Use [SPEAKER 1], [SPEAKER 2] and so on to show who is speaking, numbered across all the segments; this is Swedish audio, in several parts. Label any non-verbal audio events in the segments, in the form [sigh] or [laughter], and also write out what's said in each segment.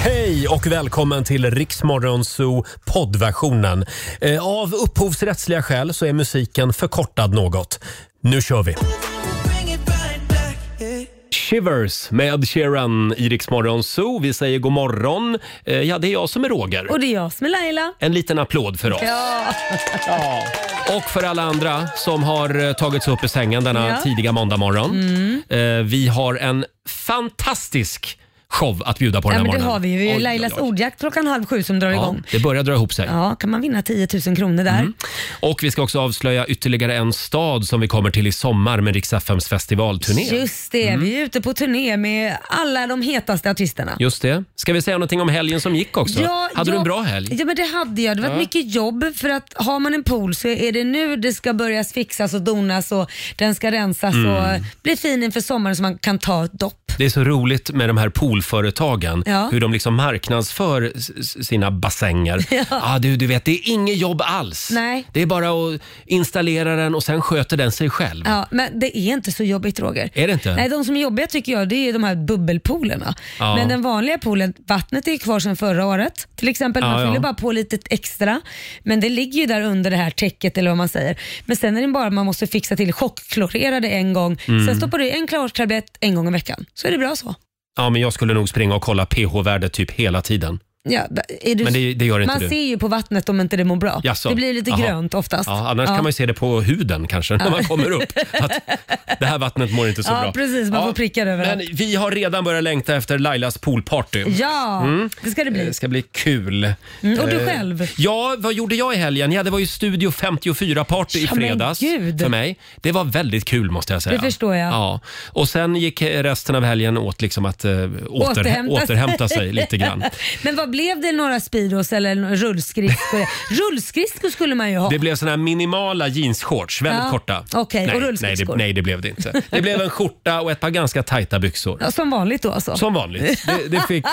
[SPEAKER 1] Hej och välkommen till Riksmorgonzoo poddversionen. Eh, Av upphovsrättsliga skäl så är musiken förkortad något. Nu kör vi! Shivers med Ed Sheeran i Riksmorgonzoo. Vi säger god morgon. Eh, Ja, det är jag som är Roger.
[SPEAKER 2] Och det är jag som är Laila.
[SPEAKER 1] En liten applåd för oss. [laughs]
[SPEAKER 2] Ja.
[SPEAKER 1] Och för alla andra som har eh, tagits upp i sängen denna
[SPEAKER 2] Ja. Mm.
[SPEAKER 1] tidiga måndag morgon. Eh, Vi har en fantastisk show att bjuda på
[SPEAKER 2] ja,
[SPEAKER 1] den här
[SPEAKER 2] men det
[SPEAKER 1] morgonen.
[SPEAKER 2] har vi ju. Det är
[SPEAKER 1] Oj,
[SPEAKER 2] ju
[SPEAKER 1] oj,
[SPEAKER 2] Lailas
[SPEAKER 1] oj.
[SPEAKER 2] ordjakt klockan halv sju som drar
[SPEAKER 1] Ja, Mm.
[SPEAKER 2] igång.
[SPEAKER 1] det börjar dra ihop sig.
[SPEAKER 2] Ja, kan man vinna 10 000 kronor där?
[SPEAKER 1] Och vi ska också avslöja ytterligare en stad som vi kommer till i sommar med Rix FMs festivalturné.
[SPEAKER 2] Just det,
[SPEAKER 1] Mm.
[SPEAKER 2] vi är ute på turné med alla de hetaste artisterna.
[SPEAKER 1] Just det. Ska vi säga någonting om helgen som gick också? Hade du en bra helg?
[SPEAKER 2] Ja, men det hade jag. Det var
[SPEAKER 1] Ja.
[SPEAKER 2] mycket jobb för att har man en pool så är det nu det ska börjas fixas och donas och den ska rensas
[SPEAKER 1] Mm.
[SPEAKER 2] och bli fin inför sommaren så man kan ta ett dopp.
[SPEAKER 1] Det är så roligt med de här poolföretagen,
[SPEAKER 2] Ja.
[SPEAKER 1] hur de liksom marknadsför s- s- sina bassänger.
[SPEAKER 2] [laughs] Ja.
[SPEAKER 1] Ah, du, du vet, det är inget jobb alls.
[SPEAKER 2] Nej.
[SPEAKER 1] Det är bara att installera den och sen sköter den sig själv.
[SPEAKER 2] Ja, men det är inte så jobbigt Roger.
[SPEAKER 1] Är det inte?
[SPEAKER 2] Nej, de som är jobbiga tycker jag det är de här bubbelpoolerna.
[SPEAKER 1] Ja.
[SPEAKER 2] Men den vanliga poolen, vattnet är ju kvar sedan förra året till exempel. Man
[SPEAKER 1] Ja, ja.
[SPEAKER 2] fyller bara på lite extra. Men det ligger ju där under det här täcket eller vad man säger. Men sen är det bara man måste fixa till chockklorerade en gång.
[SPEAKER 1] Mm.
[SPEAKER 2] Sen stoppar du i en klortablett en gång i veckan. Så är det bra så.
[SPEAKER 1] Ja, men jag skulle nog springa och kolla pH-värdet typ hela tiden.
[SPEAKER 2] Ja, är du...
[SPEAKER 1] Men det, det gör inte
[SPEAKER 2] man
[SPEAKER 1] du.
[SPEAKER 2] ser ju på vattnet om inte det mår bra.
[SPEAKER 1] Jaså?
[SPEAKER 2] Det blir lite
[SPEAKER 1] Jaha.
[SPEAKER 2] grönt oftast.
[SPEAKER 1] Ja, annars kan man ju se det på huden kanske när man kommer
[SPEAKER 2] [laughs]
[SPEAKER 1] upp. Att det här vattnet mår inte så
[SPEAKER 2] Ja,
[SPEAKER 1] bra.
[SPEAKER 2] precis. Man får prickar överallt.
[SPEAKER 1] Men vi har redan börjat längta efter Lailas poolparty.
[SPEAKER 2] Ja,
[SPEAKER 1] Mm.
[SPEAKER 2] det ska det bli.
[SPEAKER 1] Det ska bli kul.
[SPEAKER 2] Mm, och du
[SPEAKER 1] Eh,
[SPEAKER 2] själv?
[SPEAKER 1] Ja, vad gjorde jag i helgen? Ja, det var ju Studio 54-party i
[SPEAKER 2] Ja, men
[SPEAKER 1] fredags
[SPEAKER 2] gud.
[SPEAKER 1] för mig. Det var väldigt kul måste jag säga.
[SPEAKER 2] Det förstår jag.
[SPEAKER 1] Ja. Och sen gick resten av helgen åt liksom att eh, åter, återhämta,
[SPEAKER 2] Återhämta sig.
[SPEAKER 1] sig lite
[SPEAKER 2] [laughs]
[SPEAKER 1] grann.
[SPEAKER 2] Men vad blev det? Några Speedos eller
[SPEAKER 1] [laughs]
[SPEAKER 2] några rullskridskor? rullskridskor skulle man ju ha.
[SPEAKER 1] Det blev såna här minimala jeansshorts, väldigt
[SPEAKER 2] Ja,
[SPEAKER 1] korta.
[SPEAKER 2] okej, och
[SPEAKER 1] nej, nej,
[SPEAKER 2] rullskridskor.
[SPEAKER 1] det, nej, det blev det inte. Det blev en skjorta och ett par ganska tajta byxor.
[SPEAKER 2] Ja, Som vanligt då alltså.
[SPEAKER 1] Som vanligt. Det, det, fick,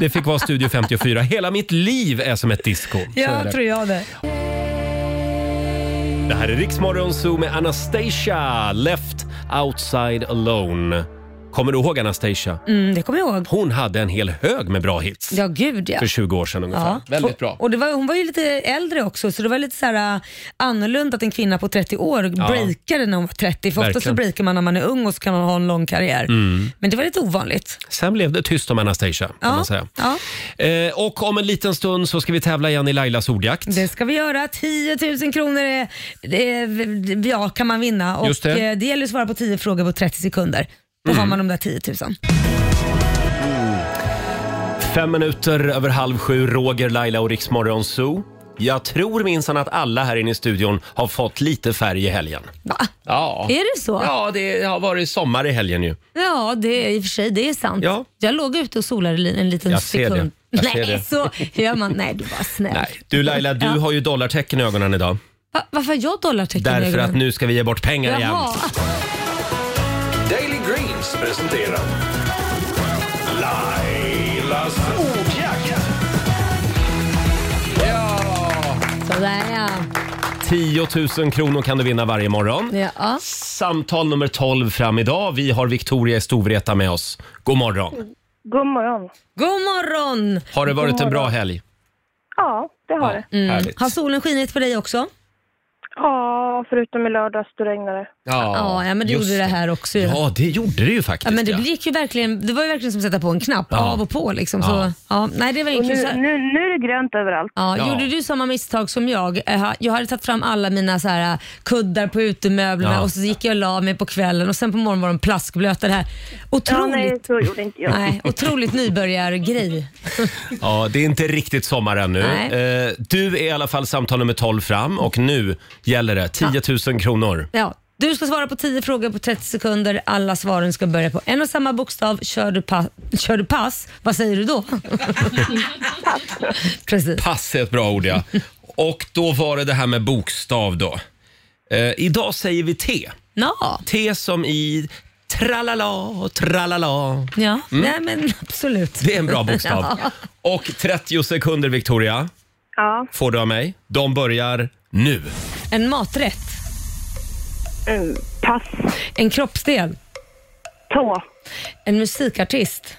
[SPEAKER 1] det fick vara Studio 54. Hela mitt liv är som ett disco. Så är
[SPEAKER 2] ja,
[SPEAKER 1] det.
[SPEAKER 2] tror jag det.
[SPEAKER 1] Det här är Riksmorgon Zoo med Anastasia, Left Outside Alone. Kommer du ihåg Anastasia?
[SPEAKER 2] Mm, det kommer jag ihåg.
[SPEAKER 1] Hon hade en hel hög med bra hits
[SPEAKER 2] Ja, gud ja.
[SPEAKER 1] för 20 år sedan ungefär.
[SPEAKER 2] Ja.
[SPEAKER 1] Väldigt
[SPEAKER 2] Och,
[SPEAKER 1] bra.
[SPEAKER 2] och det var, hon var ju lite äldre också så det var lite så här, äh, annorlunda att en kvinna på 30 år breakade när hon var 30. För ofta så
[SPEAKER 1] Verkligen.
[SPEAKER 2] breakar man när man är ung och så kan man ha en lång karriär. Men det var lite ovanligt.
[SPEAKER 1] Sen blev det tyst om Anastasia kan
[SPEAKER 2] Ja,
[SPEAKER 1] man säga.
[SPEAKER 2] ja.
[SPEAKER 1] Eh, och om en liten stund så ska vi tävla igen i Lailas ordjakt.
[SPEAKER 2] Det ska vi göra. 10 000 kronor är, är, ja, kan man vinna. Och
[SPEAKER 1] Just det. Mm.
[SPEAKER 2] eh, det gäller att svara på 10 frågor på 30 sekunder. Då har man de där 10 000.
[SPEAKER 1] Fem minuter över halv sju, Roger, Laila och Riksmorgon Zoo. Jag tror minsann att alla här inne i studion har fått lite färg i helgen.
[SPEAKER 2] Va?
[SPEAKER 1] Ja.
[SPEAKER 2] Är det så?
[SPEAKER 1] Ja, det har varit sommar i helgen ju.
[SPEAKER 2] Ja, det är i och för sig det är sant.
[SPEAKER 1] Ja.
[SPEAKER 2] Jag låg ute och solade li- en liten
[SPEAKER 1] Jag ser
[SPEAKER 2] sekund.
[SPEAKER 1] det. Jag
[SPEAKER 2] Nej,
[SPEAKER 1] ser det.
[SPEAKER 2] så gör man. Nej, du var snäll.
[SPEAKER 1] Nej. Du Laila, du
[SPEAKER 2] Ja.
[SPEAKER 1] har ju dollartecken i ögonen idag.
[SPEAKER 2] Va, varför har jag dollartecken i
[SPEAKER 1] Därför
[SPEAKER 2] ögonen?
[SPEAKER 1] att nu ska vi ge bort pengar igen.
[SPEAKER 2] Jaha.
[SPEAKER 3] Daily Greens presenterar Lailas ordjakt.
[SPEAKER 2] Sådär ja.
[SPEAKER 1] 10 000 kronor kan du vinna varje morgon.
[SPEAKER 2] ja. ja.
[SPEAKER 1] Samtal nummer 12 fram idag. Vi har Victoria i Storvreta med oss. God morgon.
[SPEAKER 4] God morgon.
[SPEAKER 2] God morgon!
[SPEAKER 1] Har det varit en bra helg?
[SPEAKER 4] Ja, det har det.
[SPEAKER 1] Härligt.
[SPEAKER 2] Mm. Har solen skinit på dig också?
[SPEAKER 4] Ja, förutom i lördags då regnade det.
[SPEAKER 2] Ja, ja men du
[SPEAKER 1] just
[SPEAKER 2] gjorde det här också ju.
[SPEAKER 1] Ja, det gjorde det ju
[SPEAKER 2] Ja,
[SPEAKER 1] faktiskt.
[SPEAKER 2] men det,
[SPEAKER 1] ja.
[SPEAKER 2] gick ju verkligen, det var ju verkligen som att sätta på en knapp,
[SPEAKER 1] Ja.
[SPEAKER 2] av och på. Liksom,
[SPEAKER 1] Ja.
[SPEAKER 2] Så, ja, nej, det var
[SPEAKER 4] Och
[SPEAKER 2] enkelt.
[SPEAKER 4] nu,
[SPEAKER 2] Så,
[SPEAKER 4] nu, nu är det grönt överallt.
[SPEAKER 2] ja,
[SPEAKER 1] Ja.
[SPEAKER 2] Gjorde du samma misstag som jag? Eh, Jag hade tagit fram alla mina så här, eh, kuddar på utemöblerna
[SPEAKER 1] Ja.
[SPEAKER 2] och så gick jag och la mig på kvällen och sen på morgonen var de plaskblöta. Det här.
[SPEAKER 4] Ja, nej,
[SPEAKER 2] Otroligt,
[SPEAKER 4] så gjorde inte jag.
[SPEAKER 2] nej, otroligt nybörjargrej.
[SPEAKER 1] Ja, det är inte riktigt sommar ännu.
[SPEAKER 2] Nej.
[SPEAKER 1] Eh, Du är i alla fall samtal nummer 12 fram och nu gäller det 10 000 kronor.
[SPEAKER 2] Ja. Du ska svara på 10 frågor på 30 sekunder. Alla svaren ska börja på en och samma bokstav. Kör du, pa- kör du pass, vad
[SPEAKER 4] [laughs]
[SPEAKER 2] säger du då? Precis.
[SPEAKER 1] Pass är ett bra
[SPEAKER 2] [laughs]
[SPEAKER 1] ord ja. Och då var det det här med bokstav då. Eh, idag säger vi T.
[SPEAKER 2] Ja.
[SPEAKER 1] T som i tralala, tralala.
[SPEAKER 2] Ja,
[SPEAKER 1] Mm.
[SPEAKER 2] nej men absolut.
[SPEAKER 1] Det är en bra bokstav.
[SPEAKER 2] [laughs] Ja.
[SPEAKER 1] Och 30 sekunder Victoria
[SPEAKER 4] Ja,
[SPEAKER 1] får du av mig. De börjar nu.
[SPEAKER 2] En maträtt,
[SPEAKER 4] mm, pass.
[SPEAKER 2] en kroppsdel,
[SPEAKER 4] Tå.
[SPEAKER 2] en musikartist,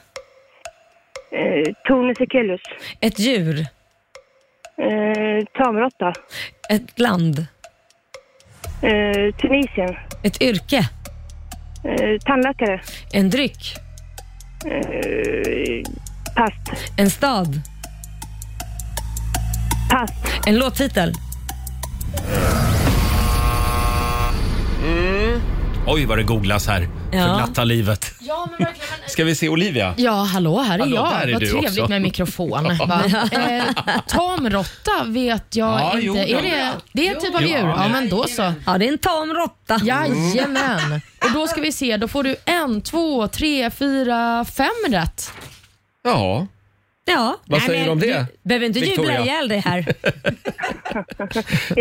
[SPEAKER 4] Eh, Tone Sekelius.
[SPEAKER 2] Ett djur.
[SPEAKER 4] Eh, Tamråtta.
[SPEAKER 2] Ett land.
[SPEAKER 4] Eh, Tunisien.
[SPEAKER 2] Ett yrke.
[SPEAKER 4] Eh, tandläkare.
[SPEAKER 2] En dryck.
[SPEAKER 4] Eh, pass.
[SPEAKER 2] En stad.
[SPEAKER 4] Pass.
[SPEAKER 2] En låttitel.
[SPEAKER 1] Oj, vad det googlas här.
[SPEAKER 2] Ja.
[SPEAKER 1] För glatta livet.
[SPEAKER 5] Ja, men verkligen. men-
[SPEAKER 1] Ska vi se Olivia?
[SPEAKER 5] Ja, hallå, här är
[SPEAKER 1] Hallå,
[SPEAKER 5] jag.
[SPEAKER 1] där är
[SPEAKER 5] Vad
[SPEAKER 1] du
[SPEAKER 5] trevligt
[SPEAKER 1] också. [laughs]
[SPEAKER 5] med mikrofon. va? Eh, tamrotta vet jag
[SPEAKER 1] Ja,
[SPEAKER 5] inte.
[SPEAKER 1] jo, ja.
[SPEAKER 5] är det, det är en typ av
[SPEAKER 1] Jo,
[SPEAKER 5] djur?
[SPEAKER 1] ja.
[SPEAKER 5] Ja, men då så.
[SPEAKER 2] Ja, det är en tam råtta.
[SPEAKER 5] Jajamän. Och då ska vi se, då får du en, två, tre, fyra, fem rätt.
[SPEAKER 1] Ja.
[SPEAKER 2] Ja.
[SPEAKER 1] Vad
[SPEAKER 2] Nej,
[SPEAKER 1] säger
[SPEAKER 2] men
[SPEAKER 1] du om det,
[SPEAKER 2] Du behöver inte
[SPEAKER 1] Victoria?
[SPEAKER 2] jubla ihjäl dig här.
[SPEAKER 1] [laughs]
[SPEAKER 4] Jag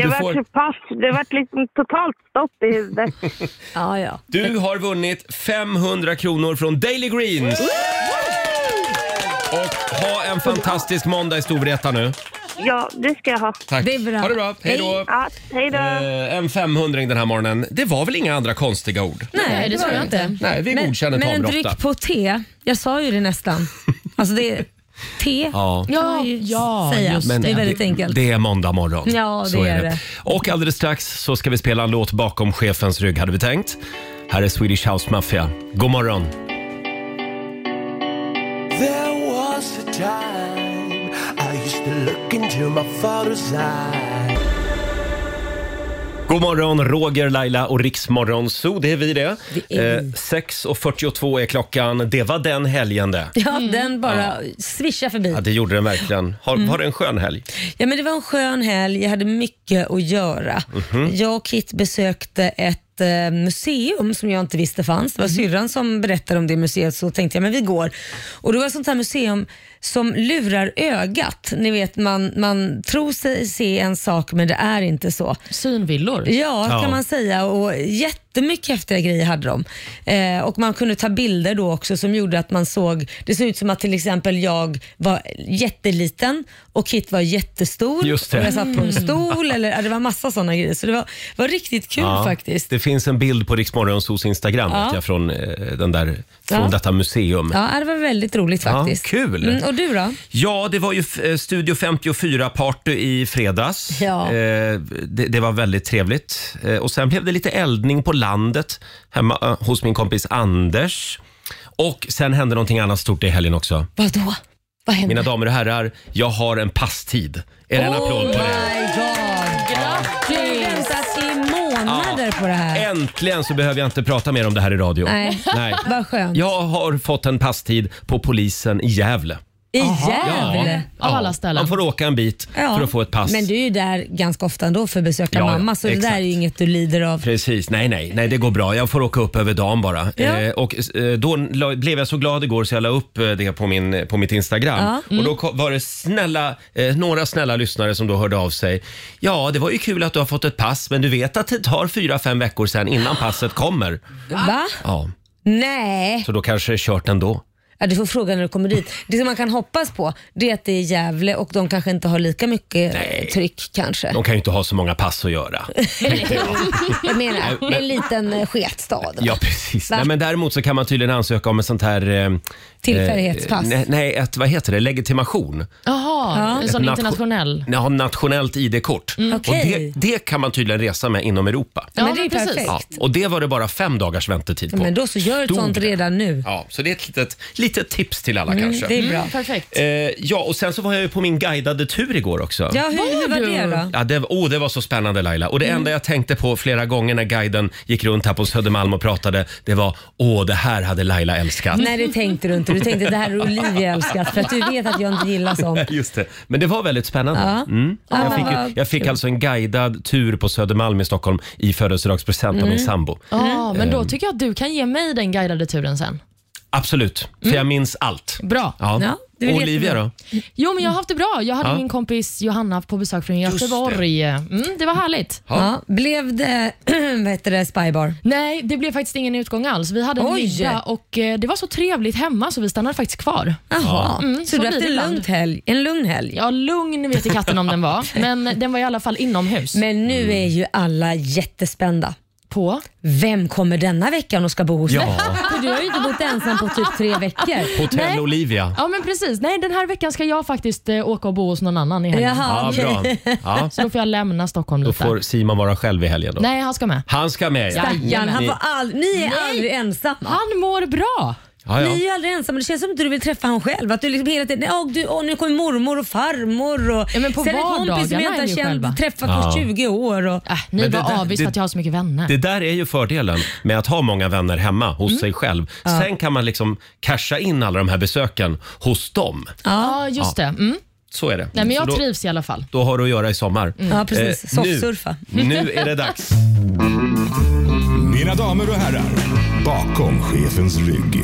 [SPEAKER 1] Du
[SPEAKER 4] vart
[SPEAKER 1] får-
[SPEAKER 4] pass. Det vart liksom totalt stopp i huvudet.
[SPEAKER 2] Ja, ja.
[SPEAKER 1] Du har vunnit 500 kronor från Daily Greens. Och ha en fantastisk måndag i Storvreta nu.
[SPEAKER 4] Ja, det ska jag ha.
[SPEAKER 1] Tack.
[SPEAKER 2] Det är bra.
[SPEAKER 1] Ha det bra. Hej då.
[SPEAKER 4] Ja, hej då.
[SPEAKER 1] Eh, En 500 den här morgonen. Det var väl inga andra konstiga ord?
[SPEAKER 5] Nej, det
[SPEAKER 2] var
[SPEAKER 5] tror jag inte.
[SPEAKER 1] Nej, vi
[SPEAKER 2] Men,
[SPEAKER 1] godkänner
[SPEAKER 2] men en
[SPEAKER 1] tamråtta.
[SPEAKER 2] dryck på te. Jag sa ju det nästan. Alltså det är te.
[SPEAKER 1] Ja.
[SPEAKER 2] kan man ju
[SPEAKER 5] Ja,
[SPEAKER 2] säga.
[SPEAKER 5] just
[SPEAKER 2] det. är väldigt enkelt.
[SPEAKER 1] Det är måndag morgon.
[SPEAKER 2] Ja, det
[SPEAKER 1] så är
[SPEAKER 2] är
[SPEAKER 1] det.
[SPEAKER 2] det.
[SPEAKER 1] Och alldeles strax så ska vi spela en låt bakom chefens rygg hade vi tänkt. Här är Swedish House Mafia. God morgon.
[SPEAKER 6] There was a time I used to look into my father's eyes.
[SPEAKER 1] God morgon, Roger, Laila och Riksmorgon Zoo. Det är vi det.
[SPEAKER 2] Det är
[SPEAKER 1] Eh, 6.42 är klockan. Det var den helgen det.
[SPEAKER 2] Ja, den bara svischar förbi.
[SPEAKER 1] Ja, det gjorde den verkligen. Har,
[SPEAKER 2] Mm.
[SPEAKER 1] Var det en skön helg?
[SPEAKER 2] Ja, men det var en skön helg. Jag hade mycket att göra. Jag och Kit besökte ett eh, museum som jag inte visste fanns. Det var syrran som berättade om det museet så tänkte jag men vi går. Och Det var ett sånt här museum som lurar ögat. Ni vet man, man tror sig se en sak men det är inte så.
[SPEAKER 5] Synvillor.
[SPEAKER 2] Ja,
[SPEAKER 1] Ja.
[SPEAKER 2] kan man säga. Och jättemycket häftiga grejer hade de. Eh, och man kunde ta bilder då också som gjorde att man såg, det såg ut som att till exempel jag var jätteliten och Kit var jättestor.
[SPEAKER 1] Just det. Mm.
[SPEAKER 2] Och jag satt på en stol. Eller, ja, det var massa sådana grejer. Så det var, var riktigt kul
[SPEAKER 1] Ja.
[SPEAKER 2] faktiskt.
[SPEAKER 1] Det finns en bild på Riksmorgon Zoos Instagram
[SPEAKER 2] Ja.
[SPEAKER 1] vet jag, från, eh, den där, från
[SPEAKER 2] Ja.
[SPEAKER 1] detta museum.
[SPEAKER 2] Ja, det var väldigt roligt
[SPEAKER 1] Ja,
[SPEAKER 2] faktiskt.
[SPEAKER 1] kul.
[SPEAKER 2] Mm, och du då?
[SPEAKER 1] Ja, det var ju eh, Studio 54-party i fredags.
[SPEAKER 2] Ja.
[SPEAKER 1] Eh, det, det var väldigt trevligt. Eh, och Sen blev det lite eldning på landet hemma eh, hos min kompis Anders. Och Sen hände någonting annat stort i helgen också.
[SPEAKER 2] Vadå? Vad hände?
[SPEAKER 1] Mina damer och herrar, jag har en passtid. Är det en applåd på det?
[SPEAKER 2] Oh my god. Du har ju väntat i månader på det här.
[SPEAKER 1] Äntligen så behöver jag inte prata mer om det här i radio.
[SPEAKER 2] Nej.
[SPEAKER 1] Nej.
[SPEAKER 2] Vad skönt.
[SPEAKER 1] Jag har fått en passtid på polisen i Gävle.
[SPEAKER 2] I Gävle.
[SPEAKER 5] Av alla ställen.
[SPEAKER 1] Man får åka en bit
[SPEAKER 2] Ja.
[SPEAKER 1] för att få ett pass.
[SPEAKER 2] Men du är ju där ganska ofta ändå för att besöka
[SPEAKER 1] Ja, ja,
[SPEAKER 2] mamma, så det
[SPEAKER 1] exakt.
[SPEAKER 2] där är ju inget du lider av.
[SPEAKER 1] Precis, nej nej, nej det går bra. Jag får åka upp över dagen bara.
[SPEAKER 2] Ja.
[SPEAKER 1] Eh, och eh, då la, blev jag så glad igår så jag la upp eh, det på, min, på mitt Instagram.
[SPEAKER 2] Ja. Mm.
[SPEAKER 1] Och då ko- var det snälla, eh, några snälla lyssnare som då hörde av sig. Ja, det var ju kul att du har fått ett pass men du vet att det tar fyra, fem veckor sen innan passet kommer.
[SPEAKER 2] Va?
[SPEAKER 1] Ja,
[SPEAKER 2] Nej!
[SPEAKER 1] så då kanske det är kört ändå.
[SPEAKER 2] Ja, du får fråga när du kommer dit. Det som man kan hoppas på det är att det är Gävle och de kanske inte har lika mycket
[SPEAKER 1] Nej.
[SPEAKER 2] tryck kanske.
[SPEAKER 1] De kan ju inte ha så många pass att göra.
[SPEAKER 2] Jag
[SPEAKER 1] Nej,
[SPEAKER 2] menar,
[SPEAKER 1] men-
[SPEAKER 2] en liten eh, sketstad.
[SPEAKER 1] Ja, precis.
[SPEAKER 2] Va?
[SPEAKER 1] Nej, men däremot så kan man tydligen ansöka om ett sånt här... eh,
[SPEAKER 2] Tillfällighetspass.
[SPEAKER 1] eh, nej- Nej, ett, vad heter det? Legitimation.
[SPEAKER 5] Jaha, en sån
[SPEAKER 1] Ett nation-
[SPEAKER 5] internationell.
[SPEAKER 1] Ja, nationellt ID-kort. Och det,
[SPEAKER 2] Mm. Okej.
[SPEAKER 1] det kan man tydligen resa med inom Europa.
[SPEAKER 5] Ja,
[SPEAKER 2] men det är ju
[SPEAKER 5] precis.
[SPEAKER 2] perfekt.
[SPEAKER 1] Ja, och det var det bara fem dagars väntetid på.
[SPEAKER 2] Men då så, gör ett
[SPEAKER 1] Stod
[SPEAKER 2] sånt
[SPEAKER 1] det.
[SPEAKER 2] redan nu.
[SPEAKER 1] Ja, så det är ett litet, litet tips till alla kanske.
[SPEAKER 2] Mm, Det är bra.
[SPEAKER 5] Perfekt.
[SPEAKER 1] Eh, ja, och sen så var jag ju på min guidade tur igår också.
[SPEAKER 2] Ja, Mm. hur, hur var
[SPEAKER 5] Var du?
[SPEAKER 2] det då?
[SPEAKER 1] Ja, det, oh, det var så spännande Laila. Och det enda jag tänkte på flera gånger när guiden gick runt här på Södermalm och pratade, det var åh, det här hade Laila älskat.
[SPEAKER 2] Nej, det tänkte du inte. Du tänkte det här är Olivia älskat för att du vet att jag inte gillar
[SPEAKER 1] [laughs]
[SPEAKER 2] sånt.
[SPEAKER 1] Just det. Men det var väldigt spännande.
[SPEAKER 2] Ja.
[SPEAKER 1] Mm.
[SPEAKER 2] Ja,
[SPEAKER 1] Jag,
[SPEAKER 2] men
[SPEAKER 1] fick,
[SPEAKER 2] vad
[SPEAKER 1] ju- jag fick alltså en guidad tur på Södermalm i Stockholm i födelsedagspresent av min
[SPEAKER 2] Mm.
[SPEAKER 1] sambo.
[SPEAKER 5] Ja,
[SPEAKER 1] mm.
[SPEAKER 5] men
[SPEAKER 1] Eh.
[SPEAKER 5] då tycker jag att du kan ge mig den guidade turen sen.
[SPEAKER 1] Absolut, för jag minns allt.
[SPEAKER 5] Bra.
[SPEAKER 1] Ja.
[SPEAKER 2] Mm. Ja, det är
[SPEAKER 1] Och
[SPEAKER 2] väl
[SPEAKER 1] Olivia
[SPEAKER 2] jättebra.
[SPEAKER 1] då?
[SPEAKER 5] Jo, men jag har haft det bra. Jag hade
[SPEAKER 1] Ja.
[SPEAKER 5] min kompis Johanna på besök från
[SPEAKER 1] det.
[SPEAKER 5] Göteborg. Mm, det var härligt.
[SPEAKER 2] Ja, blev det, [clears throat] vad heter det, spybar?
[SPEAKER 5] Nej, det blev faktiskt ingen utgång alls. Vi hade en
[SPEAKER 2] Oj.
[SPEAKER 5] middag och eh, det var så trevligt hemma så vi stannade faktiskt kvar.
[SPEAKER 2] Jaha,
[SPEAKER 5] Mm,
[SPEAKER 2] så
[SPEAKER 5] så
[SPEAKER 2] du har
[SPEAKER 5] blir
[SPEAKER 2] haft
[SPEAKER 5] det
[SPEAKER 2] en,
[SPEAKER 5] ibland.
[SPEAKER 2] lugnt helg, en lugn helg?
[SPEAKER 5] Ja, lugn vet
[SPEAKER 2] [laughs]
[SPEAKER 5] i
[SPEAKER 1] Mm.
[SPEAKER 5] katten om den var, men den var i alla fall inomhus.
[SPEAKER 2] Men nu är ju alla jättespända.
[SPEAKER 5] på.
[SPEAKER 2] Vem kommer denna veckan och ska bo hos
[SPEAKER 1] Ja.
[SPEAKER 2] dig? För du har ju inte bott ensam på typ tre veckor.
[SPEAKER 1] Hotell
[SPEAKER 5] Nej.
[SPEAKER 1] Olivia.
[SPEAKER 5] Ja men precis. Nej den här veckan ska jag faktiskt eh, åka och bo hos någon annan i helgen.
[SPEAKER 1] Ja,
[SPEAKER 2] Jaha, okej.
[SPEAKER 1] bra.
[SPEAKER 2] [laughs]
[SPEAKER 1] Ja,
[SPEAKER 5] Så då får jag lämna Stockholm
[SPEAKER 1] då
[SPEAKER 5] lite.
[SPEAKER 1] får Simon vara själv i helgen då.
[SPEAKER 5] Nej han ska med.
[SPEAKER 1] Han ska med. Ja,
[SPEAKER 2] Stackarn, han
[SPEAKER 1] Ni-
[SPEAKER 2] får all... ni är
[SPEAKER 5] Nej.
[SPEAKER 2] aldrig ensamma.
[SPEAKER 5] Han mår bra.
[SPEAKER 1] ja.
[SPEAKER 2] Ni är
[SPEAKER 1] ja.
[SPEAKER 2] ju aldrig ensamma. Det känns som att du vill träffa han själv. Att du liksom hela tiden, åh, du, åh, nu kommer mormor och farmor och
[SPEAKER 5] Ja, men på
[SPEAKER 2] sen en kompis som jag
[SPEAKER 5] vardagarna
[SPEAKER 2] inte
[SPEAKER 5] är
[SPEAKER 2] har
[SPEAKER 5] ni ju
[SPEAKER 2] känt,
[SPEAKER 5] själva.
[SPEAKER 2] träffat
[SPEAKER 1] Ja.
[SPEAKER 2] på 20 år. Och,
[SPEAKER 5] Äh, ni
[SPEAKER 1] Men det där-
[SPEAKER 5] var avis
[SPEAKER 1] det-
[SPEAKER 5] för att jag har så mycket vänner.
[SPEAKER 1] Det där är ju fördelen med att ha många vänner hemma hos
[SPEAKER 2] Mm.
[SPEAKER 1] sig själv. Sen kan man liksom casha in alla de här besöken hos dem.
[SPEAKER 5] ja just det. Mm.
[SPEAKER 1] Så är det.
[SPEAKER 5] Nej, men
[SPEAKER 1] Så
[SPEAKER 5] jag
[SPEAKER 1] då,
[SPEAKER 5] trivs i alla fall.
[SPEAKER 1] då har du att göra i sommar.
[SPEAKER 2] Mm.
[SPEAKER 1] Eh,
[SPEAKER 2] Ja, precis.
[SPEAKER 1] nu-
[SPEAKER 2] Soffsurfa.
[SPEAKER 1] Nu är det
[SPEAKER 2] [laughs]
[SPEAKER 1] dags.
[SPEAKER 7] Mina damer och herrar, bakom chefens rygg.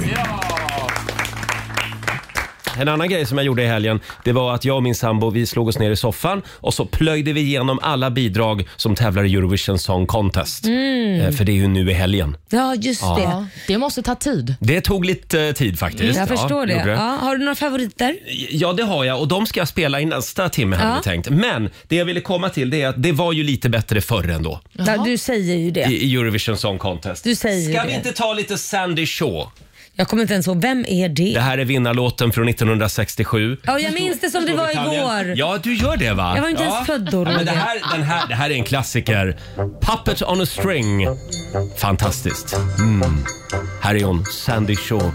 [SPEAKER 1] En annan grej som jag gjorde i helgen, det var att jag och min sambo vi slog oss ner i soffan och så plöjde vi igenom alla bidrag som tävlar i Eurovision Song Contest.
[SPEAKER 2] Mm.
[SPEAKER 1] Eh, För det är ju nu i helgen.
[SPEAKER 2] Ja, just det.
[SPEAKER 5] Ja, det måste ta tid.
[SPEAKER 1] Det tog lite eh, tid faktiskt.
[SPEAKER 2] Mm, Jag förstår det.
[SPEAKER 1] gjorde
[SPEAKER 2] Ja, har du några favoriter?
[SPEAKER 1] Ja, det har jag och de ska jag spela i nästa timme hade
[SPEAKER 2] Ja.
[SPEAKER 1] vi tänkt. Men det jag ville komma till det är att det var ju lite bättre förr ändå
[SPEAKER 2] Ja, du säger ju det.
[SPEAKER 1] i, i Eurovision Song Contest.
[SPEAKER 2] Du säger ju
[SPEAKER 1] Ska
[SPEAKER 2] det.
[SPEAKER 1] vi inte ta lite Sandy Shaw?
[SPEAKER 2] Jag kommer inte ens ihåg. Vem är det?
[SPEAKER 1] Det här är vinnarlåten från 1967.
[SPEAKER 2] Ja, jag minns det som det var igår.
[SPEAKER 1] Ja, du gör det va?
[SPEAKER 2] Jag var inte
[SPEAKER 1] ja.
[SPEAKER 2] ens född då,
[SPEAKER 1] Ja, men
[SPEAKER 2] Roger.
[SPEAKER 1] det, här, den här, det här är en klassiker. Puppet on a string. Fantastiskt. Mm. Här är hon, Sandy Shaw.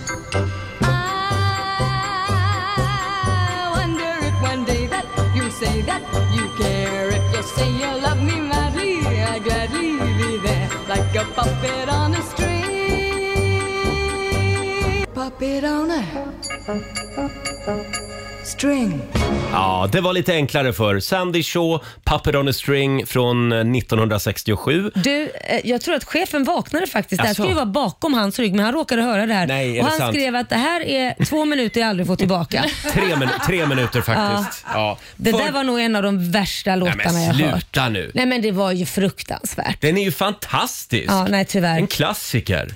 [SPEAKER 8] I wonder if one day that you'll say that you care. If you say you love me madly, I'd gladly be there like a puppet on a string. Puppet on a string.
[SPEAKER 1] Ja, det var lite enklare för Sandy Shaw, Puppet on a string från eh, 1967.
[SPEAKER 2] Du, eh, jag tror att chefen vaknade faktiskt. Det här
[SPEAKER 1] Jaså?
[SPEAKER 2] skulle ju vara bakom hans rygg, men han råkade höra det här.
[SPEAKER 1] Nej, är det
[SPEAKER 2] och han
[SPEAKER 1] sant?
[SPEAKER 2] skrev att det här är två minuter jag aldrig
[SPEAKER 1] [laughs]
[SPEAKER 2] får tillbaka.
[SPEAKER 1] Tre, min tre minuter faktiskt. Ja.
[SPEAKER 2] Det
[SPEAKER 1] För-
[SPEAKER 2] där var nog en av de värsta
[SPEAKER 1] Nej,
[SPEAKER 2] låtarna
[SPEAKER 1] men
[SPEAKER 2] jag har hört.
[SPEAKER 1] sluta nu.
[SPEAKER 2] Nej men det var ju fruktansvärt.
[SPEAKER 1] Den är ju fantastisk.
[SPEAKER 2] Ja, nej tyvärr.
[SPEAKER 1] En
[SPEAKER 2] [laughs]
[SPEAKER 1] klassiker.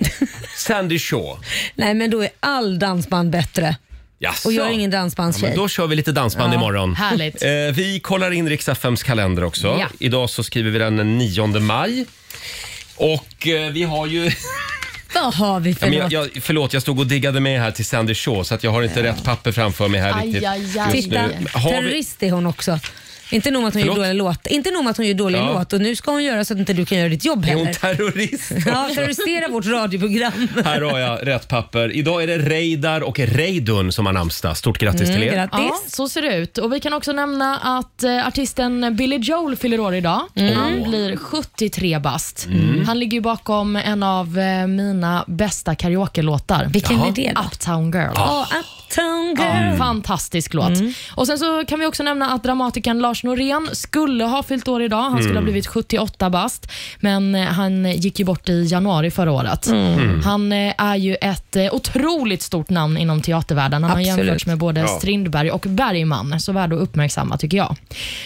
[SPEAKER 1] Sandy Shaw.
[SPEAKER 2] Nej men då är all dansband bättre.
[SPEAKER 1] Jaså?
[SPEAKER 2] Och jag är ingen
[SPEAKER 1] Ja,
[SPEAKER 2] dansbandstjej.
[SPEAKER 1] men då kör vi lite dansband imorgon.
[SPEAKER 5] härligt.
[SPEAKER 1] Eh, vi kollar in Rix FMs kalender också.
[SPEAKER 5] Ja.
[SPEAKER 1] Idag så skriver vi den 9 maj. Och eh, vi har ju...
[SPEAKER 2] Vad har vi
[SPEAKER 1] Ja,
[SPEAKER 2] för
[SPEAKER 1] men jag,
[SPEAKER 2] låt?
[SPEAKER 1] jag, förlåt, jag stod och diggade med här till Sandy Shaw så att jag har inte rätt papper framför mig här
[SPEAKER 5] Aj,
[SPEAKER 1] riktigt
[SPEAKER 5] aj, aj.
[SPEAKER 1] just
[SPEAKER 2] Titta,
[SPEAKER 1] nu. Har vi,
[SPEAKER 2] terrorist är hon också. Inte nog med att hon gör
[SPEAKER 1] Förlåt?
[SPEAKER 2] dåliga låt. Inte nog med att hon gör dåliga
[SPEAKER 1] Ja.
[SPEAKER 2] låt och nu ska hon göra så att inte du kan göra ditt jobb
[SPEAKER 1] är hon
[SPEAKER 2] heller.
[SPEAKER 1] terrorist?
[SPEAKER 2] Ja, terroristera vårt radioprogram.
[SPEAKER 1] Här har jag rätt papper. Idag är det Reidar och Reidun som har namnsdag. Stort grattis till er.
[SPEAKER 5] Ja,
[SPEAKER 2] Mm, Grattis.
[SPEAKER 5] så ser det ut. Och Vi kan också nämna att eh, artisten Billy Joel fyller år idag.
[SPEAKER 2] Mm.
[SPEAKER 5] Han blir 73 bast. Han ligger ju bakom en av eh, mina bästa karaoke-låtar.
[SPEAKER 2] Vilken är det då?
[SPEAKER 5] Uptown Girl.
[SPEAKER 2] Ja, Uptown Girl.
[SPEAKER 5] Ja, Mm. Fantastisk låt. Och Sen så kan vi också nämna att dramatikern Lars Norén skulle ha fyllt år idag. Han skulle ha blivit 78 bast, men eh, han gick ju bort i januari förra året. Han eh, är ju ett eh, otroligt stort namn inom teatervärlden. Han har
[SPEAKER 2] Absolut.
[SPEAKER 5] jämförts med både Strindberg och Bergman, så värd att uppmärksamma tycker jag.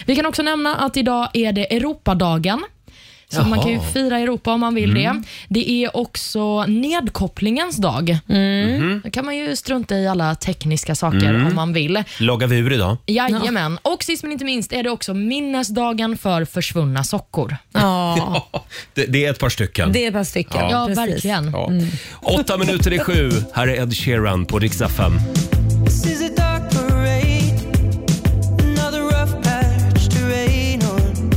[SPEAKER 5] Vi kan också nämna att idag är det Europadagen. Så man kan ju fira Europa om man vill det. Det är också nedkopplingens dag.
[SPEAKER 2] Mm.
[SPEAKER 5] Då kan man ju strunta i alla tekniska saker om man vill.
[SPEAKER 1] Lagar vi ur idag?
[SPEAKER 5] Jajamän. Och sist men inte minst är det också minnesdagen för försvunna sockor.
[SPEAKER 2] Ja,
[SPEAKER 1] [laughs] Det, det är ett par stycken.
[SPEAKER 2] det är ett par stycken.
[SPEAKER 5] Ja,
[SPEAKER 2] Precis.
[SPEAKER 5] verkligen.
[SPEAKER 1] Ja. Åtta minuter i sju. Här är Ed Sheeran på Rix FM.
[SPEAKER 9] This is a dark parade, another rough patch to rain on.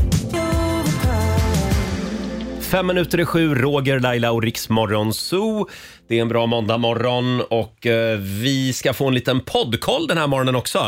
[SPEAKER 1] Fem minuter i sju, Roger, Laila och Rix Morgon Zoo. Det är en bra måndagmorgon och eh, vi ska få en liten poddkoll den här morgonen också.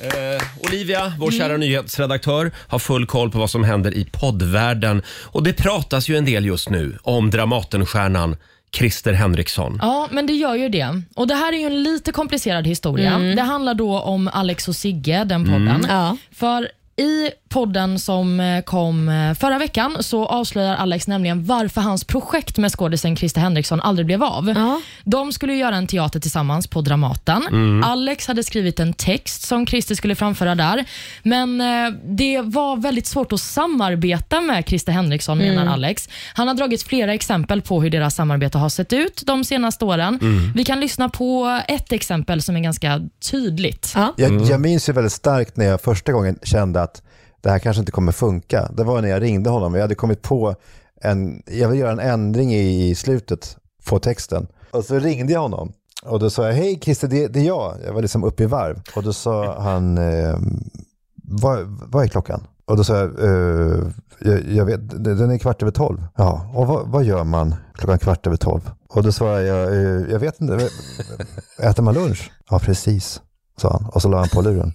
[SPEAKER 1] Eh, Olivia, vår
[SPEAKER 2] Mm.
[SPEAKER 1] kära nyhetsredaktör, har full koll på vad som händer i poddvärlden. Och det pratas ju en del just nu om Dramatenstjärnan Christer Henriksson.
[SPEAKER 5] Ja, men det gör ju det. Och Det här är ju en lite komplicerad historia.
[SPEAKER 2] Mm.
[SPEAKER 5] Det handlar då om Alex och Sigge, den podden.
[SPEAKER 2] Ja.
[SPEAKER 5] För i podden som eh, kom eh, förra veckan så avslöjar Alex nämligen varför hans projekt med skådisen Christer Henriksson aldrig blev av.
[SPEAKER 2] Ja.
[SPEAKER 5] De skulle ju göra en teater tillsammans på Dramaten. Alex hade skrivit en text som Christer skulle framföra där, men eh, det var väldigt svårt att samarbeta med Christer Henriksson,
[SPEAKER 2] Mm.
[SPEAKER 5] menar Alex. Han har dragit flera exempel på hur deras samarbete har sett ut de senaste åren. Vi kan lyssna på ett exempel som är ganska tydligt.
[SPEAKER 2] Ja.
[SPEAKER 10] Jag, jag minns ju väldigt starkt när jag första gången kände att det här kanske inte kommer funka. Det var när jag ringde honom och jag hade kommit på en, jag vill göra en ändring i, i slutet på texten. Och så ringde jag honom och då sa jag, hej Christer, det, det är jag. Jag var liksom uppe i varv. Och då sa han, eh, vad, vad är klockan? Och då sa jag, eh, jag, jag vet, det- den är kvart över tolv. Ja, och vad, vad gör man klockan kvart över tolv? Och då svarade jag, eh, jag vet inte, äter man lunch? Ja, precis, sa han. Och så la han på luren.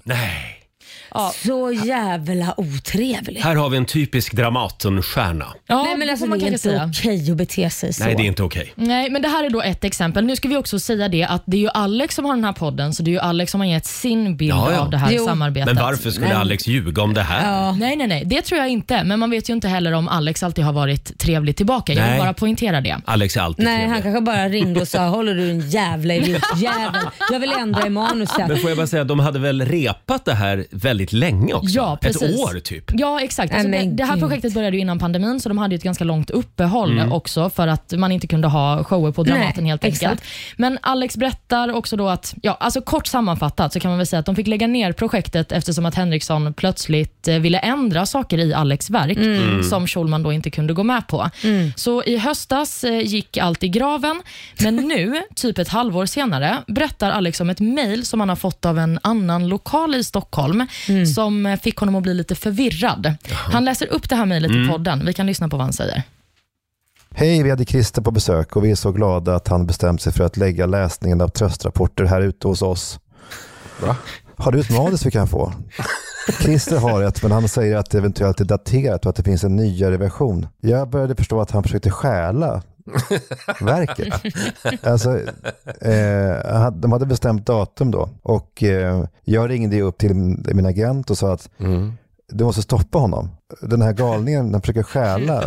[SPEAKER 2] Så jävla otrevligt.
[SPEAKER 1] Här har vi en typisk Dramatenstjärna.
[SPEAKER 5] Ja,
[SPEAKER 2] Nej men
[SPEAKER 5] det
[SPEAKER 2] alltså
[SPEAKER 5] får
[SPEAKER 2] det
[SPEAKER 5] man
[SPEAKER 2] är
[SPEAKER 5] kanske
[SPEAKER 2] inte
[SPEAKER 5] säga.
[SPEAKER 2] okej att bete sig så.
[SPEAKER 1] Nej, det är inte okej.
[SPEAKER 5] Nej, men det här är då ett exempel. Nu ska vi också säga det att det är ju Alex som har den här podden, så det är ju Alex som har gett sin bild
[SPEAKER 1] Ja, ja.
[SPEAKER 5] av det här
[SPEAKER 2] Jo.
[SPEAKER 5] samarbetet.
[SPEAKER 1] Men varför skulle
[SPEAKER 5] Men-
[SPEAKER 1] Alex ljuga om det här?
[SPEAKER 2] Ja.
[SPEAKER 5] Nej, nej, nej. Det tror jag inte. Men man vet ju inte heller om Alex alltid har varit trevlig tillbaka. Jag vill
[SPEAKER 1] Nej. Alltså,
[SPEAKER 5] bara poängtera det.
[SPEAKER 1] Alex är alltid
[SPEAKER 2] Nej, han
[SPEAKER 1] trevlig.
[SPEAKER 2] kanske bara ringde och sa “Håller du en jävla idiotjävel? Jag vill ändra i manuset”.
[SPEAKER 1] Men får jag bara säga, de hade väl repat det här väldigt länge också?
[SPEAKER 5] Ja, precis.
[SPEAKER 1] Ett år typ.
[SPEAKER 5] Ja, exakt. Alltså,
[SPEAKER 2] Nej,
[SPEAKER 5] det,
[SPEAKER 2] men
[SPEAKER 5] det här
[SPEAKER 2] gud.
[SPEAKER 5] projektet började ju innan pandemin, så de hade ju ett ganska långt uppehåll
[SPEAKER 1] Mm.
[SPEAKER 5] också för att man inte kunde ha shower på Dramaten
[SPEAKER 2] Nej,
[SPEAKER 5] helt enkelt.
[SPEAKER 2] exakt.
[SPEAKER 5] Men Alex berättar också då att, ja, alltså kort sammanfattat så kan man väl säga att de fick lägga ner projektet eftersom att Henriksson plötsligt eh, ville ändra saker i Alex verk
[SPEAKER 2] Mm.
[SPEAKER 5] som Schulman då inte kunde gå med på. Så i höstas eh, gick allt i graven,
[SPEAKER 2] [laughs]
[SPEAKER 5] men nu, typ ett halvår senare, berättar Alex om ett mejl som han har fått av en annan lokal i Stockholm
[SPEAKER 2] Mm.
[SPEAKER 5] som eh, fick honom att bli lite förvirrad. Han läser upp det här mejlet
[SPEAKER 2] Mm.
[SPEAKER 5] i podden. Vi kan lyssna på vad han säger.
[SPEAKER 10] Hej, vi hade Christer på besök och vi är så glada att han bestämt sig för att lägga läsningen av tröstrapporter här ute hos oss. Har du ett manus vi kan få? Christer har ett, men han säger att det eventuellt är daterat och att det finns en nyare version. Jag började förstå att han försökte stjäla verket. Alltså, eh, han- de hade bestämt datum då och eh, jag ringde ju upp till min min agent och sa att du måste stoppa honom. Den här galningen, den försöker stjäla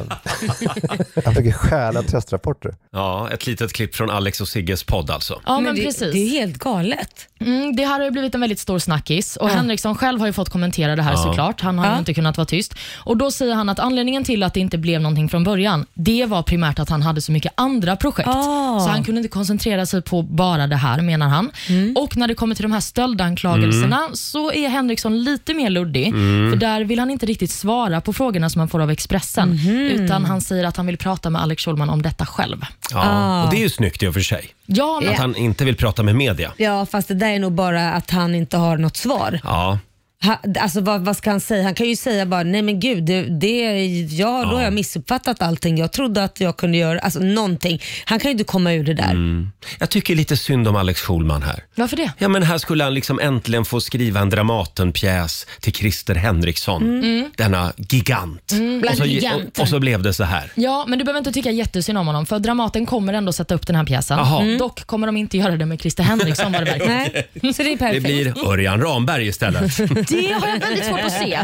[SPEAKER 10] han försöker stjäla tröstrapporter.
[SPEAKER 1] Ja, ett litet klipp från Alex och Sigges podd alltså.
[SPEAKER 5] Ja, men,
[SPEAKER 2] det,
[SPEAKER 5] precis.
[SPEAKER 2] det är helt galet.
[SPEAKER 5] Mm, det här har ju blivit en väldigt stor snackis och Henriksson själv har ju fått kommentera det här såklart. Han har ju
[SPEAKER 2] Ja.
[SPEAKER 5] inte kunnat vara tyst. Och Då säger han att anledningen till att det inte blev någonting från början, det var primärt att han hade så mycket andra projekt.
[SPEAKER 2] Ah.
[SPEAKER 5] Så han kunde inte koncentrera sig på bara det här, menar han. Och när det kommer till de här stöldanklagelserna så är Henriksson lite mer luddig. För där vill han inte riktigt svara på frågorna som han får av Expressen. Utan han säger att han vill prata med Alex Schulman om detta själv.
[SPEAKER 1] Ja. Och det är ju snyggt i och för sig.
[SPEAKER 5] Ja, men
[SPEAKER 1] Att han inte vill prata med media.
[SPEAKER 2] Ja, fast det där är nog bara att han inte har något svar.
[SPEAKER 1] Ja,
[SPEAKER 2] Ha, alltså vad, vad ska han säga? Han kan ju säga bara, nej men gud, det, det, ja, då har jag missuppfattat allting. Jag trodde att jag kunde göra, alltså någonting. Han kan ju inte komma ur det där.
[SPEAKER 1] Mm. jag tycker lite synd om Alex Schulman här.
[SPEAKER 5] varför det?
[SPEAKER 1] Ja, men här skulle han liksom äntligen få skriva en Dramatenpjäs till Christer Henriksson. Denna gigant. och,
[SPEAKER 2] bland
[SPEAKER 1] så, och,
[SPEAKER 2] giganter.
[SPEAKER 1] och så blev det så här.
[SPEAKER 5] Ja, men du behöver inte tycka jättesynd om honom, för Dramaten kommer ändå sätta upp den här pjäsen.
[SPEAKER 1] Jaha. Mm.
[SPEAKER 5] Dock kommer de inte göra det med Christer Henriksson vad det verkar.
[SPEAKER 2] Nej, så det är
[SPEAKER 1] Det
[SPEAKER 2] perfekt.
[SPEAKER 1] blir Örjan Ramberg istället.
[SPEAKER 5] Det har jag väldigt svårt att se.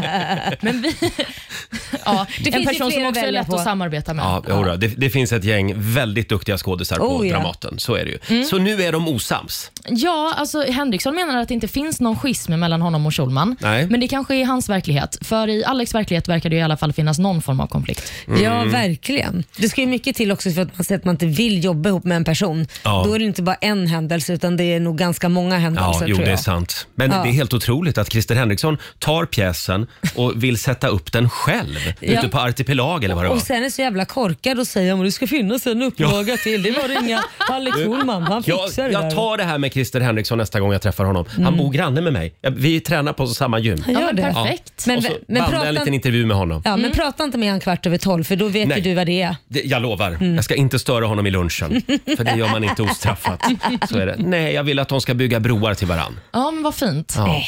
[SPEAKER 5] Men vi... ja, det
[SPEAKER 2] finns
[SPEAKER 5] en
[SPEAKER 2] ju
[SPEAKER 5] person som
[SPEAKER 2] fler att
[SPEAKER 5] också är
[SPEAKER 2] välja
[SPEAKER 5] lätt
[SPEAKER 2] på.
[SPEAKER 5] att samarbeta med.
[SPEAKER 1] Ja, jodå, det, det finns ett gäng väldigt duktiga skådisar på
[SPEAKER 2] Oh, ja.
[SPEAKER 1] Dramaten. Så är det ju. Så nu är de osams.
[SPEAKER 5] Ja, alltså Henriksson menar att det inte finns någon schism mellan honom och Schulman.
[SPEAKER 1] Nej.
[SPEAKER 5] Men det kanske är hans verklighet. För i Alex verklighet verkar det i alla fall finnas någon form av konflikt.
[SPEAKER 1] Mm.
[SPEAKER 2] Ja, verkligen. Det ska ju mycket till också för att man säger att man inte vill jobba ihop med en person.
[SPEAKER 1] Ja.
[SPEAKER 2] Då är det inte bara en händelse utan det är nog ganska många
[SPEAKER 1] Ja,
[SPEAKER 2] händelser
[SPEAKER 1] jo,
[SPEAKER 2] tror
[SPEAKER 1] det är
[SPEAKER 2] jag.
[SPEAKER 1] sant. Men
[SPEAKER 2] Ja.
[SPEAKER 1] det är helt otroligt att Christer Henriksson tar pjäsen och vill sätta upp den själv ute på Artipelag eller vad det var.
[SPEAKER 2] Och sen är så jävla korkad och säger att det ska finnas en upplaga till. Det var ringa Alex Schulman, han
[SPEAKER 1] Jag,
[SPEAKER 2] fixar det
[SPEAKER 1] jag
[SPEAKER 2] där.
[SPEAKER 1] tar det Mm. här med Christer Henriksson nästa gång jag träffar honom. Han bor granne med mig. Jag- Vi tränar på samma gym.
[SPEAKER 2] Jag
[SPEAKER 5] Ja,
[SPEAKER 2] gör
[SPEAKER 5] men
[SPEAKER 2] det.
[SPEAKER 5] perfekt.
[SPEAKER 2] Men,
[SPEAKER 1] och så
[SPEAKER 2] men,
[SPEAKER 1] bandar jag
[SPEAKER 2] prata,
[SPEAKER 1] en liten intervju med honom.
[SPEAKER 2] ja, men prata inte med han kvart över tolv för då vet
[SPEAKER 1] Nej.
[SPEAKER 2] ju du vad det är.
[SPEAKER 1] Det, jag lovar, jag ska inte störa honom i lunchen. För det gör man [laughs] inte ostraffat. Så är det. Nej, jag vill att de ska bygga broar till varann.
[SPEAKER 5] Ja, men vad fint.
[SPEAKER 1] Ja.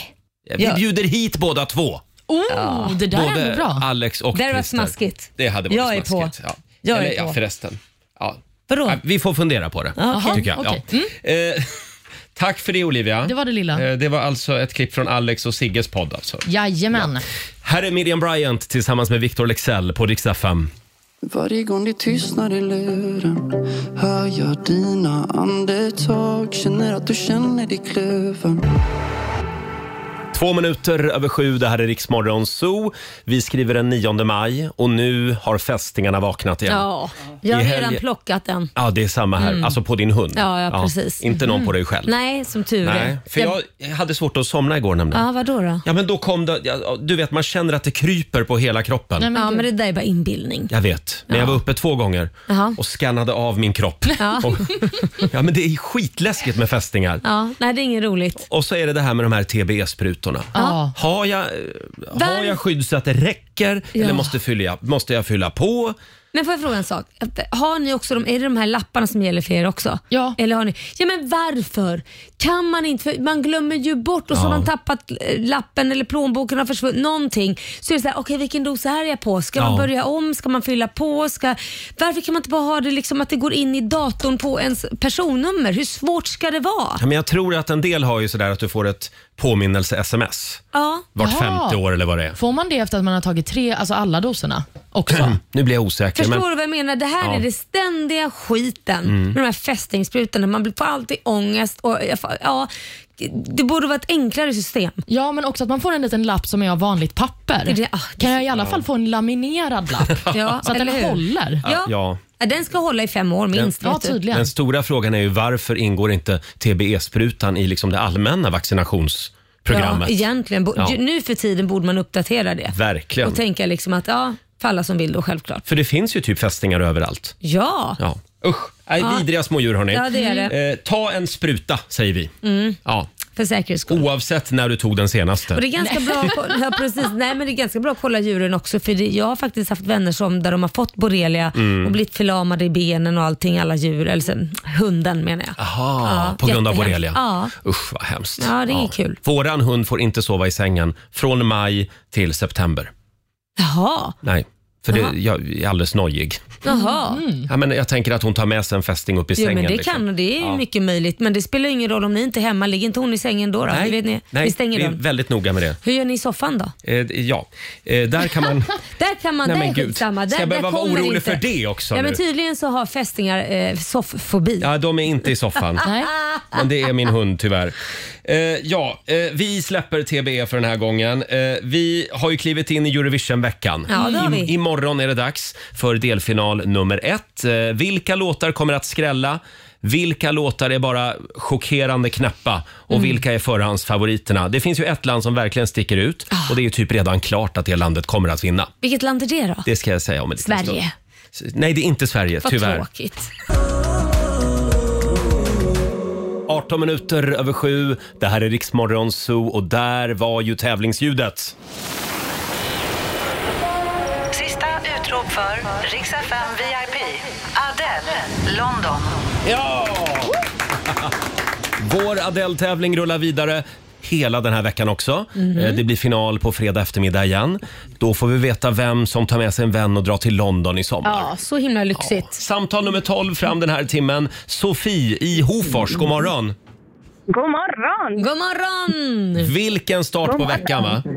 [SPEAKER 1] Vi
[SPEAKER 2] Ja.
[SPEAKER 1] bjuder hit båda två.
[SPEAKER 5] Oh, det där är
[SPEAKER 1] Både
[SPEAKER 5] ändå bra.
[SPEAKER 1] Alex och
[SPEAKER 2] Det hade varit
[SPEAKER 1] Christer.
[SPEAKER 2] smaskigt.
[SPEAKER 1] Det hade varit
[SPEAKER 2] Jag är på.
[SPEAKER 1] smaskigt. Ja.
[SPEAKER 2] Jag är
[SPEAKER 1] Eller, ja,
[SPEAKER 2] på.
[SPEAKER 1] förresten. Ja.
[SPEAKER 2] Vadå?
[SPEAKER 1] Ja, Vi får fundera på det, tycker jag.
[SPEAKER 5] okej.
[SPEAKER 1] Ja.
[SPEAKER 2] Mm.
[SPEAKER 1] Eh, [laughs] tack för det, Olivia.
[SPEAKER 5] Det var det lilla.
[SPEAKER 1] Eh, det var alltså ett klipp från Alex och Sigges podd. Alltså.
[SPEAKER 5] Jajamän.
[SPEAKER 1] Här är Miriam Bryant tillsammans med Victor Lexell på Rix FM.
[SPEAKER 9] Varje gång det tystnar i luren hör jag dina andetag Känner att du känner i klöven
[SPEAKER 1] Två minuter över sju, det här är Riksmorgon Zoo. Vi skriver den 9 maj och nu har fästingarna vaknat igen.
[SPEAKER 2] Ja, jag har
[SPEAKER 1] I helg-
[SPEAKER 2] redan plockat den.
[SPEAKER 1] Ja, det är samma här.
[SPEAKER 2] Mm.
[SPEAKER 1] Alltså på din hund.
[SPEAKER 2] Ja, ja, precis.
[SPEAKER 1] Inte någon
[SPEAKER 2] Mm.
[SPEAKER 1] på dig själv.
[SPEAKER 2] Nej, som tur
[SPEAKER 1] Nej,
[SPEAKER 2] är.
[SPEAKER 1] för jag hade svårt att somna igår nämligen.
[SPEAKER 2] Ja, vadå då?
[SPEAKER 1] Ja, men då kom det, ja, du vet man känner att det kryper på hela kroppen.
[SPEAKER 2] men ja, men det där är bara inbildning.
[SPEAKER 1] Jag vet, men jag var uppe två gånger
[SPEAKER 2] Jaha.
[SPEAKER 1] och skannade av min kropp.
[SPEAKER 2] Ja.
[SPEAKER 1] [laughs] Och, ja, men det är skitläskigt med fästingar.
[SPEAKER 2] Ja, nej, det är inget roligt.
[SPEAKER 1] Och så är det det här med de här TBE-sprutorna.
[SPEAKER 2] Ja.
[SPEAKER 1] Har, jag, har
[SPEAKER 2] Var-
[SPEAKER 1] jag skydd så att det räcker
[SPEAKER 2] Ja.
[SPEAKER 1] eller måste, fylla, måste jag fylla på?
[SPEAKER 2] Men får jag fråga en sak? Har ni också de, är det de här lapparna som gäller för er också? Ja. Eller har ni, ja men varför? Kan man inte, för man glömmer ju bort och så
[SPEAKER 11] Ja.
[SPEAKER 2] har man tappat eh, lappen eller plånboken har försvunnit, någonting. Så är det så här, okej vilken dos är jag på? Ska
[SPEAKER 11] Ja.
[SPEAKER 2] man börja om? Ska man fylla på? Ska, varför kan man inte bara ha det liksom att det går in i datorn på ens personnummer? Hur svårt ska det vara?
[SPEAKER 1] Ja, men jag tror att en del har ju sådär att du får ett påminnelse-sms
[SPEAKER 2] Ja.
[SPEAKER 1] vart
[SPEAKER 5] Jaha.
[SPEAKER 1] femte år eller vad det är.
[SPEAKER 5] Får man det efter att man har tagit tre, alltså alla doserna
[SPEAKER 1] [clears throat]
[SPEAKER 5] också?
[SPEAKER 1] nu blir jag osäker.
[SPEAKER 2] Förstår
[SPEAKER 1] men...
[SPEAKER 2] du vad jag menar? Det här
[SPEAKER 1] Ja.
[SPEAKER 2] är det ständiga skiten
[SPEAKER 1] Mm.
[SPEAKER 2] med de här fästingsprutorna. Man blir- får alltid ångest. Och, jag fa- ja, det borde vara ett enklare system.
[SPEAKER 5] Ja, men också att man får en liten lapp som är av vanligt papper.
[SPEAKER 1] [laughs]
[SPEAKER 5] kan jag i alla
[SPEAKER 1] Ja.
[SPEAKER 5] fall få en
[SPEAKER 1] [laughs]
[SPEAKER 5] laminerad lapp?
[SPEAKER 2] ah, Ja,
[SPEAKER 5] så att den
[SPEAKER 2] eller hur?
[SPEAKER 5] håller.
[SPEAKER 1] Ja. ja.
[SPEAKER 2] Ja, Den ska hålla i fem år minst. vet du.
[SPEAKER 1] Den stora frågan är ju varför ingår inte TBE-sprutan i liksom det allmänna vaccinationsprogrammet?
[SPEAKER 2] Ja, egentligen. Bo-
[SPEAKER 1] Ja.
[SPEAKER 2] ju- Nu för tiden borde man uppdatera det.
[SPEAKER 1] Verkligen.
[SPEAKER 2] Och tänka liksom att, ja, för alla som vill då självklart.
[SPEAKER 1] För det finns ju typ fästingar överallt.
[SPEAKER 2] Ja.
[SPEAKER 1] Ja. Usch, nej,
[SPEAKER 2] Ja.
[SPEAKER 1] vidriga smådjur hörni.
[SPEAKER 2] Ja, det är det.
[SPEAKER 1] Eh, ta en spruta säger vi.
[SPEAKER 2] Mm.
[SPEAKER 1] Ja.
[SPEAKER 2] För säkerhets skull.
[SPEAKER 1] Oavsett när du tog den senaste.
[SPEAKER 2] Och det är ganska bra att, kolla- ja, precis. Nej, men det är ganska bra att kolla djuren också för det, jag har faktiskt haft vänner som där de har fått borrelia
[SPEAKER 1] Mm.
[SPEAKER 2] och blivit förlamade i benen och allting, alla djur, eller sen, hunden menar jag.
[SPEAKER 1] Aha,
[SPEAKER 2] Ja,
[SPEAKER 1] på grund av
[SPEAKER 2] jättehemskt.
[SPEAKER 1] borrelia.
[SPEAKER 2] Ja.
[SPEAKER 1] Usch vad hemskt.
[SPEAKER 2] Ja, det är kul.
[SPEAKER 1] Våran hund får inte sova i sängen från maj till september.
[SPEAKER 2] Jaha.
[SPEAKER 1] Nej, för det,
[SPEAKER 2] Jaha.
[SPEAKER 1] jag är alldeles nojig.
[SPEAKER 2] Jaha.
[SPEAKER 1] Ja, men jag tänker att hon tar med sig en fästing upp i
[SPEAKER 2] Mm. Jo,
[SPEAKER 1] Mm. sängen.
[SPEAKER 2] men det
[SPEAKER 1] liksom.
[SPEAKER 2] kan och det är ju
[SPEAKER 1] Ja.
[SPEAKER 2] mycket möjligt. Men det spelar ju ingen roll om ni inte är hemma. Ligger inte hon i sängen då? då?
[SPEAKER 1] Nej,
[SPEAKER 2] Vet ni?
[SPEAKER 1] nej,
[SPEAKER 2] vi stänger
[SPEAKER 1] vi är
[SPEAKER 2] dörren.
[SPEAKER 1] väldigt noga med det.
[SPEAKER 2] Hur gör ni i soffan då?
[SPEAKER 1] Eh, ja, eh, där kan
[SPEAKER 2] [laughs]
[SPEAKER 1] man...
[SPEAKER 2] Där kan man,
[SPEAKER 1] Nej,
[SPEAKER 2] där
[SPEAKER 1] men
[SPEAKER 2] är
[SPEAKER 1] gud.
[SPEAKER 2] skitsamma. Där,
[SPEAKER 1] Ska jag
[SPEAKER 2] där
[SPEAKER 1] behöva vara
[SPEAKER 2] kommer
[SPEAKER 1] orolig
[SPEAKER 2] inte.
[SPEAKER 1] för det också
[SPEAKER 2] Ja, men
[SPEAKER 1] nu?
[SPEAKER 2] tydligen så har fästingar eh, sofffobi.
[SPEAKER 1] Ja, de är inte i soffan.
[SPEAKER 2] Nej.
[SPEAKER 1] Men det är min hund tyvärr. Eh, ja, eh, vi släpper TBE för den här gången. Eh, vi har ju klivit in i Eurovision-veckan.
[SPEAKER 2] Ja, det har vi.
[SPEAKER 1] I, imorgon är det dags för delfinal nummer ett. Eh, vilka låtar kommer att skrälla? Vilka låtar är bara chockerande knäppa? Och
[SPEAKER 2] Mm.
[SPEAKER 1] vilka är förhandsfavoriterna? Det finns ju ett land som verkligen sticker ut
[SPEAKER 2] Ah.
[SPEAKER 1] och det är ju typ redan klart att det landet kommer att vinna.
[SPEAKER 2] Vilket land är det då?
[SPEAKER 1] Det ska jag säga om en liten stund.
[SPEAKER 2] Sverige.
[SPEAKER 1] Nej, det är inte Sverige,
[SPEAKER 2] Vad
[SPEAKER 1] tyvärr.
[SPEAKER 2] tråkigt.
[SPEAKER 1] 18 minuter över sju. Det här är Riksmorgon Zoo och där var ju tävlingsljudet.
[SPEAKER 12] Sista utrop för Rix FM VIP. Adele, London.
[SPEAKER 1] Ja! [laughs] Vår Adele-tävling rullar vidare hela den här veckan också.
[SPEAKER 12] Mhm.
[SPEAKER 1] Eh, Det blir final på fredag eftermiddag igen. Då får vi veta vem som tar med sig en vän och drar till London i sommar.
[SPEAKER 2] Ja, så himla lyxigt.
[SPEAKER 1] Samtal nummer 12 fram den här timmen. Sofie i Hofors, god morgon.
[SPEAKER 11] God morgon!
[SPEAKER 1] [laughs]
[SPEAKER 2] God morgon!
[SPEAKER 1] Vilken start
[SPEAKER 11] God
[SPEAKER 1] på
[SPEAKER 11] morgon.
[SPEAKER 1] veckan va?
[SPEAKER 11] Ja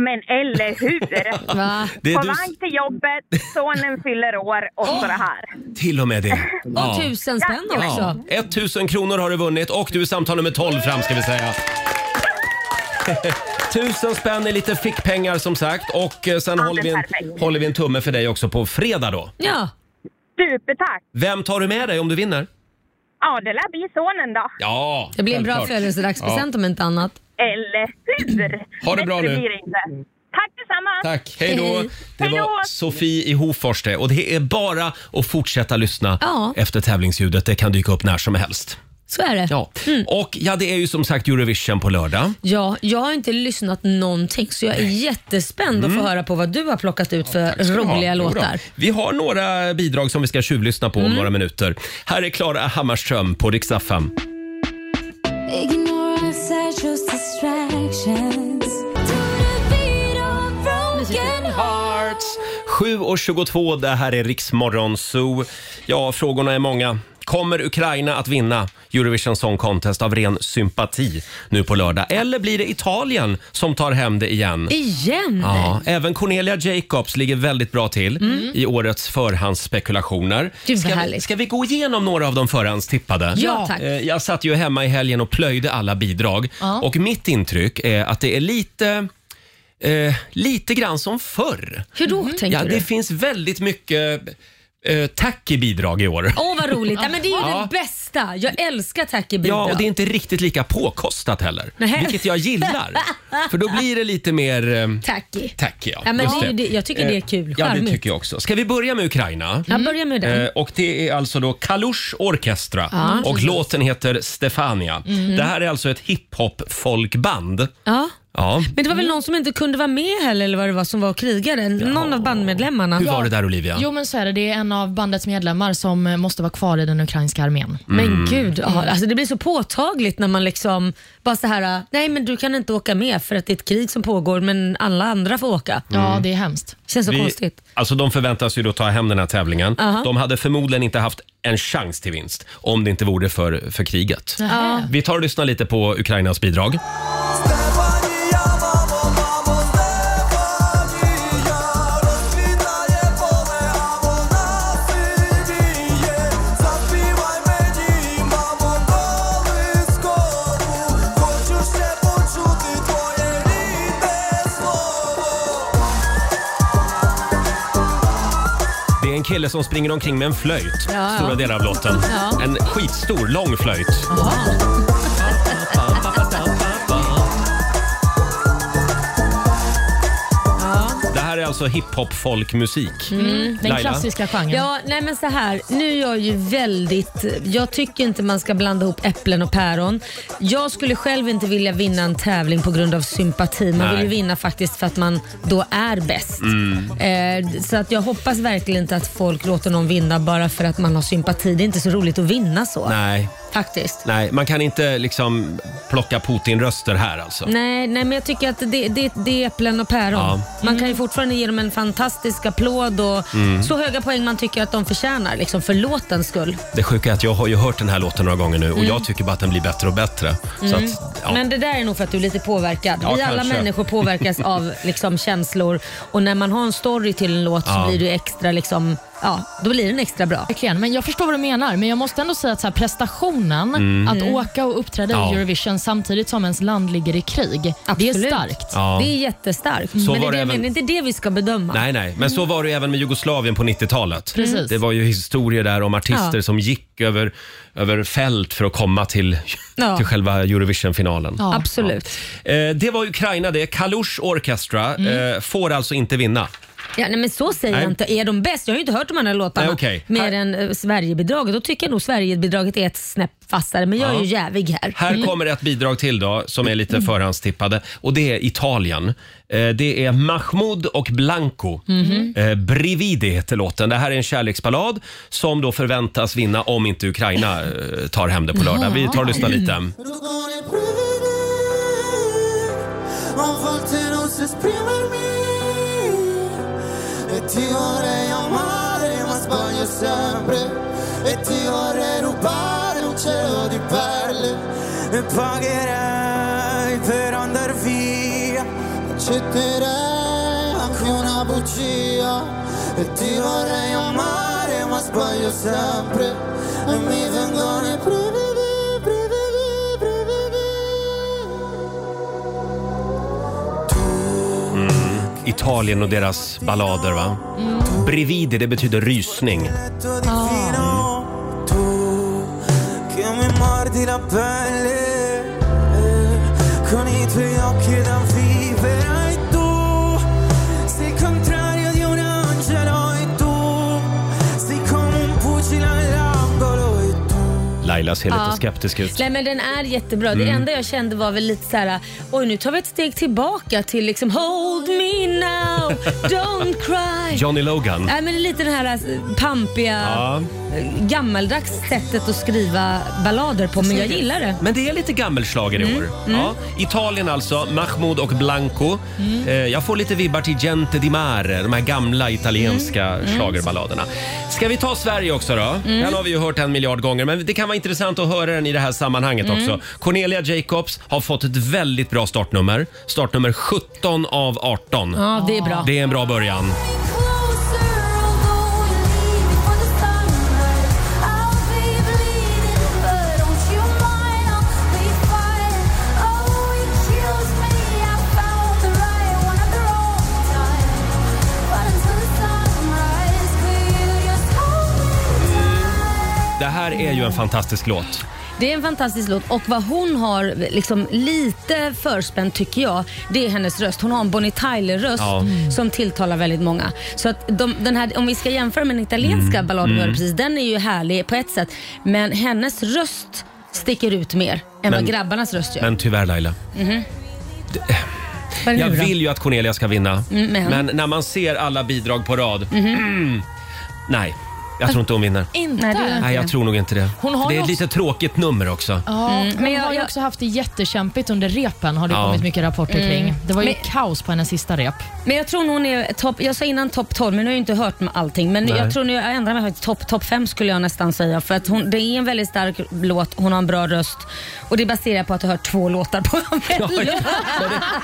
[SPEAKER 11] men eller hur?
[SPEAKER 2] Va?
[SPEAKER 1] Det är
[SPEAKER 11] På
[SPEAKER 1] du-
[SPEAKER 11] väg till jobbet, sonen fyller år och så det här.
[SPEAKER 1] Till och med
[SPEAKER 11] [laughs]
[SPEAKER 1] det. Ja.
[SPEAKER 2] tusen spänn också.
[SPEAKER 1] 1000 kronor har du vunnit och du är samtal nummer 12 fram ska vi säga. [laughs] Tusen spänn är lite fickpengar som sagt och eh, sen
[SPEAKER 11] Ja,
[SPEAKER 1] håller,
[SPEAKER 11] det
[SPEAKER 1] vi
[SPEAKER 11] är
[SPEAKER 1] en,
[SPEAKER 11] perfekt.
[SPEAKER 1] håller vi en tumme för dig också på fredag då.
[SPEAKER 2] Ja.
[SPEAKER 11] Supertack!
[SPEAKER 1] Vem tar du med dig om du vinner?
[SPEAKER 11] Ja det lär bli sonen då.
[SPEAKER 1] Ja,
[SPEAKER 2] Det blir en bra
[SPEAKER 1] självklart.
[SPEAKER 2] födelsedagspresent
[SPEAKER 1] Ja.
[SPEAKER 2] om inte annat.
[SPEAKER 11] Eller hur?
[SPEAKER 1] Ha det bra
[SPEAKER 11] Bättre
[SPEAKER 1] nu.
[SPEAKER 11] blir det inte. Tack detsamma!
[SPEAKER 1] Tack, hej då! Det
[SPEAKER 11] Hej då.
[SPEAKER 1] var Sofie i Hofors det och det är bara att fortsätta lyssna
[SPEAKER 2] Ja.
[SPEAKER 1] efter tävlingsljudet. Det kan dyka upp när som helst.
[SPEAKER 2] Så är det.
[SPEAKER 1] Ja. Och ja, det är ju som sagt Eurovision på lördag.
[SPEAKER 2] Ja, jag har inte lyssnat någonting så jag är jättespänd att
[SPEAKER 1] Mm.
[SPEAKER 2] få höra på vad du har plockat ut för
[SPEAKER 1] ska du ha.
[SPEAKER 2] roliga
[SPEAKER 1] Jo då.
[SPEAKER 2] låtar. Mm.
[SPEAKER 1] Vi har några bidrag som vi ska tjuvlyssna på om några minuter. Här är Klara Hammarström på Rix FM.
[SPEAKER 13] Ignorance are just distractions. broken hearts.
[SPEAKER 1] 7.22, det här är Riksmorgon Zoo. Ja, frågorna är många. Kommer Ukraina att vinna Eurovision Song Contest av ren sympati nu på lördag? Eller blir det Italien som tar hem det igen?
[SPEAKER 2] Igen?
[SPEAKER 1] Ja, även Cornelia Jacobs ligger väldigt bra till
[SPEAKER 2] Mm.
[SPEAKER 1] i årets förhandsspekulationer.
[SPEAKER 2] Gud, vad
[SPEAKER 1] Ska vi,
[SPEAKER 2] härligt.
[SPEAKER 1] ska vi gå igenom några av de förhandstippade?
[SPEAKER 2] Ja, tack.
[SPEAKER 1] Eh, Jag satt ju hemma i helgen och plöjde alla bidrag
[SPEAKER 2] Ja.
[SPEAKER 1] och mitt intryck är att det är lite, eh, lite grann som förr.
[SPEAKER 2] Hur då tänker
[SPEAKER 1] Mm. ja,
[SPEAKER 2] du?
[SPEAKER 1] Det finns väldigt mycket eh, tack i bidrag i år.
[SPEAKER 2] Åh vad roligt. Ja, men det är ju
[SPEAKER 1] Ja.
[SPEAKER 2] det bästa. Jag älskar tack i bidrag.
[SPEAKER 1] Ja, och det är inte riktigt lika påkostat heller,
[SPEAKER 2] Nej.
[SPEAKER 1] vilket jag gillar. För då blir det lite mer... eh,
[SPEAKER 2] Tacky.
[SPEAKER 1] Tack ja.
[SPEAKER 2] Ja, men
[SPEAKER 1] Just
[SPEAKER 2] det är ju det- jag tycker det är kul.
[SPEAKER 1] Eh, Ja, det
[SPEAKER 2] Charmigt.
[SPEAKER 1] tycker jag också. Ska vi börja med Ukraina?
[SPEAKER 2] Ja, börja med den.
[SPEAKER 1] Eh, Och det är alltså då Kalush Orkestra
[SPEAKER 2] Ja,
[SPEAKER 1] och
[SPEAKER 2] precis.
[SPEAKER 1] låten heter Stefania.
[SPEAKER 2] Mhm.
[SPEAKER 1] Det här är alltså ett hiphop-folkband.
[SPEAKER 2] Ja.
[SPEAKER 1] Ja.
[SPEAKER 2] Men det var väl någon som inte kunde vara med heller eller vad det var som var krigare? Någon av bandmedlemmarna.
[SPEAKER 1] Hur var det där Olivia?
[SPEAKER 5] Jo, men så är det. Det är en av bandets medlemmar som eh, måste vara kvar i den ukrainska armén.
[SPEAKER 1] Mm.
[SPEAKER 2] Men gud, ja, alltså det blir så påtagligt när man liksom bara så här, nej men du kan inte åka med för att det är ett krig som pågår men alla andra får åka.
[SPEAKER 1] Ja,
[SPEAKER 5] det är hemskt.
[SPEAKER 2] Känns så
[SPEAKER 1] Vi-
[SPEAKER 2] konstigt.
[SPEAKER 1] Alltså de förväntas ju då ta hem den här tävlingen.
[SPEAKER 2] Aha.
[SPEAKER 1] De hade förmodligen inte haft en chans till vinst om det inte vore för, för kriget.
[SPEAKER 2] Ja.
[SPEAKER 1] Vi tar och lyssnar lite på Ukrainas bidrag. Det är en kille som springer omkring med en flöjt
[SPEAKER 2] Ja, ja.
[SPEAKER 1] stora delar av låten.
[SPEAKER 2] Ja.
[SPEAKER 1] En skitstor, lång flöjt. Det här är alltså hiphop folkmusik.
[SPEAKER 2] Mm.
[SPEAKER 1] Laila?
[SPEAKER 5] genren.
[SPEAKER 2] Ja, nej men så här. Nu är jag ju väldigt... Jag tycker inte man ska blanda ihop äpplen och päron. Jag skulle själv inte vilja vinna en tävling på grund av sympati. Man
[SPEAKER 14] Nej.
[SPEAKER 2] vill ju vinna faktiskt för att man då är bäst.
[SPEAKER 1] Mm.
[SPEAKER 2] Eh, så att jag hoppas verkligen inte att folk låter någon vinna bara för att man har sympati. Det är inte så roligt att vinna så.
[SPEAKER 1] Nej.
[SPEAKER 2] Faktiskt.
[SPEAKER 1] Nej, man kan inte liksom plocka Putin-röster här alltså.
[SPEAKER 2] Nej, nej, men jag tycker att det, det, det är äpplen och päron.
[SPEAKER 1] Ja.
[SPEAKER 2] Man kan ju fortfarande ge dem en fantastisk applåd och
[SPEAKER 1] Mm.
[SPEAKER 2] så höga poäng man tycker att de förtjänar, liksom för låtens skull.
[SPEAKER 1] Det sjuka är att jag har ju hört den här låten några gånger nu och
[SPEAKER 2] Mm.
[SPEAKER 1] jag tycker bara att den blir bättre och bättre. Så
[SPEAKER 2] Mm.
[SPEAKER 1] att, ja.
[SPEAKER 2] Men det där är nog för att du är lite påverkad.
[SPEAKER 1] Ja,
[SPEAKER 2] Vi alla
[SPEAKER 1] kanske. [laughs]
[SPEAKER 2] människor påverkas av liksom, känslor och när man har en story till en låt
[SPEAKER 5] Ja.
[SPEAKER 2] så blir du extra liksom, ja, då blir den extra bra.
[SPEAKER 5] Verkligen, men jag förstår vad du menar. Men jag måste ändå säga att så här, prestationen
[SPEAKER 1] Mm.
[SPEAKER 5] att
[SPEAKER 1] Mm.
[SPEAKER 5] åka och uppträda
[SPEAKER 1] Ja.
[SPEAKER 5] i Eurovision samtidigt som ens land ligger i krig, det är starkt.
[SPEAKER 1] Ja.
[SPEAKER 2] Det är jättestarkt.
[SPEAKER 1] Så
[SPEAKER 2] men det
[SPEAKER 1] var
[SPEAKER 2] är
[SPEAKER 1] det
[SPEAKER 2] det, jag
[SPEAKER 1] även-
[SPEAKER 2] menar, det är det vi ska bedöma.
[SPEAKER 1] Nej, nej. Men så var det ju även med Jugoslavien på 90-talet.
[SPEAKER 2] Precis.
[SPEAKER 1] Det var ju historier där om artister
[SPEAKER 2] Ja.
[SPEAKER 1] som gick över, över fält för att komma till,
[SPEAKER 2] Ja.
[SPEAKER 1] till själva Eurovision-finalen.
[SPEAKER 2] Absolut.
[SPEAKER 1] Eh, det var Ukraina det. Kalush Orchestra
[SPEAKER 2] Mm.
[SPEAKER 1] eh, får alltså inte vinna.
[SPEAKER 2] Ja, nej, men så säger
[SPEAKER 1] Nej.
[SPEAKER 2] jag inte. Är de bäst? Jag har ju inte hört de andra låtarna
[SPEAKER 1] Nej, okej.
[SPEAKER 2] mer än eh, Sverigebidraget. Då tycker jag nog Sverigebidraget är ett snäpp vassare, men jag
[SPEAKER 1] Ja.
[SPEAKER 2] är ju jävig här.
[SPEAKER 1] Här
[SPEAKER 2] Mm.
[SPEAKER 1] kommer ett bidrag till då som är lite förhandstippade och det är Italien. Eh, Det är Mahmoud och Blanco.
[SPEAKER 2] Mhm.
[SPEAKER 1] Eh, Brividi heter låten. Det här är en kärleksballad som då förväntas vinna om inte Ukraina eh, tar hem det på lördag. Vi tar och lyssnar
[SPEAKER 2] Mm.
[SPEAKER 1] lite.
[SPEAKER 15] A volte non so esprimermi E ti vorrei amare ma sbaglio sempre E ti vorrei rubare un cielo di perle E pagherei per andar via Accetterei anche una bugia E ti vorrei amare ma sbaglio sempre E mi vengono i brividi, brividi,
[SPEAKER 1] Mm. Italien och deras ballader va?
[SPEAKER 2] Mm.
[SPEAKER 1] Brividi det betyder rysning.
[SPEAKER 15] che mi mordi la pelle eh, con i tuoi occhi da vivere e tu sei il contrario di un angelo e tu sei come un fucile all'angolo e tu
[SPEAKER 1] Laila ser
[SPEAKER 2] Ja.
[SPEAKER 1] lite skeptisk ut.
[SPEAKER 2] Nej men den är jättebra. Det
[SPEAKER 1] Mm.
[SPEAKER 2] enda jag kände var väl lite så här: oj nu tar vi ett steg tillbaka till liksom Hold me now, don't
[SPEAKER 1] [laughs]
[SPEAKER 2] cry.
[SPEAKER 1] Johnny Logan.
[SPEAKER 2] Nej men det är lite det här alltså, pampiga,
[SPEAKER 1] Ja.
[SPEAKER 2] eh, gammaldags sättet att skriva ballader på. Men jag gillar det.
[SPEAKER 1] Men det är lite gammelschlager i
[SPEAKER 2] Mm,
[SPEAKER 1] år.
[SPEAKER 2] mm.
[SPEAKER 1] Ja. Italien alltså, Mahmoud och Blanco.
[SPEAKER 2] Mm.
[SPEAKER 1] Eh, jag får lite vibbar till Gente di Mare, de här gamla italienska
[SPEAKER 14] Mm, mm.
[SPEAKER 1] schlagerballaderna. Ska vi ta Sverige också då?
[SPEAKER 14] Mm.
[SPEAKER 1] Den har vi ju hört en miljard gånger, men det kan vara intressant att höra den i det här sammanhanget
[SPEAKER 14] Mm.
[SPEAKER 1] också. Cornelia Jacobs har fått ett väldigt bra startnummer. Startnummer 17 av 18.
[SPEAKER 2] Ja, det är bra.
[SPEAKER 1] Det är en bra början.
[SPEAKER 13] Oh,
[SPEAKER 1] Det här är ju en fantastisk låt.
[SPEAKER 2] Det är en fantastisk låt och vad hon har liksom lite förspänt tycker jag, det är hennes röst. Hon har en Bonnie Tyler-röst
[SPEAKER 16] Ja. Mm.
[SPEAKER 2] som tilltalar väldigt många. Så att de, den här, om vi ska jämföra med den italienska
[SPEAKER 16] Mm.
[SPEAKER 2] balladen vi hörde
[SPEAKER 16] Mm.
[SPEAKER 2] precis, den är ju härlig på ett sätt. Men hennes röst sticker ut mer än
[SPEAKER 1] Men-
[SPEAKER 2] vad grabbarnas röst gör.
[SPEAKER 1] Men tyvärr Laila.
[SPEAKER 2] Mhm. Vad är det
[SPEAKER 1] Jag
[SPEAKER 2] nu då?
[SPEAKER 1] vill ju att Cornelia ska vinna.
[SPEAKER 2] Mm, men-
[SPEAKER 1] Men när man ser alla bidrag på rad.
[SPEAKER 2] Mhm.
[SPEAKER 1] mm, Nej, jag tror inte hon vinner.
[SPEAKER 5] Inte?
[SPEAKER 2] Nej, det gör
[SPEAKER 1] Nej, jag tror nog inte det.
[SPEAKER 5] Hon har
[SPEAKER 1] det
[SPEAKER 5] ju
[SPEAKER 1] är ett
[SPEAKER 5] också-
[SPEAKER 1] lite tråkigt nummer också.
[SPEAKER 5] Ja,
[SPEAKER 2] Mm,
[SPEAKER 5] men jag har ju också haft det jättekämpigt under repen har det
[SPEAKER 1] Ja.
[SPEAKER 5] kommit mycket rapporter
[SPEAKER 2] Mm.
[SPEAKER 5] kring. Det var ju
[SPEAKER 2] Men-
[SPEAKER 5] kaos på hennes sista rep.
[SPEAKER 2] Men jag tror nog hon är topp, jag sa innan topp 12 men nu har jag inte hört med allting. Men
[SPEAKER 5] Nej.
[SPEAKER 2] jag tror nu, jag ändrar mig faktiskt, topp top 5 skulle jag nästan säga. För att hon, det är en väldigt stark låt, hon har en bra röst och det baserar på att jag har hört två låtar på
[SPEAKER 1] Ja, men det,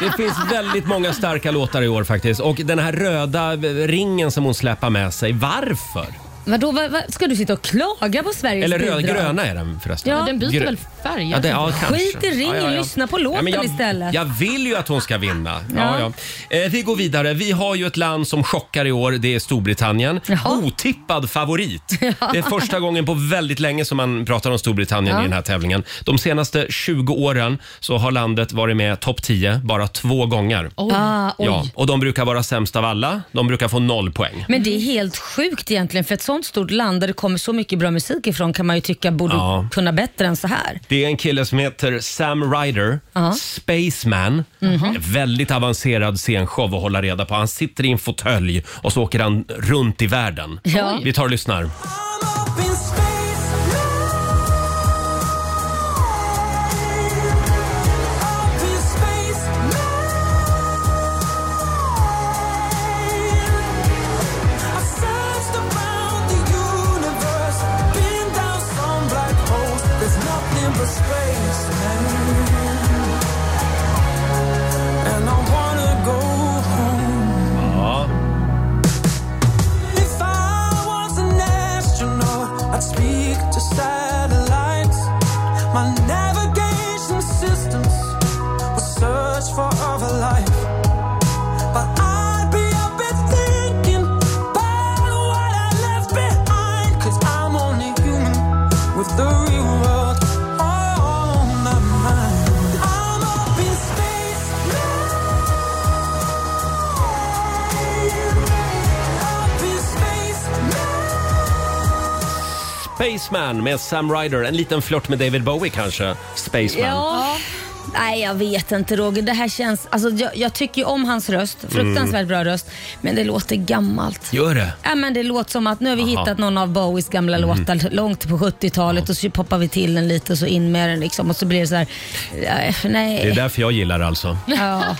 [SPEAKER 1] det finns väldigt många starka låtar i år faktiskt. Och den här röda ringen som hon släpar med sig, varför?
[SPEAKER 2] Vadå, vad, vad, ska du sitta och klaga på Sveriges
[SPEAKER 1] Eller
[SPEAKER 2] bidrag?
[SPEAKER 1] röd, gröna är den förresten.
[SPEAKER 2] Ja. Den byter
[SPEAKER 1] Grö-
[SPEAKER 2] väl färg,
[SPEAKER 1] Ja, det, ja,
[SPEAKER 2] Skit
[SPEAKER 1] kanske.
[SPEAKER 2] i ringen, lyssna på låten
[SPEAKER 1] men jag,
[SPEAKER 2] istället.
[SPEAKER 1] Jag vill ju att hon ska vinna. Ja. Ja,
[SPEAKER 2] Ja.
[SPEAKER 1] Eh, vi går vidare. Vi har ju ett land som chockar i år. Det är Storbritannien. Otippad
[SPEAKER 2] [laughs]
[SPEAKER 1] favorit. Det är första gången på väldigt länge som man pratar om Storbritannien
[SPEAKER 14] Ja.
[SPEAKER 1] i den här tävlingen. De senaste 20 åren så har landet varit med topp 10 bara två gånger.
[SPEAKER 2] Oj. Ah, oj.
[SPEAKER 1] Ja, och de brukar vara sämst av alla. De brukar få noll poäng.
[SPEAKER 2] Men det är helt sjukt egentligen för ett sånt stort land där det kommer så mycket bra musik ifrån kan man ju tycka borde
[SPEAKER 1] Ja.
[SPEAKER 2] kunna bättre än så här.
[SPEAKER 1] Det är en kille som heter Sam Ryder,
[SPEAKER 2] Ja.
[SPEAKER 1] Spaceman.
[SPEAKER 2] Mhm.
[SPEAKER 1] En Väldigt avancerad scenshow att hålla reda på. Han sitter i en fåtölj och så åker han runt i världen.
[SPEAKER 15] Ja.
[SPEAKER 1] Vi tar och lyssnar. Ja.
[SPEAKER 15] If I was an astronaut, I'd speak to satellites. My navigation systems would search for other life. But I'd be up at thinking about what I left behind. Cause I'm only human with the real world on my mind. I'm up in space now. Up in space now.
[SPEAKER 1] Spaceman med Sam Ryder. En liten flört med David Bowie kanske. Spaceman.
[SPEAKER 2] Ja. Nej, jag vet inte Roger. Det här känns... Alltså, jag, jag tycker ju om hans röst.
[SPEAKER 1] Mm.
[SPEAKER 2] Fruktansvärt bra röst. Men det låter gammalt.
[SPEAKER 1] Gör det?
[SPEAKER 2] Ja, men det låter som att nu har vi
[SPEAKER 1] Aha.
[SPEAKER 2] hittat någon av Bowies gamla
[SPEAKER 1] Mm.
[SPEAKER 2] låtar långt på 70-talet och så poppar vi till den lite och så in med den liksom och så blir det så här. eh, Nej.
[SPEAKER 1] Det är därför jag gillar det alltså.
[SPEAKER 2] Ja.
[SPEAKER 1] är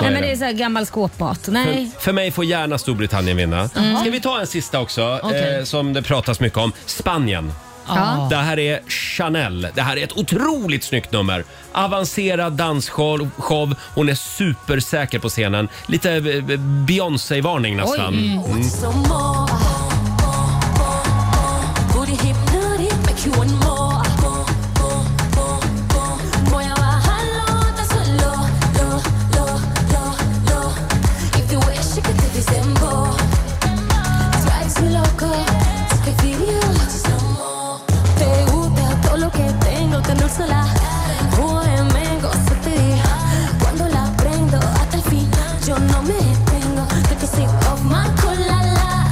[SPEAKER 2] Nej, men
[SPEAKER 1] det.
[SPEAKER 2] det är så här gammal skåpmat. Nej.
[SPEAKER 1] För, för mig får gärna Storbritannien vinna.
[SPEAKER 2] Mm.
[SPEAKER 1] Ska vi ta en sista också,
[SPEAKER 2] Okej.
[SPEAKER 1] eh, som det pratas mycket om. Spanien.
[SPEAKER 2] Ja.
[SPEAKER 1] Det här är Chanel. Det här är ett otroligt snyggt nummer. Avancerad dansshow. show. Hon är supersäker på scenen. Lite eh, Beyoncé-varning nästan. Mm.
[SPEAKER 16] Te gusta todo lo que tengo, te endulzo la bohemia, gozo te digo. Cuando la prendo hasta el fin, yo no me detengo. Take a sip of my colala.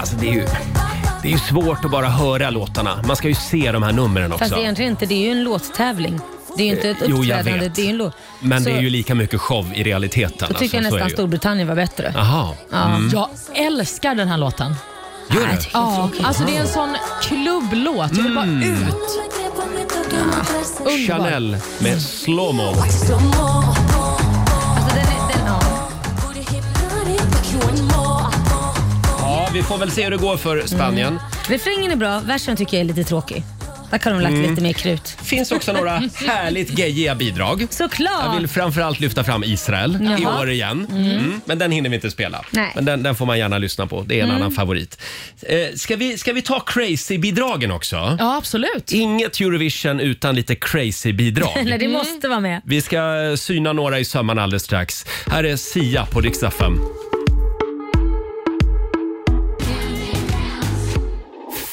[SPEAKER 4] Alltså,
[SPEAKER 1] svårt att bara höra låtarna. Man ska ju se de här numren också.
[SPEAKER 2] Fast egentligen inte, det är ju en låttävling. Det är ju inte ett
[SPEAKER 1] Eh, jo, jag
[SPEAKER 2] uppträdande,
[SPEAKER 1] vet.
[SPEAKER 2] det är ju en låt.
[SPEAKER 1] Men
[SPEAKER 2] Så
[SPEAKER 1] det är ju lika mycket show i realiteten.
[SPEAKER 2] Då tycker jag
[SPEAKER 1] alltså, så är
[SPEAKER 2] nästan
[SPEAKER 1] det ju.
[SPEAKER 2] Storbritannien var bättre.
[SPEAKER 1] Jaha.
[SPEAKER 2] Ja.
[SPEAKER 1] Mm.
[SPEAKER 5] Jag älskar den här låten.
[SPEAKER 1] Gör det?
[SPEAKER 5] Ja, alltså
[SPEAKER 2] Ah.
[SPEAKER 5] det är en sån klubblåt. Mm, Jag
[SPEAKER 2] Mm.
[SPEAKER 5] vill bara ut. Underbar.
[SPEAKER 1] Chanel med Slowmo. Ja, vi får väl se hur det går för Spanien.
[SPEAKER 2] Mm. Refrängen är bra, versen tycker jag är lite tråkig. Där kan de ha lagt
[SPEAKER 1] Mm.
[SPEAKER 2] lite mer krut.
[SPEAKER 1] finns också
[SPEAKER 2] [laughs]
[SPEAKER 1] några härligt gejiga bidrag.
[SPEAKER 2] Såklart!
[SPEAKER 1] Jag vill framförallt lyfta fram Israel
[SPEAKER 2] Jaha.
[SPEAKER 1] i år igen.
[SPEAKER 2] Mm.
[SPEAKER 1] Mm. Men den hinner vi inte spela.
[SPEAKER 2] Nej.
[SPEAKER 1] Men den, den får man gärna lyssna på. Det är en
[SPEAKER 5] Mm.
[SPEAKER 1] annan favorit. Eh, ska, vi, ska vi ta crazy-bidragen också?
[SPEAKER 5] Ja, absolut.
[SPEAKER 1] Inget Eurovision utan lite crazy-bidrag.
[SPEAKER 2] Nej, det måste vara med.
[SPEAKER 1] Vi ska eh, syna några i sömmarna alldeles strax. Här är Sia på Rix FM.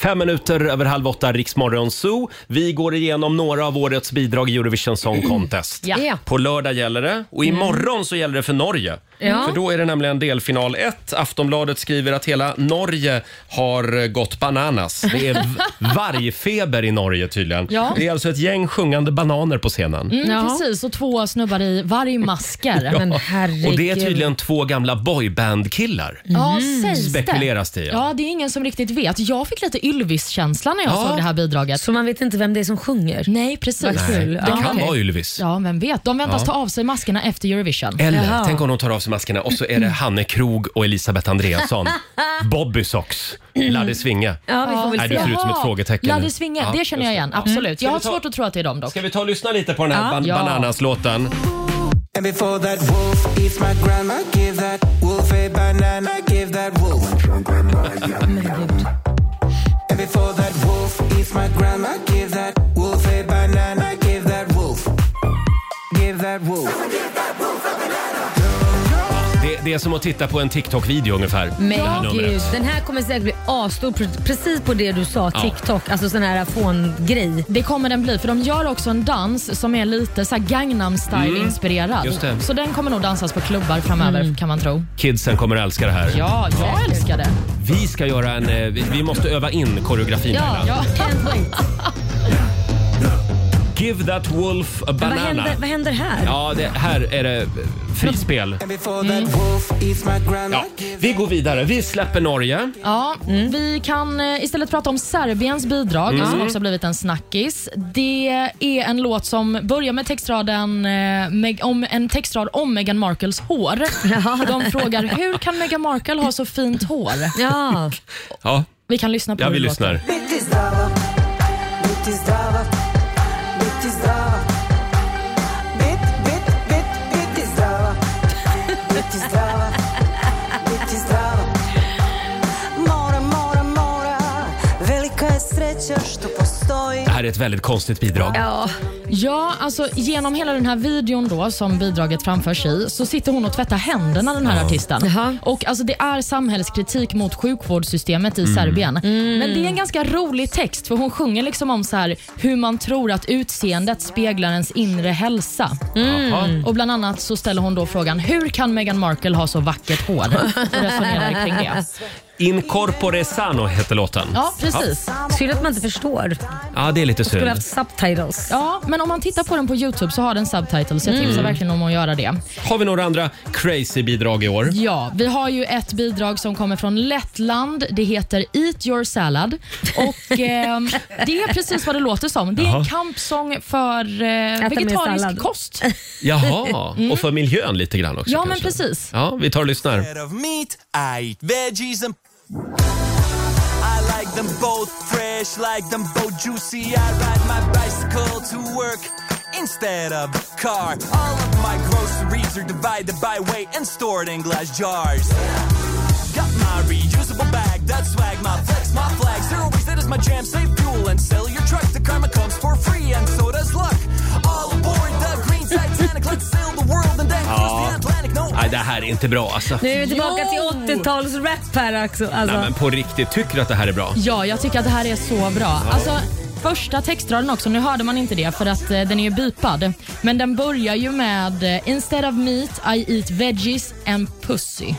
[SPEAKER 1] Fem minuter över halv åtta, Riksmorgon Zoo. Vi går igenom några av årets bidrag i Eurovision Song Contest.
[SPEAKER 2] Ja. Ja.
[SPEAKER 1] På lördag gäller det och imorgon så gäller det för Norge.
[SPEAKER 2] Ja.
[SPEAKER 1] För då är det nämligen delfinal 1. Aftonbladet skriver att hela Norge har eh, gått bananas. Det är v- vargfeber i Norge tydligen.
[SPEAKER 5] Ja.
[SPEAKER 1] Det är alltså ett gäng sjungande bananer på scenen.
[SPEAKER 5] Mm, Precis, och två snubbar i vargmasker.
[SPEAKER 1] Ja. Och det är tydligen två gamla boyband-killar.
[SPEAKER 5] Ja, sägs det.
[SPEAKER 1] Spekuleras det i, ja.
[SPEAKER 5] Ja, det är ingen som riktigt vet. Jag fick lite Ylvis-känsla när jag
[SPEAKER 1] Ja.
[SPEAKER 5] såg det här bidraget.
[SPEAKER 2] Så man vet inte vem det är som sjunger?
[SPEAKER 5] Nej, precis.
[SPEAKER 1] Nej, det kan vara Ylvis.
[SPEAKER 5] Ja, vem vet. De väntas
[SPEAKER 1] Ja.
[SPEAKER 5] ta av sig maskerna efter Eurovision.
[SPEAKER 1] Eller, tänk om de tar av sig maskerna och så
[SPEAKER 5] [clears throat]
[SPEAKER 1] är det Hanne Krog och Elisabeth
[SPEAKER 5] [laughs]
[SPEAKER 1] Andreasson. Bobby Socks, Ladde Svinge.
[SPEAKER 5] Ja, vi får väl
[SPEAKER 1] Nej, du
[SPEAKER 5] se.
[SPEAKER 1] ser ut som ett
[SPEAKER 5] Jaha,
[SPEAKER 1] frågetecken.
[SPEAKER 5] Ladde Svinge,
[SPEAKER 1] Ja,
[SPEAKER 5] det känner jag
[SPEAKER 1] just
[SPEAKER 5] igen.
[SPEAKER 1] Ja. Mm.
[SPEAKER 5] Absolut.
[SPEAKER 1] Ska
[SPEAKER 5] Jag har
[SPEAKER 1] vi ta-
[SPEAKER 5] svårt att tro att det är dem dock.
[SPEAKER 1] Ska vi ta och lyssna lite på den här
[SPEAKER 5] Ja.
[SPEAKER 1] ban-
[SPEAKER 5] Ja.
[SPEAKER 1] Bananas-låten?
[SPEAKER 15] And before that wolf eats my grandma, give that wolf a banana, give that wolf. And before that wolf eats my grandma, give that wolf a banana, give that wolf. Give that wolf.
[SPEAKER 1] Det, det är som att titta på en TikTok-video ungefär.
[SPEAKER 2] Men
[SPEAKER 1] det här numret.
[SPEAKER 2] gud, den här kommer säkert bli asstor pre- precis på det du sa,
[SPEAKER 1] Ja.
[SPEAKER 2] TikTok, alltså sån här fångrej.
[SPEAKER 5] Det kommer den bli, för de gör också en dans som är lite så här Gangnam
[SPEAKER 1] Mm,
[SPEAKER 5] style-inspirerad.
[SPEAKER 1] just det.
[SPEAKER 5] Så den kommer nog dansas på klubbar framöver, kan man tro.
[SPEAKER 1] Kidsen kommer att älska det här.
[SPEAKER 5] Mm. Ja, jag älskar det.
[SPEAKER 1] Vi ska göra en... eh, Vi, vi måste öva in koreografin
[SPEAKER 5] Ja,
[SPEAKER 1] här.
[SPEAKER 5] [laughs] ja.
[SPEAKER 1] Give that wolf a
[SPEAKER 2] Men
[SPEAKER 1] banana.
[SPEAKER 2] vad, händer, vad händer här?
[SPEAKER 1] Ja, det, här är det eh, frispel. Ja, vi går vidare. Vi släpper Norge.
[SPEAKER 5] Ja, Vi kan eh, istället prata om Serbiens bidrag
[SPEAKER 1] Mm.
[SPEAKER 5] som också har blivit en snackis. Det är en låt som börjar med textraden eh, Meg- om, en textrad om Meghan Markles hår. För de frågar hur kan Meghan Markle ha så fint hår?
[SPEAKER 2] Ja.
[SPEAKER 1] Ja,
[SPEAKER 5] Vi kan lyssna på
[SPEAKER 1] ja
[SPEAKER 5] hur
[SPEAKER 1] vi
[SPEAKER 5] det
[SPEAKER 1] lyssnar.
[SPEAKER 15] Biti zdrava, biti zdrava, biti zdrava. Bit, bit, bit, biti zdrava, biti zdrava, biti zdrava. Mora, mora, mora, velika je sreća što postoji.
[SPEAKER 1] Det här är ett väldigt konstigt bidrag.
[SPEAKER 2] Ja.
[SPEAKER 5] ja, alltså genom hela den här videon då som bidraget framförs i så sitter hon och tvättar händerna den här
[SPEAKER 1] Ja.
[SPEAKER 5] artisten. Och alltså det är samhällskritik mot sjukvårdssystemet i
[SPEAKER 1] Mm.
[SPEAKER 5] Serbien. Men det är en ganska rolig text för hon sjunger liksom om så här hur man tror att utseendet speglar ens inre hälsa.
[SPEAKER 1] Mm. Jaha.
[SPEAKER 5] Och bland annat så ställer hon då frågan hur kan Meghan Markle ha så vackert hår? Och resonerar kring det.
[SPEAKER 1] Incorpore Sano heter låten.
[SPEAKER 5] Ja, precis.
[SPEAKER 2] Synd att man inte förstår.
[SPEAKER 1] Ja, ja det är lite synd.
[SPEAKER 2] Skulle haft subtitles.
[SPEAKER 5] Ja, men om man tittar på den på Youtube så har den subtitles. Jag
[SPEAKER 1] Mm.
[SPEAKER 5] tipsar verkligen om att göra det.
[SPEAKER 1] Har vi några andra crazy bidrag i år?
[SPEAKER 5] Ja, vi har ju ett bidrag som kommer från Lettland. Det heter Eat your salad. Och ehm, Det är precis vad det låter som. Det är en
[SPEAKER 1] Jaha.
[SPEAKER 5] kampsång för eh,
[SPEAKER 2] mer
[SPEAKER 5] vegetarisk
[SPEAKER 2] sallad.
[SPEAKER 5] kost.
[SPEAKER 1] Jaha,
[SPEAKER 5] [laughs] Mm.
[SPEAKER 1] och för miljön lite grann också
[SPEAKER 5] Ja, men
[SPEAKER 1] kanske.
[SPEAKER 5] precis.
[SPEAKER 1] Ja, vi tar och lyssnar.
[SPEAKER 6] of meat, I eat veggies and I like them both fresh, like them both juicy. I ride my bicycle to work instead of a car. All of my groceries are divided by weight and stored in glass jars. Got my reusable bag, that swag, my flex, my flag. Zero waste, that is my jam. Save fuel and sell your truck. The karma comes for free, and so does luck. All aboard the green Titanic, let's sail the world and then cross the
[SPEAKER 1] Ja.
[SPEAKER 6] Atlantic. No
[SPEAKER 1] Nej, det här är inte bra alltså.
[SPEAKER 2] Nu är vi tillbaka
[SPEAKER 5] Jo!
[SPEAKER 2] till 80-tals-rap här också. Alltså.
[SPEAKER 1] Nej, men på riktigt, tycker du att det här är bra?
[SPEAKER 5] Ja, jag tycker att det här är så bra. Alltså, första textraden också, nu hörde man inte det för att eh, den är ju bipad. Men den börjar ju med eh, “Instead of meat I eat veggies and pussy”.
[SPEAKER 1] Nej,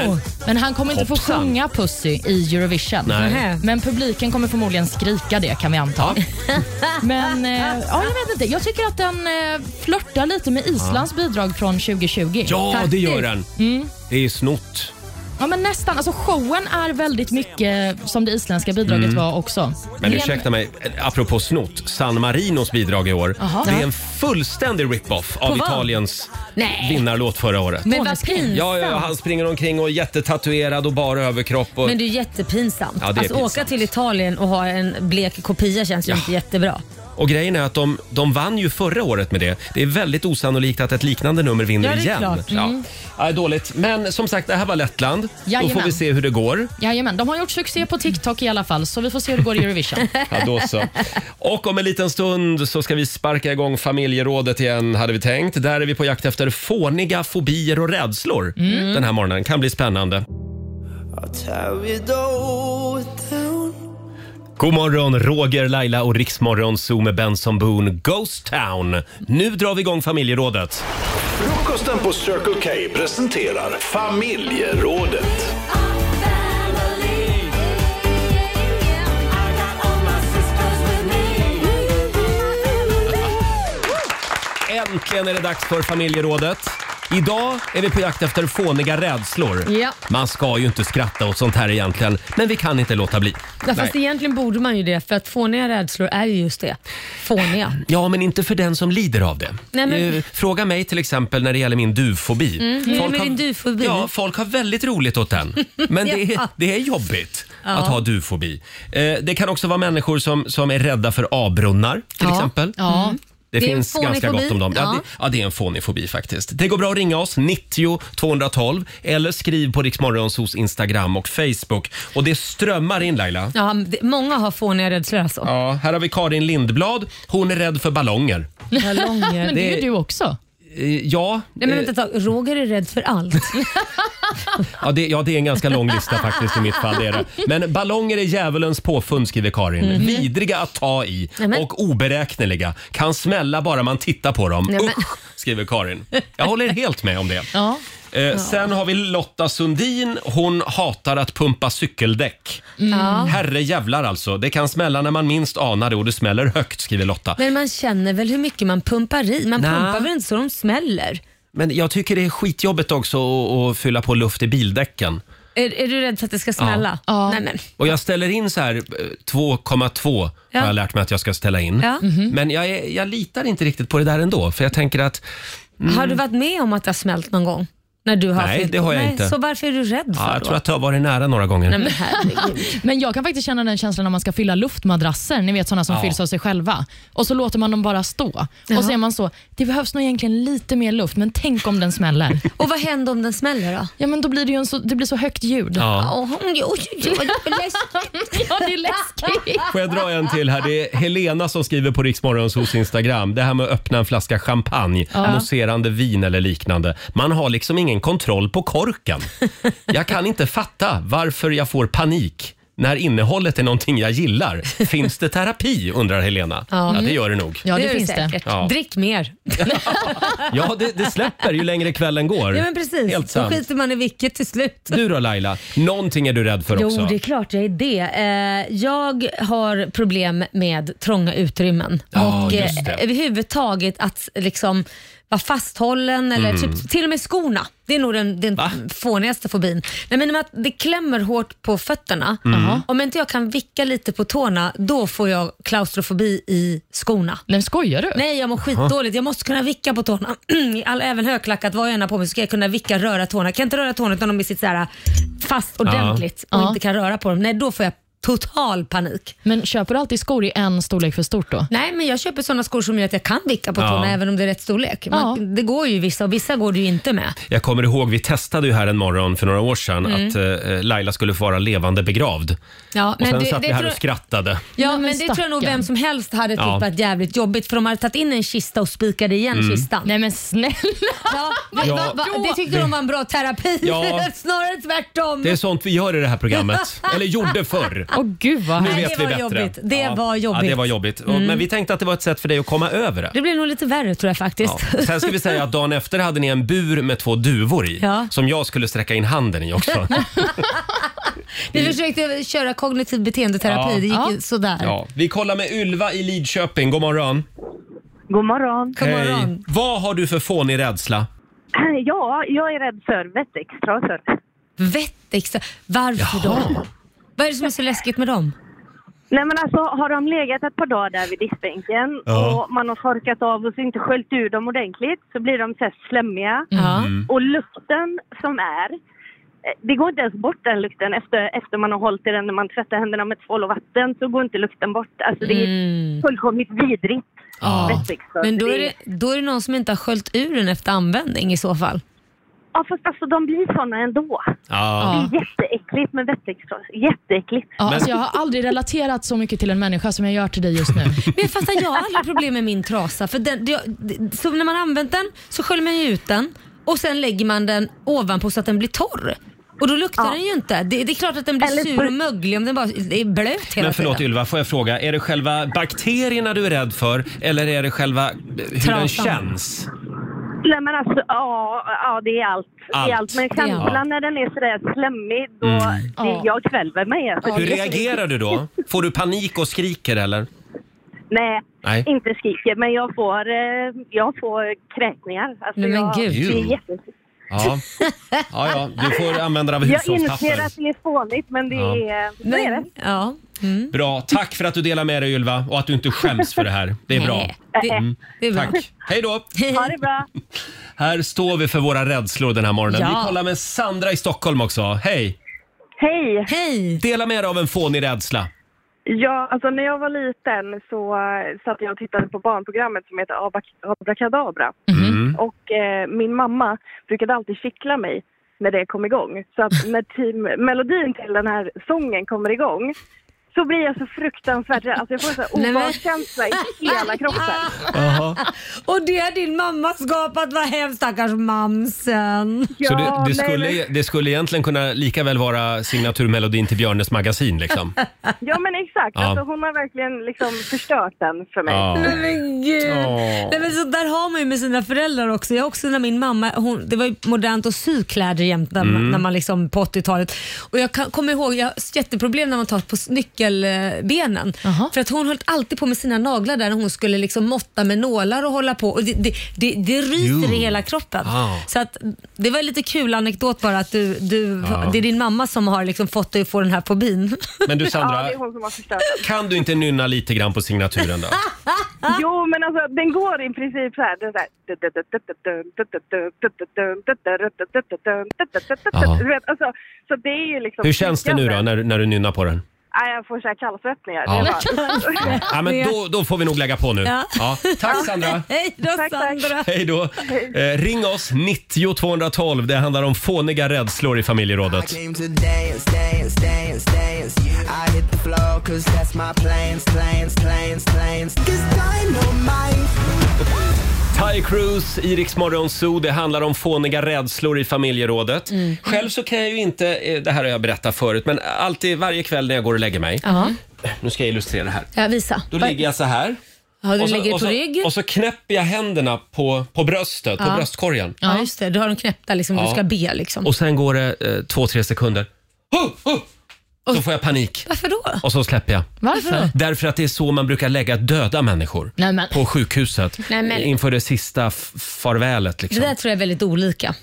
[SPEAKER 1] men-
[SPEAKER 5] Oh. Men han kommer inte få
[SPEAKER 1] Hoppsan.
[SPEAKER 5] sjunga “pussy” i Eurovision.
[SPEAKER 1] Nej. Nähä.
[SPEAKER 5] Men publiken kommer förmodligen skrika det kan vi anta. [laughs] Men eh, ja, jag vet inte. Jag tycker att den eh, flörtar lite med Islands bidrag från 2020.
[SPEAKER 1] Ja, det
[SPEAKER 5] Faktiskt.
[SPEAKER 1] gör den.
[SPEAKER 5] Mm.
[SPEAKER 1] Det är snott.
[SPEAKER 5] Ja, men nästan. Alltså, showen är väldigt mycket som det isländska bidraget
[SPEAKER 1] Mm.
[SPEAKER 5] var också.
[SPEAKER 1] Men
[SPEAKER 5] Ren-
[SPEAKER 1] ursäkta mig, apropå snott, San Marinos bidrag i år.
[SPEAKER 5] Jaha.
[SPEAKER 1] Det är en fullständig rip-off
[SPEAKER 2] På
[SPEAKER 1] av
[SPEAKER 2] vad?
[SPEAKER 1] Italiens
[SPEAKER 2] Nej.
[SPEAKER 1] vinnarlåt förra året.
[SPEAKER 2] Men vad pinsamt.
[SPEAKER 1] Ja, ja, han springer omkring och är jättetatuerad och bara överkropp. Och...
[SPEAKER 2] Men det är jättepinsamt.
[SPEAKER 1] Ja, det är
[SPEAKER 2] alltså åka
[SPEAKER 1] pinsamt.
[SPEAKER 2] till Italien och ha en blek kopia känns ju
[SPEAKER 1] Ja.
[SPEAKER 2] inte jättebra.
[SPEAKER 1] Och grejen är att de, de vann ju förra året med det. Det är väldigt osannolikt att ett liknande nummer vinner
[SPEAKER 2] Ja, det är
[SPEAKER 1] igen.
[SPEAKER 2] klart. Mm.
[SPEAKER 1] Ja. Ja, dåligt. Men som sagt, det här var Lettland. Då får
[SPEAKER 5] Jajamän.
[SPEAKER 1] vi se hur det går.
[SPEAKER 5] Jajamän, de har gjort succé på TikTok i alla fall, så vi får se hur det går i Eurovision.
[SPEAKER 1] Ja, då så. Och om en liten stund så ska vi sparka igång familjerådet igen, hade vi tänkt. Där är vi på jakt efter fåniga fobier och rädslor
[SPEAKER 15] Mm.
[SPEAKER 1] den här morgonen. Kan bli spännande. God morgon, Roger, Laila och Riksmorgon Zoo med Benson Boone, Ghost Town. Nu drar vi igång familjerådet.
[SPEAKER 3] Frukosten på Circle K presenterar familjerådet.
[SPEAKER 1] Äntligen är det dags för familjerådet. Idag är vi på jakt efter fåniga rädslor.
[SPEAKER 2] Ja.
[SPEAKER 1] Man ska ju inte skratta åt sånt här egentligen, men vi kan inte låta bli.
[SPEAKER 2] [laughs] Ja,
[SPEAKER 1] Nej.
[SPEAKER 2] fast egentligen borde man ju det för att fåniga rädslor är ju just det. Fåniga.
[SPEAKER 1] Ja, men inte för den som lider av det.
[SPEAKER 2] Nej, men-
[SPEAKER 1] Eh, Fråga mig till exempel när det gäller min duvfobi.
[SPEAKER 2] Mm. Hur är det med
[SPEAKER 1] har,
[SPEAKER 2] din duvfobi?
[SPEAKER 1] Ja, folk har väldigt roligt åt den. Men
[SPEAKER 2] [laughs]
[SPEAKER 1] det, är,
[SPEAKER 2] Ja.
[SPEAKER 1] det är jobbigt
[SPEAKER 2] Ja.
[SPEAKER 1] att ha duvfobi. Eh, det kan också vara människor som, som är rädda för avbrunnar till
[SPEAKER 5] Ja.
[SPEAKER 1] exempel.
[SPEAKER 5] Ja. Mm.
[SPEAKER 1] Det,
[SPEAKER 5] Det är en
[SPEAKER 1] finns
[SPEAKER 5] fånig
[SPEAKER 1] ganska
[SPEAKER 5] fobi.
[SPEAKER 1] gott om dem. Ja.
[SPEAKER 5] Ja.
[SPEAKER 1] det, ja, det är en fånig fobi faktiskt. Det går bra att ringa oss, 90 212 eller skriv på Riksmorgonsos Instagram och Facebook. Och det strömmar in Laila.
[SPEAKER 2] Ja, det, många har fåniga rädslor alltså. [laughs]
[SPEAKER 1] Ja, här har vi Karin Lindblad. Hon är rädd för ballonger.
[SPEAKER 2] Ballonger.
[SPEAKER 1] Men det är ju du
[SPEAKER 5] också.
[SPEAKER 1] Eh, Ja,
[SPEAKER 2] Nej men
[SPEAKER 1] eh,
[SPEAKER 2] vänta ett tag. Roger är rädd
[SPEAKER 1] [laughs]
[SPEAKER 2] för allt.
[SPEAKER 1] ja, det, ja, det är en ganska lång lista faktiskt i mitt fall. Det är det. Men ballonger är djävulens påfund skriver Karin.
[SPEAKER 2] Mm.
[SPEAKER 1] Vidriga att ta i
[SPEAKER 2] Nej, men-
[SPEAKER 1] och oberäkneliga. Kan smälla bara man tittar på dem.
[SPEAKER 2] Nej, men-
[SPEAKER 1] Usch, skriver Karin. Jag håller helt med om det.
[SPEAKER 5] Ja.
[SPEAKER 1] Eh, Sen har vi Lotta Sundin. Hon hatar att pumpa cykeldäck.
[SPEAKER 2] Mm. Ja.
[SPEAKER 1] Herre jävlar alltså. Det kan smälla när man minst anar det och det smäller högt skriver Lotta.
[SPEAKER 2] Men man känner väl hur mycket man pumpar i? Man
[SPEAKER 1] Nä.
[SPEAKER 2] pumpar väl inte så de smäller?
[SPEAKER 1] Men jag tycker det är skitjobbigt också att- att fylla på luft i bildäcken.
[SPEAKER 2] Är, är du rädd för att det ska smälla? Nej, men.
[SPEAKER 1] Och jag ställer in så här eh, 2,2
[SPEAKER 2] Ja.
[SPEAKER 1] har jag lärt mig att jag ska ställa in.
[SPEAKER 2] Ja. Mhm.
[SPEAKER 1] Men jag, är, jag litar inte riktigt på det där ändå för jag tänker att... mm,
[SPEAKER 2] Har du varit med om att det har smält någon gång? När du har
[SPEAKER 1] Nej,
[SPEAKER 2] fyllt-
[SPEAKER 1] det har jag
[SPEAKER 2] Nej,
[SPEAKER 1] inte.
[SPEAKER 2] Så varför är du rädd för
[SPEAKER 1] ja, jag
[SPEAKER 2] då?
[SPEAKER 1] tror att det har varit nära några gånger.
[SPEAKER 2] Nej, men herregud.
[SPEAKER 5] Men jag kan faktiskt känna den känslan när man ska fylla luftmadrasser, ni vet sådana som
[SPEAKER 1] Ja.
[SPEAKER 5] fylls av sig själva. Och så låter man dem bara stå.
[SPEAKER 2] Jaha.
[SPEAKER 5] Och så är man så, det behövs nog egentligen lite mer luft, men tänk om den smäller.
[SPEAKER 2] Och vad händer om den smäller då?
[SPEAKER 5] Ja, men då blir det ju en så, det blir så högt ljud.
[SPEAKER 1] Ja.
[SPEAKER 2] Åh, oj, oj, oj, oj, det är läskigt.
[SPEAKER 5] [laughs] ja, det är läskigt.
[SPEAKER 1] Får jag dra en till här? Det är Helena som skriver på Riksmorgons hos Instagram. Det här med att öppna en flaska champagne,
[SPEAKER 5] Ja.
[SPEAKER 1] mousserande vin eller liknande. Man har liksom ingen kontroll på korken. Jag kan inte fatta varför jag får panik när innehållet är någonting jag gillar. Finns det terapi undrar Helena. Ja,
[SPEAKER 2] Ja. Mm.
[SPEAKER 1] det gör det nog.
[SPEAKER 2] Ja, det, finns det.
[SPEAKER 1] Ja.
[SPEAKER 2] Drick mer.
[SPEAKER 1] Ja, det, det släpper ju längre kvällen går.
[SPEAKER 2] Ja, men precis.
[SPEAKER 1] Helt
[SPEAKER 2] Då
[SPEAKER 1] sant.
[SPEAKER 2] skiter man i vilket till slut.
[SPEAKER 1] Du då Laila, någonting är du rädd för
[SPEAKER 2] jo,
[SPEAKER 1] också?
[SPEAKER 2] det är klart jag är det. Eh, jag har problem med trånga utrymmen.
[SPEAKER 1] Ja,
[SPEAKER 2] och
[SPEAKER 1] just det.
[SPEAKER 2] eh, överhuvudtaget att liksom vara fasthållen eller
[SPEAKER 14] Mm.
[SPEAKER 2] typ, till och med skorna. Det är nog den, den fånigaste fobin. Nej, men att det klämmer hårt på fötterna.
[SPEAKER 14] Mm.
[SPEAKER 2] Om inte jag kan vicka lite på tårna, då får jag klaustrofobi i skorna.
[SPEAKER 5] Nej, skojar du?
[SPEAKER 2] Nej, jag mår skitdåligt. Jag måste kunna vicka på tårna. [clears throat] I All, även högklackat, vad jag än har på mig, så ska jag kunna vicka, röra tårna. Jag kan inte röra tårna utan de sitter så här äh, fast
[SPEAKER 5] Ja.
[SPEAKER 2] ordentligt och
[SPEAKER 5] Ja.
[SPEAKER 2] inte kan röra på dem. Nej, då får jag total panik.
[SPEAKER 5] Men köper du alltid skor i en storlek för stort då?
[SPEAKER 2] Nej, men jag köper sådana skor som gör att jag kan vicka på
[SPEAKER 1] Ja.
[SPEAKER 2] tårna även om det är rätt storlek. Man, Det går ju vissa och vissa går det ju inte med.
[SPEAKER 1] Jag kommer ihåg, vi testade ju här en morgon för några år sedan
[SPEAKER 2] Mm.
[SPEAKER 1] att eh, Laila skulle få vara levande begravd.
[SPEAKER 2] Ja,
[SPEAKER 1] Och sen
[SPEAKER 2] det,
[SPEAKER 1] satt
[SPEAKER 2] det
[SPEAKER 1] vi här
[SPEAKER 2] tror-
[SPEAKER 1] och skrattade.
[SPEAKER 2] Ja, men, det tror jag nog vem som helst hade tyckt
[SPEAKER 1] Ja.
[SPEAKER 2] varit jävligt jobbigt för de hade tagit in en kista och spikade igen
[SPEAKER 1] Mm.
[SPEAKER 2] kistan.
[SPEAKER 5] Nej men snälla!
[SPEAKER 2] Ja, va,
[SPEAKER 1] Ja.
[SPEAKER 2] va, va, det tyckte de var en bra terapi.
[SPEAKER 1] Ja.
[SPEAKER 2] [laughs] Snarare tvärtom. [laughs]
[SPEAKER 1] Det är sånt vi gör i det här programmet. Eller gjorde förr.
[SPEAKER 5] Åh gud vad
[SPEAKER 1] Nu
[SPEAKER 2] Nej,
[SPEAKER 1] vet
[SPEAKER 2] det
[SPEAKER 1] vi
[SPEAKER 2] var
[SPEAKER 1] bättre.
[SPEAKER 2] jobbigt. Det var
[SPEAKER 1] Ja,
[SPEAKER 2] jobbigt.
[SPEAKER 1] det var jobbigt. Och-
[SPEAKER 2] Mm.
[SPEAKER 1] Men vi tänkte att det var ett sätt för dig att komma
[SPEAKER 2] [laughs]
[SPEAKER 1] över det.
[SPEAKER 2] Det blev nog lite värre tror jag faktiskt.
[SPEAKER 1] Sen ska vi säga att dagen efter hade ni en bur med två duvor i
[SPEAKER 2] Ja.
[SPEAKER 1] som jag skulle sträcka in handen i
[SPEAKER 2] [laughs]
[SPEAKER 1] också.
[SPEAKER 2] [laughs] Vi försökte köra kognitiv beteendeterapi,
[SPEAKER 1] Ja.
[SPEAKER 2] det gick
[SPEAKER 1] Ja.
[SPEAKER 2] ju sådär.
[SPEAKER 1] Ja. Vi kollar med Ylva i Lidköping. God morgon.
[SPEAKER 11] God morgon. [clears throat]
[SPEAKER 1] Hej. Vad har du för fånig rädsla?
[SPEAKER 11] Ja, jag är rädd för vättikstrasor.
[SPEAKER 2] Vättikstrasor? Varför då? Vad är det som är så läskigt med dem?
[SPEAKER 11] Nej men alltså har de legat ett par dagar där vid diskbänken
[SPEAKER 2] Ja.
[SPEAKER 11] och man har torkat av och så inte sköljt ur dem ordentligt så blir de så här slemmiga.
[SPEAKER 2] Ja. Mm.
[SPEAKER 11] Och lukten som är, eh, det går inte ens bort den lukten efter, efter man har hållit i den när man tvättar händerna med tvål och vatten så går inte lukten bort. Alltså det är fullkomligt vidrigt. Vättikstrasor,
[SPEAKER 2] Mm. Men då är, det, då är det någon som inte har sköljt ur den efter användning i så fall.
[SPEAKER 11] Ja fast alltså de blir sådana ändå.
[SPEAKER 1] Ja.
[SPEAKER 11] Det är jätteäckligt med vättikstrasor. Jätteäckligt.
[SPEAKER 5] Ja,
[SPEAKER 1] Men-
[SPEAKER 5] alltså jag har aldrig relaterat så mycket till en människa som jag gör till dig just nu.
[SPEAKER 2] Men fast jag har aldrig problem med min trasa. För den, det, det, så när man har använt den så sköljer man ju ut den och sen lägger man den ovanpå så att den blir torr. Och då luktar den ju inte. Det, det är klart att den blir
[SPEAKER 11] Eller
[SPEAKER 2] sur
[SPEAKER 11] för-
[SPEAKER 2] och möglig om den bara är blöt hela
[SPEAKER 1] Men förlåt
[SPEAKER 2] tiden.
[SPEAKER 1] Ylva, får jag fråga, är det själva bakterierna du är rädd för eller är det själva eh, hur den
[SPEAKER 11] Trasan.
[SPEAKER 1] känns?
[SPEAKER 11] Nej men alltså, ja, ja det är allt. Det är allt. Men
[SPEAKER 1] Allt. Det är allt.
[SPEAKER 11] känslan när den är sådär slemmig, då,
[SPEAKER 1] Mm.
[SPEAKER 11] det, jag kvälver mig. Alltså.
[SPEAKER 1] Hur reagerar du då? Får du panik och skriker eller?
[SPEAKER 11] Nej,
[SPEAKER 1] Nej.
[SPEAKER 11] inte skriker, men jag får, eh, jag får kräkningar. Alltså,
[SPEAKER 1] Nej, men
[SPEAKER 11] jag,
[SPEAKER 1] gud.
[SPEAKER 11] Det är jätte...
[SPEAKER 2] [laughs]
[SPEAKER 1] Ja. ja, ja, du får använda dig av
[SPEAKER 11] Jag inser
[SPEAKER 1] hushållspapper.
[SPEAKER 11] att det är fånigt, men det
[SPEAKER 1] Ja.
[SPEAKER 11] är... Men, är det.
[SPEAKER 2] Ja.
[SPEAKER 1] Bra, tack för att du delar med dig Ylva och att du inte skäms för det här. Det är bra.
[SPEAKER 2] Nej, det- det är bra.
[SPEAKER 1] Tack. Hej då!
[SPEAKER 11] Ha det bra.
[SPEAKER 1] Här står vi för våra rädslor den här morgonen.
[SPEAKER 2] Ja.
[SPEAKER 1] Vi kollar med Sandra i Stockholm också. Hej!
[SPEAKER 11] Hej!
[SPEAKER 2] Hej!
[SPEAKER 1] Dela med dig av en fånig rädsla.
[SPEAKER 14] Ja, alltså när jag var liten så eh, satt jag och tittade på barnprogrammet som heter Abak- Abrakadabra.
[SPEAKER 1] Mm.
[SPEAKER 14] Och eh, min mamma brukade alltid kittla mig när det kom igång. Så att när team, melodin till den här sången kommer igång så blir jag så fruktansvärt rädd. Alltså jag får en sån
[SPEAKER 2] Nej,
[SPEAKER 14] här
[SPEAKER 2] men-
[SPEAKER 14] obehagskänsla i hela kroppen.
[SPEAKER 2] Och det har din mamma skapat, vad hemskt stackars mamsen.
[SPEAKER 1] [laughs] Så det, det, skulle, e- det skulle egentligen kunna lika väl vara signaturmelodin till Björnes magasin liksom.
[SPEAKER 14] Ja men exakt,
[SPEAKER 1] Ja.
[SPEAKER 14] alltså, hon har verkligen liksom förstört den för mig.
[SPEAKER 1] [laughs] Ja.
[SPEAKER 2] Nej men gud.
[SPEAKER 1] Ja.
[SPEAKER 2] Nej, men så där har man ju med sina föräldrar också. Jag också när min mamma, hon, det var ju modernt att sy kläder jämt när,
[SPEAKER 17] Mm.
[SPEAKER 2] när man liksom på 80-talet. Och jag kan, kommer ihåg, jag har jätteproblem när man tar på s- nyckelbenen. För att hon höll alltid på med sina naglar där när hon skulle liksom måtta med nålar och hålla på. Och det, det, det, det ryser
[SPEAKER 17] Jo.
[SPEAKER 2] i hela kroppen.
[SPEAKER 17] Ah.
[SPEAKER 2] Så att, det var lite kul anekdot bara att du, du,
[SPEAKER 1] Ja.
[SPEAKER 2] det är din mamma som har liksom fått dig att få den här fobin.
[SPEAKER 1] Men du, Sandra. Ja, det är
[SPEAKER 14] hon som har förstört
[SPEAKER 1] Kan du inte nynna lite grann på signaturen [laughs] då?
[SPEAKER 14] Jo, men alltså den går i princip så här. Den där. Du vet, alltså, så det är ju liksom...
[SPEAKER 1] Hur känns det nu då när, när du nynnar på den?
[SPEAKER 14] Nej, jag får så här kallsvettningar.
[SPEAKER 1] Ja.
[SPEAKER 14] Det är bara-
[SPEAKER 1] Ja, men då, då får vi nog lägga på nu.
[SPEAKER 14] Ja.
[SPEAKER 1] Ja. Tack [laughs] Sandra!
[SPEAKER 2] Hej då Sandra!
[SPEAKER 1] Hej då! Eh, ring oss, 90 212. Det handlar om fåniga rädslor i
[SPEAKER 18] I
[SPEAKER 1] familjerådet.
[SPEAKER 18] came to dance, dance, dance, dance. I hit the floor cause that's my plans, plans, plans, plans. Cause dynamite.
[SPEAKER 1] Ty Cruz, Iriks Zoo. Det handlar om fåniga rädslor i familjerådet. Själv så kan jag ju inte, eh, det här har jag berättat förut, men alltid varje kväll när jag går och lägger mig.
[SPEAKER 2] Ja,
[SPEAKER 1] Nu ska jag illustrera här.
[SPEAKER 2] jag visa.
[SPEAKER 1] Då ligger jag så här.
[SPEAKER 2] Ja, du
[SPEAKER 1] och så,
[SPEAKER 2] lägger
[SPEAKER 1] och
[SPEAKER 2] på
[SPEAKER 1] så,
[SPEAKER 2] rygg.
[SPEAKER 1] Och så knäpper jag händerna på, på bröstet, på
[SPEAKER 2] Ja.
[SPEAKER 1] bröstkorgen.
[SPEAKER 2] Ja, just det. Du har dem knäppta liksom. Du
[SPEAKER 1] Ja.
[SPEAKER 2] ska be liksom.
[SPEAKER 1] Och sen går det eh, två, tre sekunder. Huh, huh! Då får jag panik.
[SPEAKER 2] Varför då?
[SPEAKER 1] Och så släpper jag.
[SPEAKER 2] Varför då?
[SPEAKER 1] Därför att det är så man brukar lägga döda människor
[SPEAKER 2] Nej, men-
[SPEAKER 1] på sjukhuset
[SPEAKER 2] Nej, men-
[SPEAKER 1] inför det sista f- farvälet. Liksom.
[SPEAKER 2] Det där tror jag är väldigt olika.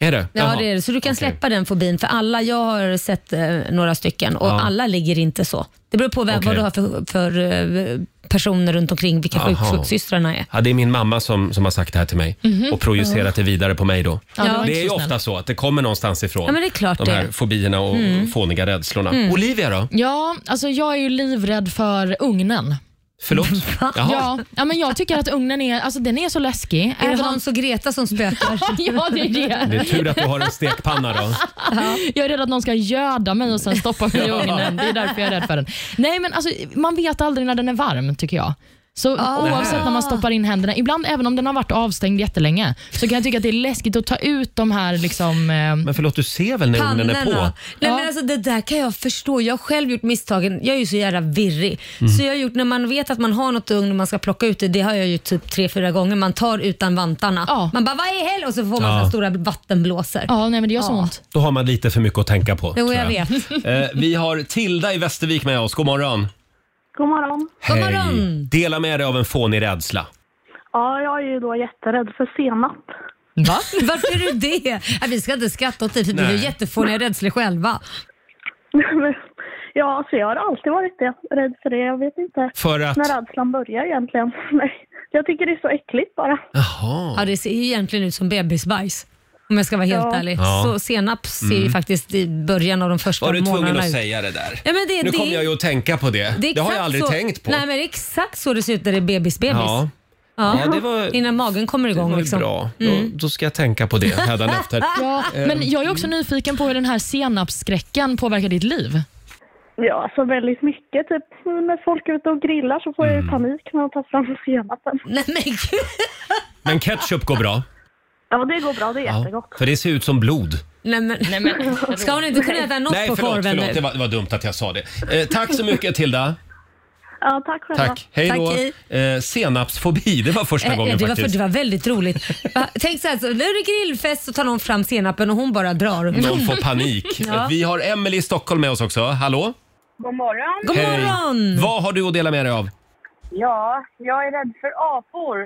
[SPEAKER 1] Är det?
[SPEAKER 2] Ja,
[SPEAKER 1] Jaha.
[SPEAKER 2] det är det. Så du kan släppa den fobin för alla. Jag har sett eh, några stycken och
[SPEAKER 1] Ja.
[SPEAKER 2] alla ligger inte så. Det beror på vem,
[SPEAKER 1] Okej.
[SPEAKER 2] vad du har för, för eh, personer runt omkring, vilka
[SPEAKER 1] Aha.
[SPEAKER 2] sjuksystrarna är.
[SPEAKER 1] Ja, det är min mamma som, som har sagt det här till mig
[SPEAKER 2] Mhm.
[SPEAKER 1] och projicerat det vidare på mig. då.
[SPEAKER 2] Ja, det var
[SPEAKER 1] det
[SPEAKER 2] inte
[SPEAKER 1] är
[SPEAKER 2] så
[SPEAKER 1] ju
[SPEAKER 2] snällt.
[SPEAKER 1] ofta så att det kommer någonstans ifrån.
[SPEAKER 5] Ja, men det är klart
[SPEAKER 1] de här
[SPEAKER 5] det.
[SPEAKER 1] fobierna och
[SPEAKER 5] Mm.
[SPEAKER 1] fåniga rädslorna.
[SPEAKER 5] Mm.
[SPEAKER 1] Olivia då?
[SPEAKER 5] Ja, alltså jag är ju livrädd för ugnen.
[SPEAKER 1] Förlåt?
[SPEAKER 2] [laughs]
[SPEAKER 5] Ja, ja, men jag tycker att ugnen är, alltså den är så läskig.
[SPEAKER 2] Är det
[SPEAKER 5] Även om-
[SPEAKER 2] Hans och Greta som [laughs] spökar?
[SPEAKER 5] [laughs] ja, det är det.
[SPEAKER 1] Det är tur att du har en stekpanna då.
[SPEAKER 5] Jag är rädd att någon ska göda mig och sen stoppa mig i
[SPEAKER 1] Ja.
[SPEAKER 5] ugnen. Det är därför jag är rädd för den. Nej, men alltså, man vet aldrig när den är varm, tycker jag. Så oavsett när man stoppar in händerna, ibland även om den har varit avstängd jättelänge, så kan jag tycka att det är läskigt att ta ut de här liksom... Men
[SPEAKER 1] förlåt, du ser väl när ugnen är på?
[SPEAKER 2] Nej, men alltså, det där kan jag förstå. Jag har själv gjort misstagen. Jag är ju så jävla virrig.
[SPEAKER 1] Mm.
[SPEAKER 2] Så jag har gjort, när man vet att man har något i ugn och man ska plocka ut det, det har jag ju typ tre, fyra gånger. Man tar utan vantarna. Man bara, vad i helvete? Och så får man
[SPEAKER 1] Ja.
[SPEAKER 2] så här stora vattenblåsor.
[SPEAKER 5] Ja, nej men det gör så ont.
[SPEAKER 1] Då har man lite för mycket att tänka på.
[SPEAKER 2] Jo,
[SPEAKER 1] tror
[SPEAKER 2] jag vet.
[SPEAKER 1] Eh, vi har Tilda i Västervik med oss. God morgon.
[SPEAKER 4] God morgon.
[SPEAKER 1] Hej. Dela med dig av en fånig rädsla.
[SPEAKER 4] Ja, jag är ju då jätterädd för senap. [laughs]
[SPEAKER 5] Va?
[SPEAKER 2] Varför är du det? Nej, vi ska inte skratta åt dig för vi
[SPEAKER 1] Nej.
[SPEAKER 2] är ju jättefåniga rädslor själva.
[SPEAKER 4] Ja, så jag har alltid varit det. Rädd för det. Jag vet inte
[SPEAKER 1] För att?
[SPEAKER 4] när rädslan börjar egentligen. Nej, jag tycker det är så äckligt bara.
[SPEAKER 1] Jaha.
[SPEAKER 2] Ja, det ser ju egentligen ut som bebisbajs. Om jag ska vara helt
[SPEAKER 4] Ja.
[SPEAKER 2] ärlig.
[SPEAKER 1] Ja.
[SPEAKER 2] Så senap ser ju
[SPEAKER 1] Mm.
[SPEAKER 2] faktiskt i början av de första
[SPEAKER 1] Var du tvungen
[SPEAKER 2] månaderna
[SPEAKER 1] att
[SPEAKER 2] ut.
[SPEAKER 1] säga det där?
[SPEAKER 2] Ja, men det-
[SPEAKER 1] nu
[SPEAKER 2] det-
[SPEAKER 1] kommer jag ju att tänka på det. Det,
[SPEAKER 2] är
[SPEAKER 1] har jag
[SPEAKER 2] exakt
[SPEAKER 1] aldrig
[SPEAKER 2] så,
[SPEAKER 1] tänkt på.
[SPEAKER 2] Nej, men det är exakt så det ser ut när det är bebis-bebis.
[SPEAKER 1] Ja. Ja, det var-
[SPEAKER 2] Innan magen kommer igång.
[SPEAKER 1] det var ju
[SPEAKER 2] liksom.
[SPEAKER 1] bra. Då,
[SPEAKER 2] Mm.
[SPEAKER 1] då ska jag tänka på det
[SPEAKER 2] [laughs]
[SPEAKER 1] hädanefter.
[SPEAKER 5] Ja,
[SPEAKER 1] Eh,
[SPEAKER 5] men jag är också nyfiken på hur den här senapsskräcken påverkar ditt liv.
[SPEAKER 4] Ja, alltså väldigt mycket. Typ när folk är ute och grillar så får jag ju panik när jag tar fram senapen.
[SPEAKER 2] Nej men gud!
[SPEAKER 1] Men ketchup går bra.
[SPEAKER 4] Ja, det går bra. Det är
[SPEAKER 1] Ja,
[SPEAKER 4] jättegott.
[SPEAKER 1] för det ser ut som blod.
[SPEAKER 2] Nej, men,
[SPEAKER 4] Nej, men-
[SPEAKER 2] Ska hon inte kunna äta något
[SPEAKER 1] Nej,
[SPEAKER 2] på
[SPEAKER 1] förlåt,
[SPEAKER 2] korven
[SPEAKER 1] förlåt. Det, var, det var dumt att jag sa det. Eh, tack så mycket Tilda.
[SPEAKER 4] Ja, tack själva.
[SPEAKER 1] Tack. Hej då. Eh, senapsfobi, det var första
[SPEAKER 2] Eh,
[SPEAKER 1] gången
[SPEAKER 2] det, var,
[SPEAKER 1] faktiskt.
[SPEAKER 2] det var väldigt roligt. Va? Tänk så här, så, nu är det grillfest så tar någon fram senapen och hon bara drar.
[SPEAKER 1] Någon får panik.
[SPEAKER 2] Ja.
[SPEAKER 1] Vi har Emelie i Stockholm med oss också. Hallå?
[SPEAKER 17] God morgon.
[SPEAKER 1] Hej. Vad har du att dela med dig av?
[SPEAKER 17] Ja, jag är rädd för apor.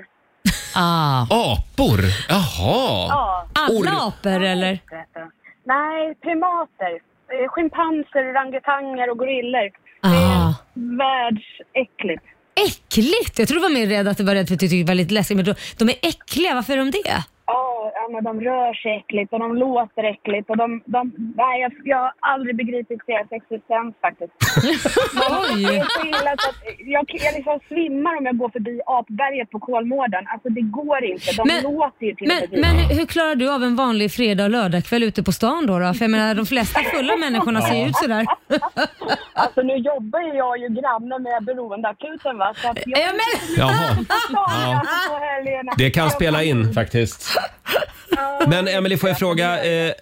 [SPEAKER 5] Ah.
[SPEAKER 1] Apor? Jaha.
[SPEAKER 2] Alla apor eller?
[SPEAKER 17] Nej, primater. Eh, Schimpanser, orangutanger och gorillor.
[SPEAKER 2] Ah.
[SPEAKER 17] Världsäckligt.
[SPEAKER 2] Äckligt! Jag tror du var mer rädd att det var rädd för att du tyckte det var lite läskigt. Men då, de är äckliga, varför är de det?
[SPEAKER 17] Ja, ja, men de rör sig äckligt och de låter äckligt och de... de nej, jag, jag har aldrig begripit deras existens faktiskt.
[SPEAKER 2] Oj!
[SPEAKER 17] Det är så illa så att jag, jag liksom svimmar om jag går förbi apberget på Kolmården. Alltså det går inte. De
[SPEAKER 2] Men-
[SPEAKER 17] låter ju till
[SPEAKER 2] Men,
[SPEAKER 17] och med.
[SPEAKER 2] men hur, hur klarar du av en vanlig fredag och lördagkväll ute på stan då? då? För jag menar, de flesta fulla människorna ser ju ut sådär. [laughs]
[SPEAKER 17] Alltså nu jobbar ju jag ju granne med beroendeakuten va. Så att jag
[SPEAKER 2] Ja, men-
[SPEAKER 1] Jaha. Ja. Det kan spela in faktiskt. Men Emelie, får jag fråga, eh, eh,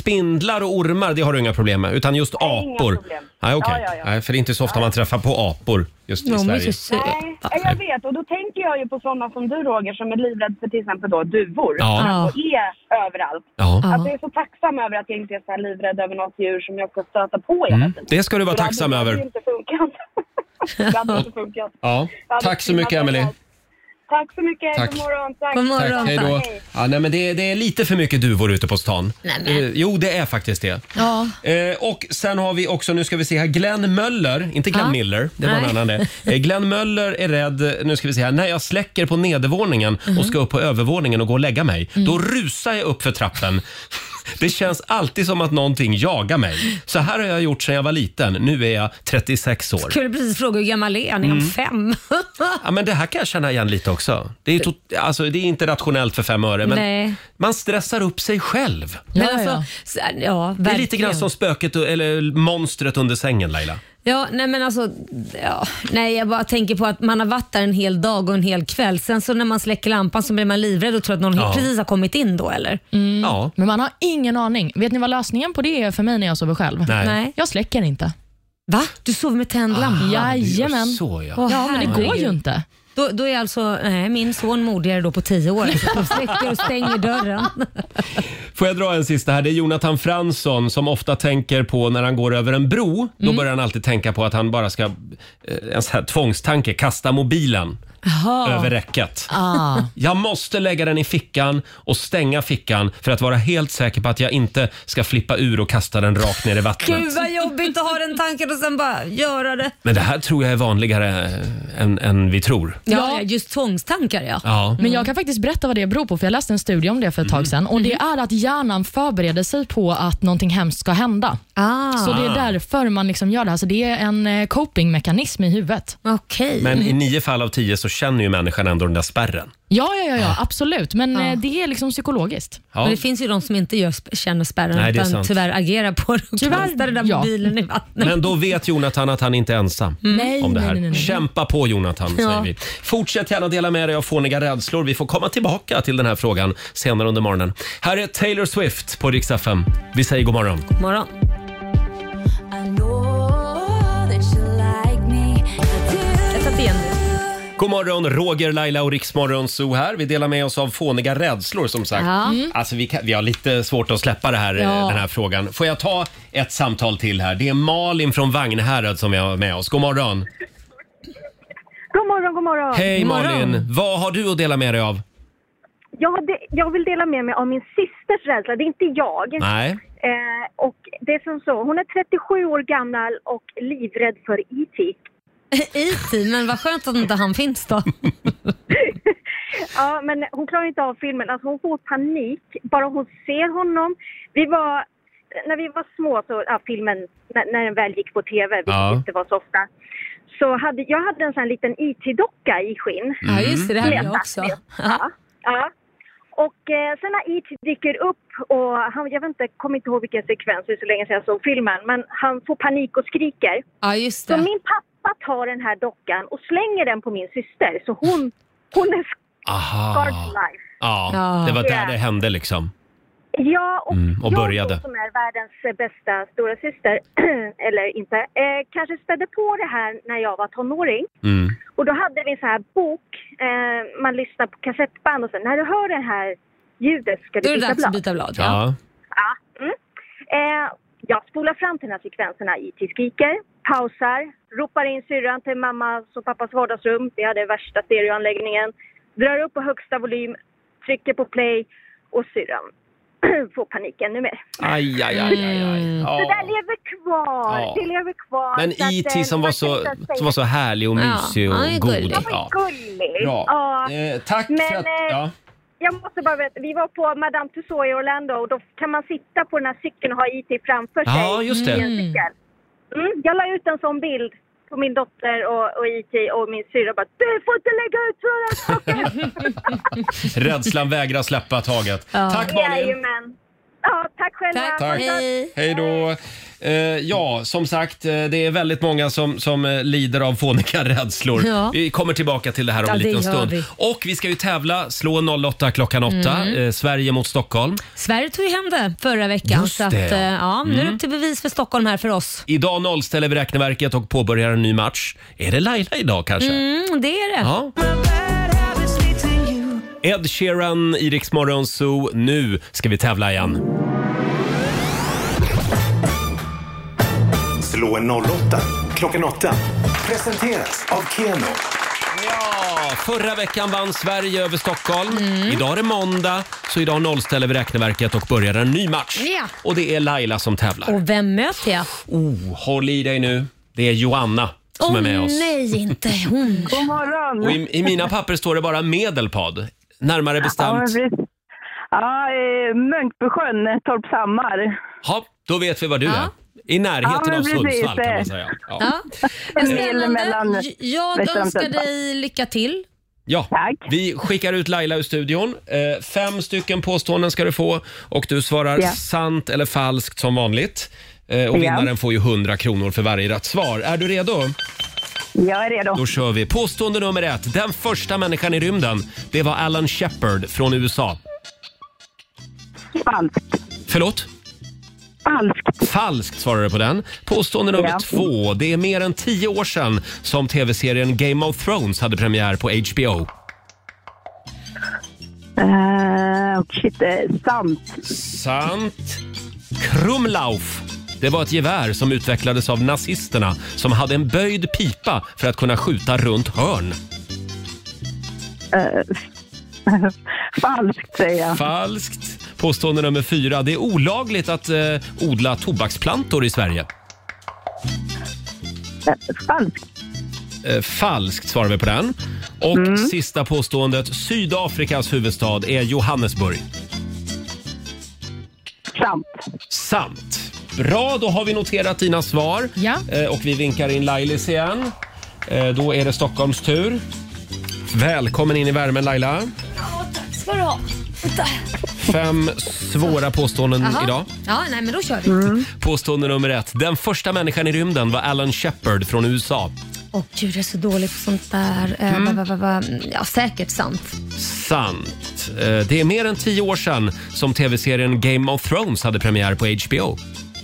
[SPEAKER 1] spindlar och ormar det har du inga problem med, utan just apor?
[SPEAKER 17] problem.
[SPEAKER 1] Nej, okej.
[SPEAKER 17] Ja, ja, ja.
[SPEAKER 1] Nej, för det är inte så ofta man träffar på apor just i Sverige.
[SPEAKER 17] Nej, ja, jag vet. Och då tänker jag ju på sådana som du Roger som är livrädd för till exempel då duvor.
[SPEAKER 1] Ja.
[SPEAKER 17] Som ändå är överallt.
[SPEAKER 1] Ja.
[SPEAKER 17] Alltså jag är så tacksam över att jag inte är så här livrädd över något djur som jag ska stöta på hela
[SPEAKER 1] Mm,
[SPEAKER 17] tiden.
[SPEAKER 1] det ska du vara
[SPEAKER 17] För
[SPEAKER 1] tacksam
[SPEAKER 17] hade
[SPEAKER 1] över.
[SPEAKER 17] ju inte funkat. [laughs] Det hade inte funkat.
[SPEAKER 1] Ja. Tack så mycket Emelie.
[SPEAKER 17] Tack så mycket.
[SPEAKER 1] Tack.
[SPEAKER 17] God morgon. Tack.
[SPEAKER 1] Tack, hej då. Ja, nej, men det, är- det är lite för mycket duvor ute på stan.
[SPEAKER 17] Nej, men.
[SPEAKER 1] Eh, jo, det är faktiskt det.
[SPEAKER 2] Ja.
[SPEAKER 1] Eh, och sen har vi också, nu ska vi se här, Glenn Möller, inte Glenn
[SPEAKER 2] Ja.
[SPEAKER 1] Miller, det var en
[SPEAKER 2] Nej.
[SPEAKER 1] annan
[SPEAKER 2] [laughs]
[SPEAKER 1] det. Eh, Glenn Möller är rädd, nu ska vi se här, när jag släcker på nedervåningen
[SPEAKER 2] Mm.
[SPEAKER 1] och ska upp på övervåningen och gå och lägga mig, då rusar jag upp för trappen. [laughs] Det känns alltid som att någonting jagar mig. Så här har jag gjort sedan jag var liten. Nu är jag 36 år.
[SPEAKER 2] Skulle precis fråga hur gammal är han? Är han
[SPEAKER 1] Mm.
[SPEAKER 2] fem? [laughs]
[SPEAKER 1] Ja, men det här kan jag känna igen lite också. Det är, tot- alltså, det är inte rationellt för fem öre, men
[SPEAKER 2] Nej.
[SPEAKER 1] man stressar upp sig själv.
[SPEAKER 2] Men alltså, så- ja,
[SPEAKER 1] Det är lite
[SPEAKER 2] verkligen.
[SPEAKER 1] grann som spöket eller monstret under sängen Laila.
[SPEAKER 2] Ja, nej men alltså, ja, nej jag bara tänker på att man har varit där en hel dag och en hel kväll. Sen så när man släcker lampan så blir man livrädd och tror att någon
[SPEAKER 5] Ja.
[SPEAKER 2] helt precis har kommit in då eller?
[SPEAKER 1] Ja.
[SPEAKER 5] Men man har ingen aning. Vet ni vad lösningen på det är för mig när jag sover själv?
[SPEAKER 2] Nej. Nej.
[SPEAKER 5] Jag släcker inte.
[SPEAKER 2] Va? Du sover med tänd
[SPEAKER 1] Ah,
[SPEAKER 2] lampa?
[SPEAKER 5] Jajamän.
[SPEAKER 1] Så, ja.
[SPEAKER 5] ja, men det går ju inte.
[SPEAKER 2] Då, då är alltså nej, min son modigare då på tio år. Då släcker och stänger dörren.
[SPEAKER 1] Får jag dra en sista här? Det är Jonathan Fransson som ofta tänker på när han går över en bro.
[SPEAKER 2] Mm.
[SPEAKER 1] Då börjar han alltid tänka på att han bara ska, eh, en sån här tvångstanke, kasta mobilen
[SPEAKER 2] Jaha.
[SPEAKER 1] över räcket.
[SPEAKER 5] Ah.
[SPEAKER 1] Jag måste lägga den i fickan och stänga fickan för att vara helt säker på att jag inte ska flippa ur och kasta den rakt ner i vattnet.
[SPEAKER 2] Gud vad jobbigt att ha den tanken och sen bara göra det.
[SPEAKER 1] Men det här tror jag är vanligare eh, än, än vi tror.
[SPEAKER 2] Ja, just tvångstankar ja.
[SPEAKER 1] Ja.
[SPEAKER 5] Men jag kan faktiskt berätta vad det beror på, för jag läste en studie om det för ett tag sedan. Och det är att hjärnan förbereder sig på att någonting hemskt ska hända.
[SPEAKER 2] Ah.
[SPEAKER 5] Så det är därför man liksom gör det här. Så det är en eh, copingmekanism i huvudet.
[SPEAKER 2] Okej.
[SPEAKER 1] Men i nio fall av tio så känner ju människan ändå den där spärren.
[SPEAKER 5] Ja, ja, ja, ja absolut. Men eh, det är liksom psykologiskt.
[SPEAKER 1] Ja.
[SPEAKER 2] Men det finns ju de som inte gör, sp- känner spärren
[SPEAKER 1] Nej, det är
[SPEAKER 2] utan
[SPEAKER 1] sant.
[SPEAKER 2] tyvärr agerar på det och
[SPEAKER 5] Tyvärr,
[SPEAKER 2] kastar den där
[SPEAKER 5] ja.
[SPEAKER 2] mobilen i vattnet.
[SPEAKER 1] Men då vet Jonathan att han inte är ensam
[SPEAKER 2] Mm. Nej,
[SPEAKER 1] om det
[SPEAKER 2] nej,
[SPEAKER 1] här.
[SPEAKER 2] nej, nej, nej.
[SPEAKER 1] Kämpa på Jonathan, säger
[SPEAKER 2] Ja.
[SPEAKER 1] vi. Fortsätt gärna dela med dig av fåniga rädslor. Vi får komma tillbaka till den här frågan senare under morgonen. Här är Taylor Swift på Rix FM. Vi säger god morgon.
[SPEAKER 2] God morgon. [laughs] Jag satte igen det.
[SPEAKER 1] God morgon, Roger, Laila och Riksmorgon Zoo här. Vi delar med oss av fåniga rädslor som sagt.
[SPEAKER 2] Ja. Mm.
[SPEAKER 1] Alltså vi, kan, vi har lite svårt att släppa det här, eh,
[SPEAKER 2] Ja.
[SPEAKER 1] den här frågan. Får jag ta ett samtal till här? Det är Malin från Vagnhärad som vi har med oss. God morgon.
[SPEAKER 4] God morgon, god morgon.
[SPEAKER 1] Hej Malin! Vad har du att dela med dig av?
[SPEAKER 4] Jag, hade, jag vill dela med mig av min systers rädsla, det är inte jag.
[SPEAKER 1] Nej.
[SPEAKER 4] Eh, och det är som så, hon är 37 år gammal och livrädd för E IT.
[SPEAKER 2] IT, men vad skönt att inte han finns då.
[SPEAKER 4] Ja, men hon klarar inte av filmen. Alltså hon får panik bara hon ser honom. Vi var, när vi var små, så, ja, filmen, när, när den väl gick på tv, vilket
[SPEAKER 19] Ja.
[SPEAKER 4] inte var så ofta, så hade jag hade en sån här liten IT-docka i skinn.
[SPEAKER 2] Ja, just det, det hade jag
[SPEAKER 4] Som satt
[SPEAKER 2] också.
[SPEAKER 4] med.
[SPEAKER 1] Mm.
[SPEAKER 4] Ja. ja. Och eh, sen när IT dyker upp och han, jag vet inte, kommer inte ihåg vilken sekvens, det är så länge sedan jag såg filmen, men han får panik och skriker.
[SPEAKER 2] Ja, just
[SPEAKER 4] Så min pappa tar den här dockan och slänger den på min syster, så hon, hon är
[SPEAKER 1] Ah. Aha.
[SPEAKER 4] scarred for life.
[SPEAKER 1] Ja, det var där det hände liksom.
[SPEAKER 4] Ja, och,
[SPEAKER 1] Mm, och
[SPEAKER 4] jag
[SPEAKER 1] började.
[SPEAKER 4] då som är världens eh, bästa stora syster [clears throat] eller inte, eh, kanske spädde på det här när jag var tonåring.
[SPEAKER 1] Mm.
[SPEAKER 4] Och då hade vi en sån här bok, eh, man lyssnar på kassettband och sen när du hör det här ljudet ska
[SPEAKER 2] Då
[SPEAKER 4] du
[SPEAKER 2] är det
[SPEAKER 4] byta
[SPEAKER 2] dags
[SPEAKER 4] blad.
[SPEAKER 2] att byta blad.
[SPEAKER 1] Ja.
[SPEAKER 4] Ja, mm. eh, jag spolar fram till den här sekvensen när IT skriker, pausar, ropar in syrran till mammas och pappas vardagsrum. Vi hade värsta stereoanläggningen. Drar upp på högsta volym, trycker på play och syrran [clears throat] får panik ännu mer.
[SPEAKER 1] Aj, aj, aj, aj, aj.
[SPEAKER 4] Det
[SPEAKER 1] Ja.
[SPEAKER 4] där lever kvar!
[SPEAKER 1] Ja.
[SPEAKER 4] Det lever kvar.
[SPEAKER 1] Men
[SPEAKER 4] Så att, eh,
[SPEAKER 1] IT som var,
[SPEAKER 4] man
[SPEAKER 1] så,
[SPEAKER 4] kan inte
[SPEAKER 1] som var så
[SPEAKER 4] säga-
[SPEAKER 1] härlig och mysig
[SPEAKER 4] han är
[SPEAKER 1] och god.
[SPEAKER 4] gullig. Han var gullig.
[SPEAKER 1] Bra.
[SPEAKER 4] Ja.
[SPEAKER 1] Eh, tack
[SPEAKER 4] Men,
[SPEAKER 1] för att...
[SPEAKER 4] eh,
[SPEAKER 1] Ja.
[SPEAKER 4] Jag måste bara veta, vi var på Madame Tussauds i Orlando och då kan man sitta på den här cykeln och ha IT framför
[SPEAKER 1] Ja,
[SPEAKER 4] sig.
[SPEAKER 1] just det.
[SPEAKER 4] i en cykel. Mm, jag la ut en sån bild på min dotter och, och IT och min syrra bara Du får inte lägga ut sådana
[SPEAKER 1] Rädslan vägrar släppa taget. Tack Malin!
[SPEAKER 4] Jajamän. Ja, tack själva!
[SPEAKER 1] Tack.
[SPEAKER 4] Hej.
[SPEAKER 1] Hej då! Eh, ja, som sagt, eh, det är väldigt många som, som eh, lider av fåniga rädslor.
[SPEAKER 2] Ja.
[SPEAKER 1] Vi kommer tillbaka till det här om
[SPEAKER 2] Ja,
[SPEAKER 1] en
[SPEAKER 2] det
[SPEAKER 1] liten
[SPEAKER 2] gör
[SPEAKER 1] stund.
[SPEAKER 2] vi.
[SPEAKER 1] Och vi ska ju tävla, slå 08 klockan 8,
[SPEAKER 2] Mm.
[SPEAKER 1] eh, Sverige mot Stockholm.
[SPEAKER 2] Sverige tog ju hem det förra veckan.
[SPEAKER 1] Just
[SPEAKER 2] så att,
[SPEAKER 1] det.
[SPEAKER 2] eh, ja, nu är det
[SPEAKER 1] Mm.
[SPEAKER 2] upp till bevis för Stockholm här för oss.
[SPEAKER 1] Idag nollställer vi räkneverket och påbörjar en ny match. Är det Laila idag kanske?
[SPEAKER 2] Mm, det är det.
[SPEAKER 1] Ja. Ed Sheeran, i Rix Morgon Zoo. Nu ska vi tävla igen.
[SPEAKER 3] Slå en 08 klockan 8. Presenteras av Keno.
[SPEAKER 1] Ja, förra veckan vann Sverige över Stockholm. Idag är det måndag, så idag nollställer vi räkneverket och börjar en ny match.
[SPEAKER 2] Ja.
[SPEAKER 1] Och det är Laila som tävlar.
[SPEAKER 2] Och vem möter jag?
[SPEAKER 1] Oh, håll i dig nu. Det är Joanna som
[SPEAKER 2] Åh
[SPEAKER 1] är med oss.
[SPEAKER 2] nej, inte
[SPEAKER 1] [laughs]
[SPEAKER 2] hon. God morgon.
[SPEAKER 1] Och i, I mina papper står det bara Medelpad. Närmare
[SPEAKER 19] Ja,
[SPEAKER 1] bestämt.
[SPEAKER 19] men precis. ja eh, Munkbysjön, Torpshammar.
[SPEAKER 1] Ja, då vet vi var du är. I närheten
[SPEAKER 19] Ja, men
[SPEAKER 1] av
[SPEAKER 19] precis.
[SPEAKER 1] Sundsvall kan man säga. Ja.
[SPEAKER 2] Ja.
[SPEAKER 19] En mil mellan
[SPEAKER 2] Spännande. J- Jag
[SPEAKER 19] Västra
[SPEAKER 2] önskar
[SPEAKER 19] Sundsvall.
[SPEAKER 2] dig lycka till.
[SPEAKER 1] Ja, vi skickar ut Laila ur studion. Eh, fem stycken påståenden ska du få och du svarar
[SPEAKER 19] Ja.
[SPEAKER 1] sant eller falskt som vanligt. Eh, och
[SPEAKER 19] Ja.
[SPEAKER 1] vinnaren får ju 100 kronor för varje rätt svar. Är du redo?
[SPEAKER 19] Jag är redo.
[SPEAKER 1] Då kör vi. Påstående nummer ett. Den första människan i rymden, det var Alan Shepard från USA.
[SPEAKER 19] Falskt.
[SPEAKER 1] Förlåt?
[SPEAKER 19] Falskt.
[SPEAKER 1] Falskt svarar du på den. Påstående nummer
[SPEAKER 19] Ja.
[SPEAKER 1] två. Det är mer än tio år sedan som tv-serien Game of Thrones hade premiär på HBO.
[SPEAKER 19] Eh, och shit, eh, sant.
[SPEAKER 1] Sant. Krumlauf. Det var ett gevär som utvecklades av nazisterna som hade en böjd pipa för att kunna skjuta runt hörn.
[SPEAKER 19] Eh, falskt säger jag.
[SPEAKER 1] Falskt. Påstående nummer fyra. Det är olagligt att eh, odla tobaksplantor i Sverige.
[SPEAKER 19] Eh, falskt.
[SPEAKER 1] Eh, falskt svarar vi på den. Och sista påståendet. Sydafrikas huvudstad är Johannesburg.
[SPEAKER 19] Sant.
[SPEAKER 1] Sant. Bra, då har vi noterat dina svar. Eh, Och vi vinkar in Lailis igen. Eh, Då är det Stockholms tur. Välkommen in i värmen Laila.
[SPEAKER 2] Ja, tack ska du ha.
[SPEAKER 1] Fem svåra påståenden
[SPEAKER 2] Jaha.
[SPEAKER 1] Mm, idag.
[SPEAKER 2] Ja, nej men då kör vi.
[SPEAKER 1] Påstående nummer ett. Den första människan i rymden var Alan Shepard från USA.
[SPEAKER 2] Åh gud, jag är så dålig på sånt där. Eh,
[SPEAKER 1] Mm.
[SPEAKER 2] va, va, va, va. Ja, säkert sant.
[SPEAKER 1] Sant. Eh, Det är mer än tio år sedan som tv-serien Game of Thrones hade premiär på HBO.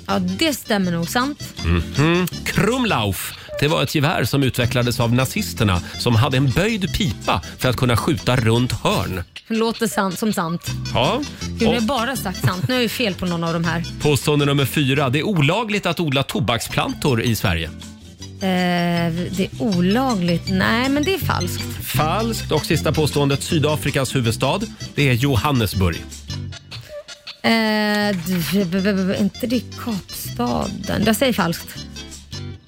[SPEAKER 2] Ja, det stämmer nog. Sant.
[SPEAKER 1] Mhm. Krumlauf. Det var ett gevär som utvecklades av nazisterna som hade en böjd pipa för att kunna skjuta runt hörn.
[SPEAKER 2] Låter sant som sant.
[SPEAKER 1] Ja.
[SPEAKER 2] Gud, jag har
[SPEAKER 1] Och
[SPEAKER 2] bara sagt sant. Nu är jag ju fel på någon av de här.
[SPEAKER 1] påstående nummer fyra. Det är olagligt att odla tobaksplantor i Sverige.
[SPEAKER 2] Eh, det är olagligt. Nej, men det är falskt.
[SPEAKER 1] Falskt. Och sista påståendet. Sydafrikas huvudstad. Det är Johannesburg.
[SPEAKER 2] Eh, d- b- b- b- inte det är Kapstaden. Jag säger falskt.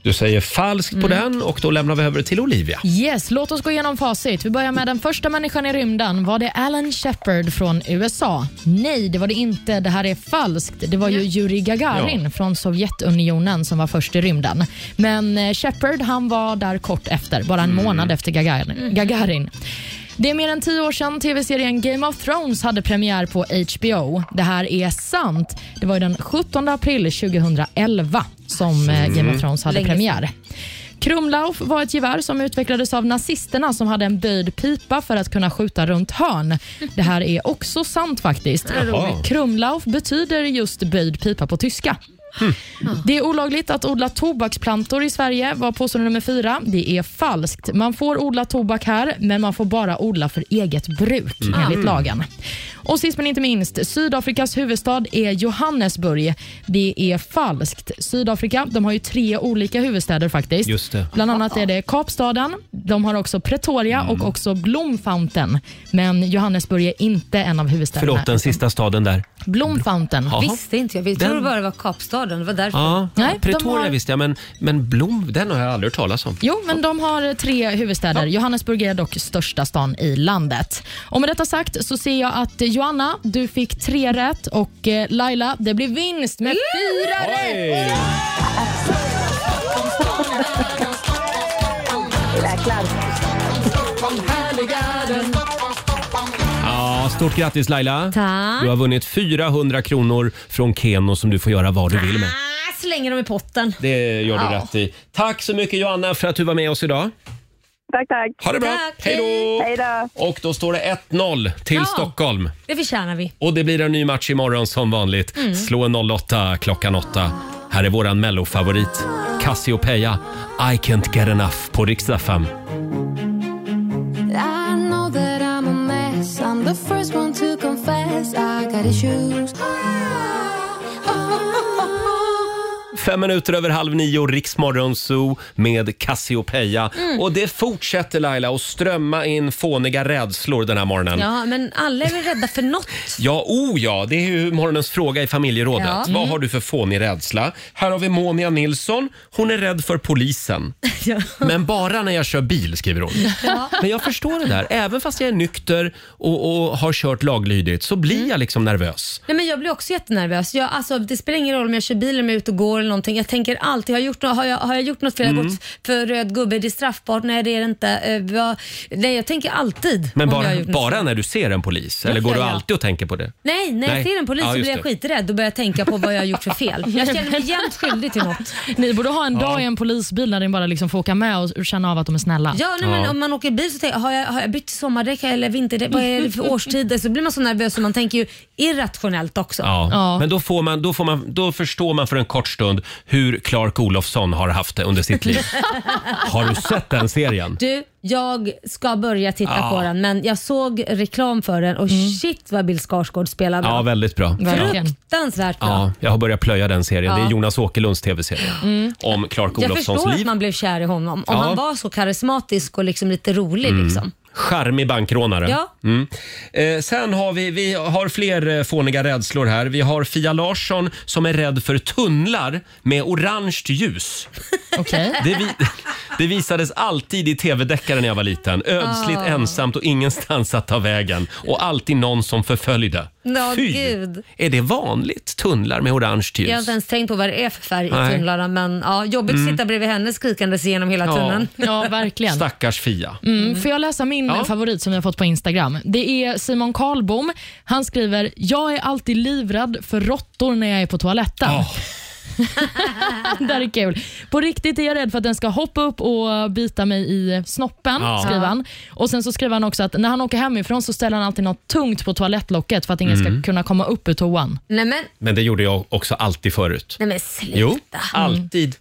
[SPEAKER 1] Du säger falskt på
[SPEAKER 5] Mm.
[SPEAKER 1] den och då lämnar vi över till Olivia.
[SPEAKER 5] Yes, låt oss gå igenom facit. Vi börjar med den första människan i rymden. Var det Alan Shepard från USA? Nej, det var det inte. Det här är falskt. Det var ju Yuri Gagarin
[SPEAKER 20] Ja.
[SPEAKER 5] från Sovjetunionen som var först i rymden. Men eh, Shepard han var där kort efter, bara en
[SPEAKER 20] Mm.
[SPEAKER 5] månad efter Gagarin.
[SPEAKER 20] Mhm.
[SPEAKER 5] Gagarin. Det är mer än tio år sedan tv-serien Game of Thrones hade premiär på HBO. Det här är sant. Det var ju den 17 april 2011 som eh, Game
[SPEAKER 20] Mm.
[SPEAKER 5] of Thrones hade
[SPEAKER 20] Länge sedan.
[SPEAKER 5] premiär. Krumlauf var ett gevär som utvecklades av nazisterna som hade en böjd pipa för att kunna skjuta runt hörn. Det här är också sant faktiskt.
[SPEAKER 20] Vad roligt.
[SPEAKER 5] Krumlauf betyder just böjd pipa på tyska. Det är olagligt att odla tobaksplantor i Sverige var påstående nummer fyra. Det är falskt. Man får odla tobak här, men man får bara odla för eget bruk
[SPEAKER 20] Mm.
[SPEAKER 5] enligt
[SPEAKER 20] Mm.
[SPEAKER 5] lagen. Och sist men inte minst, Sydafrikas huvudstad är Johannesburg. Det är falskt. Sydafrika de har ju tre olika huvudstäder faktiskt.
[SPEAKER 1] Just det.
[SPEAKER 5] Bland annat är det Kapstaden, de har också Pretoria
[SPEAKER 1] Mm.
[SPEAKER 5] och också Bloemfontein. Men Johannesburg är inte en av huvudstäderna.
[SPEAKER 1] Förlåt, den sista staden där.
[SPEAKER 5] Bloemfontein.
[SPEAKER 1] Jaha. Visste
[SPEAKER 2] inte jag. Vi
[SPEAKER 1] Den-
[SPEAKER 2] trodde bara det var Kapstaden. Det var därför.
[SPEAKER 1] Ja,
[SPEAKER 5] Nej, de
[SPEAKER 1] Pretoria
[SPEAKER 5] har-
[SPEAKER 1] visste jag, men, men Blom, den har jag aldrig hört talas om.
[SPEAKER 5] Jo, men de har tre huvudstäder. Johannesburg är dock största stan i landet. Och med detta sagt så ser jag att eh, Joanna, du fick tre rätt och eh, Laila, det blir vinst med fyra rätt.
[SPEAKER 20] Jäklar.
[SPEAKER 1] Ja, stort grattis Laila.
[SPEAKER 2] Tack.
[SPEAKER 1] Du har vunnit 400 kronor från Keno som du får göra vad du vill med.
[SPEAKER 2] Ah, slänger dem i potten.
[SPEAKER 1] Det gör du
[SPEAKER 2] Ja.
[SPEAKER 1] rätt i. Tack så mycket Joanna för att du var med oss idag.
[SPEAKER 2] Tack, tack.
[SPEAKER 1] Ha det bra. Hej då.
[SPEAKER 2] Hej då.
[SPEAKER 1] Och då står det 1-0 till
[SPEAKER 2] Ja.
[SPEAKER 1] Stockholm.
[SPEAKER 2] Det förtjänar vi.
[SPEAKER 1] Och det blir en ny match imorgon som vanligt.
[SPEAKER 2] Mm.
[SPEAKER 1] Slå en 08 klockan 8. Här är våran mellofavorit Cassiopeia. I can't get enough på riksdag 5.
[SPEAKER 13] I know that I'm a mess. I'm the first one to confess. I got issues.
[SPEAKER 1] Fem minuter över halv nio, Riksmorgon Zoo med Cassiopeia.
[SPEAKER 2] Mm.
[SPEAKER 1] Och det fortsätter Laila att strömma in fåniga rädslor den här morgonen. Ja,
[SPEAKER 2] Ja, men alla är väl rädda
[SPEAKER 1] [laughs]
[SPEAKER 2] för något.
[SPEAKER 1] oh ja, det är ju morgonens fråga i familjerådet.
[SPEAKER 2] Ja.
[SPEAKER 1] Vad
[SPEAKER 2] Mm.
[SPEAKER 1] har du för fånig rädsla? Här har vi Monia Nilsson. Hon är rädd för polisen. Men bara när jag kör bil, skriver hon.
[SPEAKER 2] Ja.
[SPEAKER 1] Men jag förstår det där. Även fast jag är nykter och, och har kört laglydigt så blir jag liksom nervös.
[SPEAKER 2] Nej, men jag blir också jättenervös. Jag, alltså, det spelar ingen roll om jag kör bil, om jag är ute och går eller någonting. Jag tänker alltid, har jag gjort, no- har jag, har jag gjort något fel? Har jag
[SPEAKER 1] Mm.
[SPEAKER 2] gått för röd gubbe? Är det straffbart? Nej, det är det inte. Eh, vad- nej, jag tänker alltid
[SPEAKER 1] Men
[SPEAKER 2] om jag
[SPEAKER 1] bara,
[SPEAKER 2] har gjort något
[SPEAKER 1] bara
[SPEAKER 2] fel.
[SPEAKER 1] när du ser en polis? Eller
[SPEAKER 2] Ja,
[SPEAKER 1] går
[SPEAKER 2] ja,
[SPEAKER 1] du
[SPEAKER 2] ja.
[SPEAKER 1] alltid och tänker på det?
[SPEAKER 2] Nej, nej,
[SPEAKER 1] Nej.
[SPEAKER 2] ser en polis
[SPEAKER 1] Ja,
[SPEAKER 2] så
[SPEAKER 1] och
[SPEAKER 2] blir
[SPEAKER 1] just
[SPEAKER 2] jag
[SPEAKER 1] det.
[SPEAKER 2] skiträdd och börjar tänka på vad jag har gjort
[SPEAKER 1] [laughs]
[SPEAKER 2] för fel. Jag känner mig jämt skyldig till något.
[SPEAKER 5] Ni borde ha en
[SPEAKER 2] Ja.
[SPEAKER 5] dag i en polisbil när ni bara liksom får åka med och känna av att de är snälla.
[SPEAKER 2] Ja, nej, men om man åker bil så tänker jag, har jag, har jag bytt till sommardäck eller vinterdäck? Vad är
[SPEAKER 1] [laughs]
[SPEAKER 2] det för årstider? Så blir man så nervös och man tänker ju irrationellt också.
[SPEAKER 1] Ja. Men då, får man, då, får man, då förstår man för en kort stund hur Clark Olofsson har haft det under sitt
[SPEAKER 2] [laughs]
[SPEAKER 1] liv. Har du sett den serien?
[SPEAKER 2] Du, jag ska börja titta
[SPEAKER 1] Ja.
[SPEAKER 2] på den men jag såg reklam för den och
[SPEAKER 5] Mm.
[SPEAKER 2] shit vad Bill Skarsgård spelar bra.
[SPEAKER 1] Ja, väldigt bra. Ja.
[SPEAKER 2] Fruktansvärt bra.
[SPEAKER 1] Ja, jag har börjat plöja den serien. Det är
[SPEAKER 2] Ja.
[SPEAKER 1] Jonas Åkerlunds tv-serie
[SPEAKER 2] Mm.
[SPEAKER 1] om Clark
[SPEAKER 2] Jag
[SPEAKER 1] Olofssons
[SPEAKER 2] förstår att
[SPEAKER 1] liv.
[SPEAKER 2] man blev kär i honom om
[SPEAKER 1] Ja.
[SPEAKER 2] han var så karismatisk och liksom lite rolig.
[SPEAKER 1] Mm.
[SPEAKER 2] Liksom.
[SPEAKER 1] Charmig bankrånare.
[SPEAKER 2] Ja.
[SPEAKER 1] Mm. Eh, sen har vi, vi har fler eh, fåniga rädslor här. Vi har Fia Larsson som är rädd för tunnlar med orange ljus.
[SPEAKER 5] Okej.
[SPEAKER 1] Det, vi, [laughs] det visades alltid i tv-deckare när jag var liten. Ödsligt,
[SPEAKER 2] Ah.
[SPEAKER 1] ensamt och ingenstans att ta vägen. Och alltid någon som förföljde.
[SPEAKER 2] Ja,
[SPEAKER 1] Fy!
[SPEAKER 2] gud.
[SPEAKER 1] Är det vanligt tunnlar med orange ljus?
[SPEAKER 2] Jag har inte ens tänkt på vad det är för färg i
[SPEAKER 1] Nej.
[SPEAKER 2] tunnlarna men ja, jobbigt att
[SPEAKER 1] Mm.
[SPEAKER 2] sitta bredvid henne skrikandes igenom hela
[SPEAKER 1] Ja.
[SPEAKER 2] tunneln.
[SPEAKER 5] Ja, verkligen.
[SPEAKER 1] Stackars Fia.
[SPEAKER 5] Mm, får jag läsa min
[SPEAKER 1] Ja.
[SPEAKER 5] favorit som jag fått på Instagram? Det är Simon Karlbom. Han skriver “Jag är alltid livrädd för råttor när jag är på toaletten”.
[SPEAKER 1] Ah.
[SPEAKER 5] det här är kul. På riktigt är jag rådd för att den ska hoppa upp och bita mig i snoppen,
[SPEAKER 12] Ja.
[SPEAKER 5] skriver han. Och Sen så skriver han också att när han åker hemifrån så ställer han alltid något tungt på toalettlocket för att ingen
[SPEAKER 1] Mm.
[SPEAKER 5] ska kunna komma upp ur toan.
[SPEAKER 2] Nej men,
[SPEAKER 1] Men det gjorde jag också alltid förut.
[SPEAKER 2] nej men sluta.
[SPEAKER 1] Jo, alltid.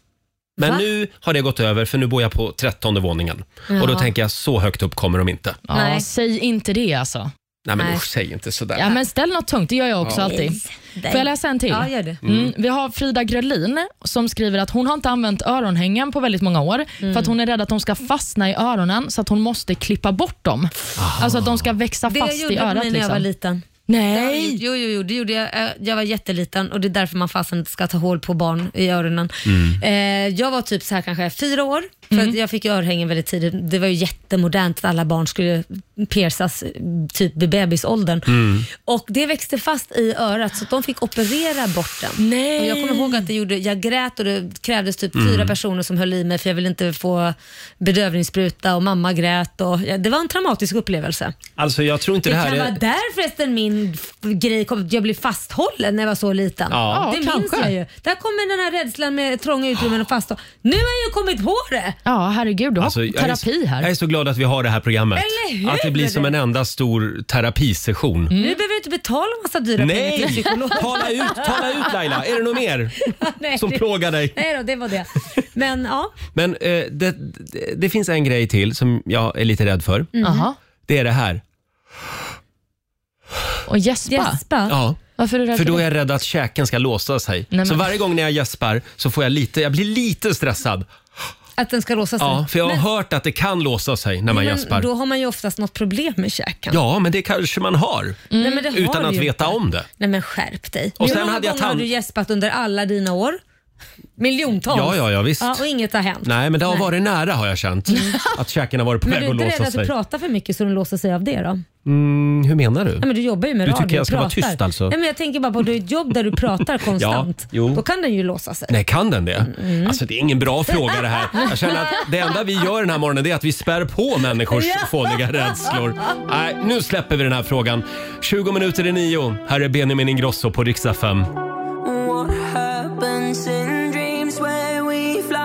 [SPEAKER 1] Men
[SPEAKER 2] Va?
[SPEAKER 1] nu har det gått över för nu bor jag på trettonde våningen.
[SPEAKER 5] Ja.
[SPEAKER 1] Och då tänker jag, så högt upp kommer de inte.
[SPEAKER 5] Ja, säg inte det alltså.
[SPEAKER 1] Nej men
[SPEAKER 5] Nej.
[SPEAKER 1] usch, säg inte sådär.
[SPEAKER 5] Ja, men ställ något tungt, det gör jag också
[SPEAKER 1] Ja.
[SPEAKER 5] alltid.
[SPEAKER 2] Nej.
[SPEAKER 5] Får jag läsa en till?
[SPEAKER 2] Ja, gör det.
[SPEAKER 5] Mm.
[SPEAKER 2] Mm.
[SPEAKER 5] Vi har Frida Grölin som skriver att hon har inte använt öronhängen på väldigt många år för
[SPEAKER 2] Mm.
[SPEAKER 5] att hon är rädd att de ska fastna i öronen så att hon måste klippa bort dem. Alltså att de ska växa
[SPEAKER 2] Det
[SPEAKER 5] fast
[SPEAKER 2] gjorde
[SPEAKER 5] i
[SPEAKER 2] jag
[SPEAKER 5] örat. liksom.
[SPEAKER 2] när jag var liten.
[SPEAKER 5] Nej!
[SPEAKER 2] Jo, jo, jo, det gjorde jag. Eh, Jag var jätteliten och det är därför man fasen inte ska ta hål på barn i öronen.
[SPEAKER 12] Mm.
[SPEAKER 2] Eh, jag var typ så här kanske fyra år, för att jag fick ju örhängen väldigt tidigt. Det var ju jättemodernt att alla barn skulle piercas eh, typ vid bebisåldern.
[SPEAKER 12] Mm.
[SPEAKER 2] Och det växte fast i örat så att de fick operera bort den.
[SPEAKER 5] Nej.
[SPEAKER 2] Och jag kommer ihåg att det gjorde, jag grät och det krävdes typ
[SPEAKER 12] Mm.
[SPEAKER 2] fyra personer som höll i mig för jag ville inte få bedövningsspruta och mamma grät. Och, ja, det var en traumatisk upplevelse.
[SPEAKER 1] Alltså jag tror inte
[SPEAKER 2] Det,
[SPEAKER 1] det,
[SPEAKER 2] kan
[SPEAKER 1] här
[SPEAKER 2] vara
[SPEAKER 1] är...
[SPEAKER 2] där förresten min f- grej kom, jag blev fasthållen när jag var så liten.
[SPEAKER 1] Ja.
[SPEAKER 2] det
[SPEAKER 1] Ja,
[SPEAKER 2] minns
[SPEAKER 1] kanske.
[SPEAKER 2] jag ju. Där kommer den här rädslan med trånga utrymmen och fast. Nu har jag ju kommit på det!
[SPEAKER 5] Ja, herregud. Du har
[SPEAKER 1] Alltså, jag, är, så-
[SPEAKER 5] terapi här.
[SPEAKER 1] jag är så glad att vi har det här programmet.
[SPEAKER 2] Eller hur? Mm.
[SPEAKER 1] Att det blir som en enda stor terapisession.
[SPEAKER 2] Nu behöver du inte betala massa dyra pengar till
[SPEAKER 1] Mm. Nej!
[SPEAKER 2] psykolog.
[SPEAKER 1] Tala ut, tala ut Laila! Är det något mer
[SPEAKER 2] [laughs] Nej,
[SPEAKER 1] som
[SPEAKER 2] det-
[SPEAKER 1] plågar dig?
[SPEAKER 2] Nej då, det var det. Men ja.
[SPEAKER 1] Men eh, det, det, det finns en grej till som jag är lite rädd för.
[SPEAKER 5] Mm.
[SPEAKER 2] Mhm. Jaha.
[SPEAKER 1] Det är det här.
[SPEAKER 5] Och gäspa.
[SPEAKER 2] gäspa?
[SPEAKER 1] Ja.
[SPEAKER 5] Varför är du rädd
[SPEAKER 1] För
[SPEAKER 5] för
[SPEAKER 1] då är
[SPEAKER 5] det?
[SPEAKER 1] jag rädd att käken ska låsa sig.
[SPEAKER 5] Nej, men-
[SPEAKER 1] så varje gång när jag gäspar så får jag lite, jag blir lite stressad.
[SPEAKER 2] Att den ska låsa sig.
[SPEAKER 1] Ja, för jag har
[SPEAKER 2] Men-
[SPEAKER 1] hört att det kan låsa sig när man
[SPEAKER 2] men
[SPEAKER 1] gäspar.
[SPEAKER 2] Då har man ju oftast något problem med käken.
[SPEAKER 1] Ja, men det kanske man har.
[SPEAKER 2] Nej, men det har
[SPEAKER 1] utan
[SPEAKER 2] du
[SPEAKER 1] att
[SPEAKER 2] ju
[SPEAKER 1] veta om det.
[SPEAKER 2] Nej men skärp dig.
[SPEAKER 1] Och
[SPEAKER 2] Hur
[SPEAKER 1] sen
[SPEAKER 2] många
[SPEAKER 1] hade jag
[SPEAKER 2] gånger har
[SPEAKER 1] tand-
[SPEAKER 2] du gäspat under alla dina år? Miljontals.
[SPEAKER 1] Ja, ja, ja, visst.
[SPEAKER 2] och inget har hänt.
[SPEAKER 1] Nej, men det har varit nära har jag känt. Att käken har varit på
[SPEAKER 2] Mm. Men
[SPEAKER 1] väg
[SPEAKER 2] du är
[SPEAKER 1] att låsa
[SPEAKER 2] inte rädd att du
[SPEAKER 1] sig.
[SPEAKER 2] pratar för mycket så den låser sig av det då?
[SPEAKER 1] Mm, hur menar du?
[SPEAKER 2] Ja, men du jobbar ju med
[SPEAKER 1] Du
[SPEAKER 2] radio
[SPEAKER 1] tycker jag
[SPEAKER 2] och
[SPEAKER 1] ska vara
[SPEAKER 2] pratar.
[SPEAKER 1] tyst alltså?
[SPEAKER 2] Nej, men jag tänker bara på att du har ett
[SPEAKER 1] [laughs]
[SPEAKER 2] jobb där du pratar konstant.
[SPEAKER 1] Ja, jo.
[SPEAKER 2] Då kan den ju låsa sig.
[SPEAKER 1] Nej, kan den det?
[SPEAKER 2] Mm.
[SPEAKER 1] Alltså det är ingen bra fråga det här. Jag känner att det enda vi gör den här morgonen det är att vi spär på människors
[SPEAKER 2] Ja.
[SPEAKER 1] fåniga rädslor. Nej, nu släpper vi den här frågan. 20 minuter i nio. Här är Benjamin Ingrosso på riksdag 5.
[SPEAKER 12] What happens in dreams when we fly?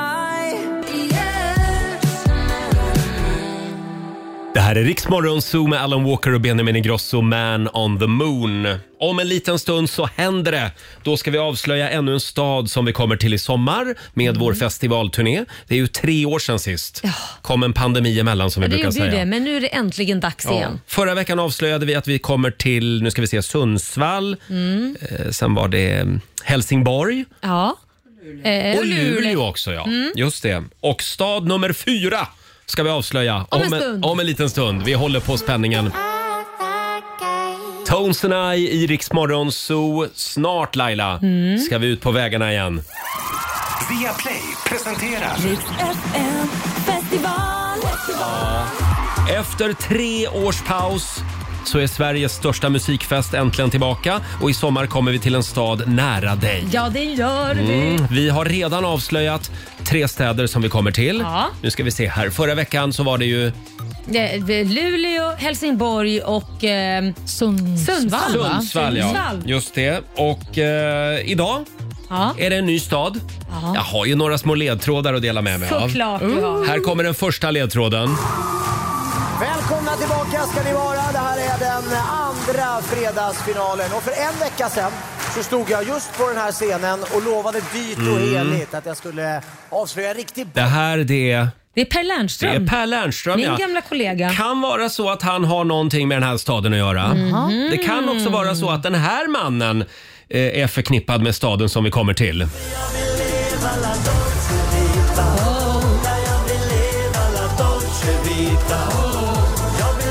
[SPEAKER 1] Det här är Riksmorgon Zoo med Alan Walker och Benjamin Ingrosso, Man on the Moon. Om en liten stund så händer det. Då ska vi avslöja ännu en stad som vi kommer till i sommar med
[SPEAKER 2] Mm.
[SPEAKER 1] vår festivalturné. Det är ju tre år sedan sist. kom en pandemi emellan som vi
[SPEAKER 2] Ja, det
[SPEAKER 1] brukar
[SPEAKER 2] gjorde
[SPEAKER 1] säga.
[SPEAKER 2] ju det, men nu är det äntligen dags igen.
[SPEAKER 1] Förra veckan avslöjade vi att vi kommer till, nu ska vi se, Sundsvall.
[SPEAKER 2] Mm.
[SPEAKER 1] Eh, sen var det eh, Helsingborg.
[SPEAKER 2] Ja. Eh,
[SPEAKER 1] och Luleå, också ja.
[SPEAKER 2] Mm.
[SPEAKER 1] Just det. Och stad nummer fyra ska vi avslöja
[SPEAKER 2] Om en stund.
[SPEAKER 1] om en liten stund. Vi håller på spänningen. Tones and I i Rix Morgon Zoo. Snart Laila
[SPEAKER 3] Mm.
[SPEAKER 1] ska vi ut på vägarna igen.
[SPEAKER 3] Via Play presenterar...
[SPEAKER 1] Efter tre års paus så är Sveriges största musikfest äntligen tillbaka och i sommar kommer vi till en stad nära dig.
[SPEAKER 2] Ja, det gör vi.
[SPEAKER 1] Mm. Vi har redan avslöjat tre städer som vi kommer till.
[SPEAKER 2] Ja.
[SPEAKER 1] Nu ska vi se här. Förra veckan så var det ju
[SPEAKER 2] Det är Luleå, Helsingborg och eh, Sundsvall. va?
[SPEAKER 1] Sundsvall. Ja.
[SPEAKER 2] Sundsvall.
[SPEAKER 1] Just det. Och eh, idag
[SPEAKER 2] Ja.
[SPEAKER 1] är det en ny stad.
[SPEAKER 2] Ja.
[SPEAKER 1] Jag har ju några små ledtrådar att dela med mig
[SPEAKER 2] Såklart
[SPEAKER 1] av.
[SPEAKER 2] du har.
[SPEAKER 1] Här kommer den första ledtråden.
[SPEAKER 20] Välkomna tillbaka ska ni vara. Det här är den andra fredagsfinalen. Och för en vecka sedan så stod jag just på den här scenen och lovade dyrt och
[SPEAKER 1] Mm.
[SPEAKER 20] heligt att jag skulle avslöja riktigt
[SPEAKER 1] Det här det är,
[SPEAKER 2] Det är Per
[SPEAKER 1] det
[SPEAKER 2] Lernström.
[SPEAKER 1] är Per Lernström.
[SPEAKER 2] Min
[SPEAKER 1] ja.
[SPEAKER 2] gamla kollega.
[SPEAKER 1] kan vara så att han har någonting med den här staden att göra.
[SPEAKER 2] Mhm.
[SPEAKER 1] Det kan också vara så att den här mannen eh, är förknippad med staden som vi kommer till.
[SPEAKER 20] Dolce Vita. Jag vill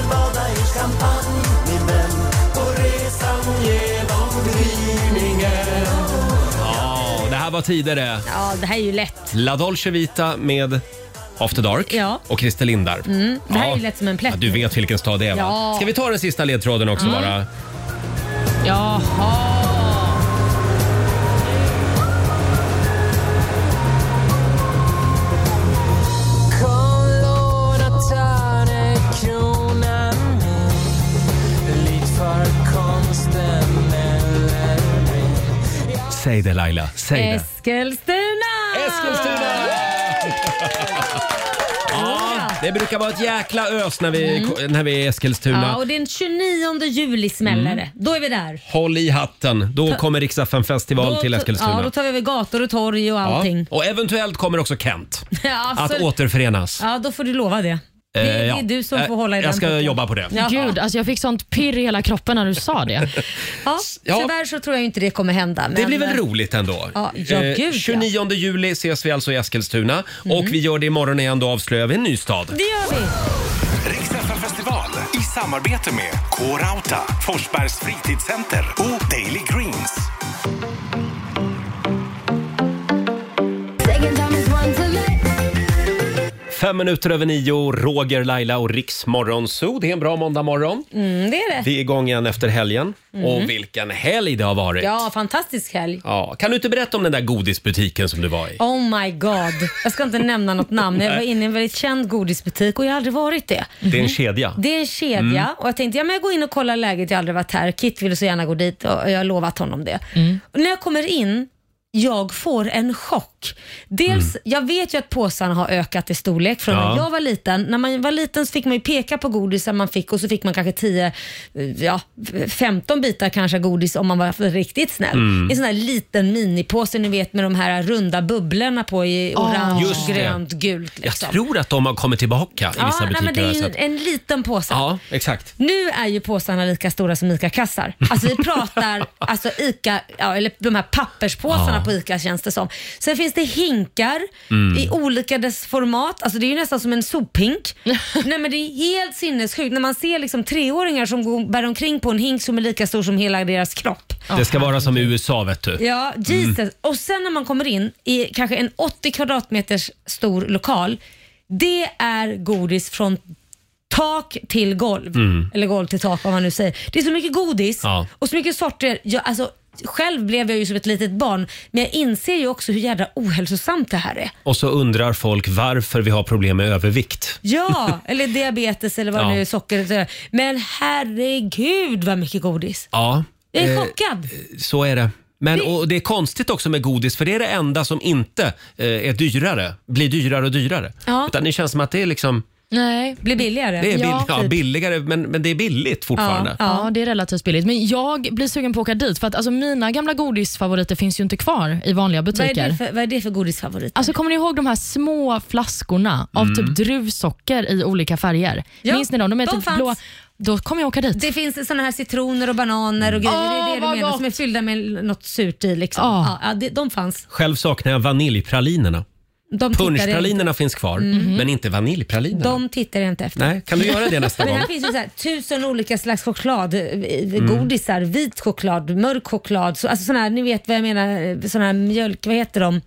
[SPEAKER 1] vad tider det är.
[SPEAKER 2] Ja, det här är ju lätt.
[SPEAKER 1] La Dolce Vita med After Dark
[SPEAKER 2] Ja.
[SPEAKER 1] och Christer Lindar.
[SPEAKER 2] Mm, det här
[SPEAKER 1] Ja.
[SPEAKER 2] är ju lätt som en
[SPEAKER 1] Ja,
[SPEAKER 2] plätt.
[SPEAKER 1] du vet vilken stad det är va?
[SPEAKER 2] Ja.
[SPEAKER 1] Ska vi ta den sista ledtråden också
[SPEAKER 2] Mm.
[SPEAKER 1] bara?
[SPEAKER 5] Jaha.
[SPEAKER 15] Kom låt att ta dig kronan min Lik för konsten melodi
[SPEAKER 1] Säg det Laila, säg det.
[SPEAKER 2] Eskilstuna! [laughs]
[SPEAKER 15] Eskilstuna!
[SPEAKER 1] Ja, det brukar vara ett jäkla ös när vi, när vi är i Eskilstuna.
[SPEAKER 2] Mm. Ja, och den 29 juli
[SPEAKER 1] Mm.
[SPEAKER 2] smäller det. Då är vi där.
[SPEAKER 1] Håll i hatten, då
[SPEAKER 2] Ta-
[SPEAKER 1] kommer Rix FM festival
[SPEAKER 2] Då-
[SPEAKER 1] till Eskilstuna.
[SPEAKER 2] Ja, då tar vi över gator och torg och
[SPEAKER 1] Ja,
[SPEAKER 2] allting.
[SPEAKER 1] Och eventuellt kommer också Kent
[SPEAKER 2] [laughs] Ja,
[SPEAKER 1] att
[SPEAKER 2] så-
[SPEAKER 1] återförenas.
[SPEAKER 2] Ja, då får du lova det. Det,
[SPEAKER 1] Eh,
[SPEAKER 2] det är
[SPEAKER 1] ja.
[SPEAKER 2] du som
[SPEAKER 1] Eh,
[SPEAKER 2] får hålla i den
[SPEAKER 1] Jag ska
[SPEAKER 2] pucken.
[SPEAKER 1] jobba på det.
[SPEAKER 5] Gud, alltså jag fick sånt pirr i hela kroppen när du sa det.
[SPEAKER 2] [laughs] Ja,
[SPEAKER 1] Ja.
[SPEAKER 2] tyvärr så tror jag inte det kommer hända.
[SPEAKER 1] Det
[SPEAKER 2] men- eh,
[SPEAKER 1] blir väl roligt ändå?
[SPEAKER 2] Ja, ja,
[SPEAKER 1] Eh,
[SPEAKER 2] gud, ja. Mm.
[SPEAKER 1] 29 juli ses vi alltså i Eskilstuna och vi gör det imorgon igen. Då avslöjar vi en ny stad.
[SPEAKER 2] Det gör vi.
[SPEAKER 3] festival i samarbete med K-Rauta, Forsbergs fritidscenter och Daily Greens.
[SPEAKER 13] Second time is one too many.
[SPEAKER 1] Fem minuter över nio, Roger, Laila och Riks Morgonzoo. Det är en bra måndagmorgon.
[SPEAKER 2] Mm, det är det.
[SPEAKER 1] Vi är igång igen efter helgen.
[SPEAKER 2] Mm.
[SPEAKER 1] Och vilken helg det har varit!
[SPEAKER 2] Ja, fantastisk helg.
[SPEAKER 1] Ja, Kan du inte berätta om den där godisbutiken som du var i?
[SPEAKER 2] Oh my god. Jag ska inte nämna något
[SPEAKER 1] [laughs]
[SPEAKER 2] namn. Jag var inne i en väldigt känd godisbutik och jag har aldrig varit det.
[SPEAKER 1] Det är en kedja.
[SPEAKER 2] Det är en kedja
[SPEAKER 1] Mm.
[SPEAKER 2] och jag tänkte ja, men jag går in och kollar läget. Jag har aldrig varit här. Kit ville så gärna gå dit och jag har lovat honom det.
[SPEAKER 1] Mm.
[SPEAKER 2] Och när jag kommer in, jag får en chock. Dels,
[SPEAKER 1] Mm.
[SPEAKER 2] jag vet ju att påsarna har ökat i storlek från
[SPEAKER 5] Ja.
[SPEAKER 2] när jag var liten. När man var liten så fick man ju peka på godisen man fick och så fick man kanske 10, eh, ja 15 bitar kanske godis om man var riktigt snäll.
[SPEAKER 5] Mm.
[SPEAKER 2] I en sån här liten minipåse ni vet med de här runda bubblorna på i
[SPEAKER 5] Ah.
[SPEAKER 2] orange,
[SPEAKER 1] Just det.
[SPEAKER 2] grönt, gult. Liksom.
[SPEAKER 1] Jag tror att de har kommit tillbaka i
[SPEAKER 2] Ja,
[SPEAKER 1] vissa
[SPEAKER 2] nej,
[SPEAKER 1] butiker.
[SPEAKER 2] men det är
[SPEAKER 1] har
[SPEAKER 2] ju
[SPEAKER 1] jag sett.
[SPEAKER 2] en liten påse.
[SPEAKER 1] Ja, exakt.
[SPEAKER 2] Nu är ju påsarna lika stora som ICA-kassar. Alltså vi pratar alltså ICA, ja, eller de här papperspåsarna
[SPEAKER 5] Ja.
[SPEAKER 2] på ICA känns det som. Sen finns det hinkar
[SPEAKER 5] Mm.
[SPEAKER 2] i olika dess format. Alltså det är ju nästan som en
[SPEAKER 5] [laughs]
[SPEAKER 2] sophink. Nej men det är helt sinnessjukt när man ser liksom treåringar som går, bär omkring på en hink som är lika stor som hela deras kropp.
[SPEAKER 1] Det ska vara som i USA, vet du.
[SPEAKER 2] Ja, Jesus.
[SPEAKER 1] Mm.
[SPEAKER 2] Och sen när man kommer in i kanske en 80 kvadratmeters stor lokal. Det är godis från tak till golv.
[SPEAKER 1] Mm.
[SPEAKER 2] Eller golv till tak vad man nu säger. Det är så mycket godis
[SPEAKER 1] Ja.
[SPEAKER 2] och så mycket sorter. Jag, alltså, själv blev jag ju som ett litet barn, men jag inser ju också hur jädra ohälsosamt det
[SPEAKER 1] [laughs]
[SPEAKER 2] här är.
[SPEAKER 1] Och så undrar folk varför vi har problem med övervikt.
[SPEAKER 2] Ja, eller diabetes eller vad
[SPEAKER 1] Ja.
[SPEAKER 2] det nu är, socker. Men herregud vad mycket godis.
[SPEAKER 1] Ja,
[SPEAKER 2] Jag är
[SPEAKER 1] eh,
[SPEAKER 2] chockad.
[SPEAKER 1] så är det. Men och det är konstigt också med godis för det är det enda som inte eh, är dyrare, blir dyrare och dyrare.
[SPEAKER 2] Ja.
[SPEAKER 1] Utan det känns som att det är liksom
[SPEAKER 5] Nej.
[SPEAKER 2] Blir billigare.
[SPEAKER 1] det är bill- ja, typ. billigare, men, men det är billigt fortfarande.
[SPEAKER 5] Ja, ja, det är relativt billigt. Men jag blir sugen på att åka dit för att alltså, mina gamla godisfavoriter finns ju inte kvar i vanliga
[SPEAKER 2] Vad är,
[SPEAKER 5] butiker.
[SPEAKER 2] det för, vad är det för godisfavorit?
[SPEAKER 5] Alltså kommer ni ihåg de här små flaskorna av
[SPEAKER 2] Mm.
[SPEAKER 5] typ druvsocker i olika färger?
[SPEAKER 2] Ja,
[SPEAKER 5] Minns ni dem? De är
[SPEAKER 2] de
[SPEAKER 5] typ
[SPEAKER 2] fanns.
[SPEAKER 5] blåa. Då kommer jag åka dit.
[SPEAKER 2] Det finns såna här citroner och bananer
[SPEAKER 1] Mm.
[SPEAKER 2] och grejer. det är det du
[SPEAKER 5] vad
[SPEAKER 2] menar som är fyllda med något surt i. Liksom.
[SPEAKER 1] Ah.
[SPEAKER 2] Ja, ja, det, de fanns.
[SPEAKER 1] Själv saknar jag vaniljpralinerna.
[SPEAKER 2] De tittar
[SPEAKER 1] Punschpralinerna finns kvar,
[SPEAKER 2] Mhm.
[SPEAKER 1] men inte vaniljpralinerna.
[SPEAKER 2] De tittar jag inte efter.
[SPEAKER 1] Nej, kan du göra det [laughs] nästa
[SPEAKER 2] Men
[SPEAKER 1] gång?
[SPEAKER 2] här finns ju så här, tusen olika slags choklad, eh,
[SPEAKER 1] Mm.
[SPEAKER 2] godisar, vit choklad, mörk choklad. Så, alltså såna här, ni vet vad jag menar, eh, såna här mjölk, vad heter de?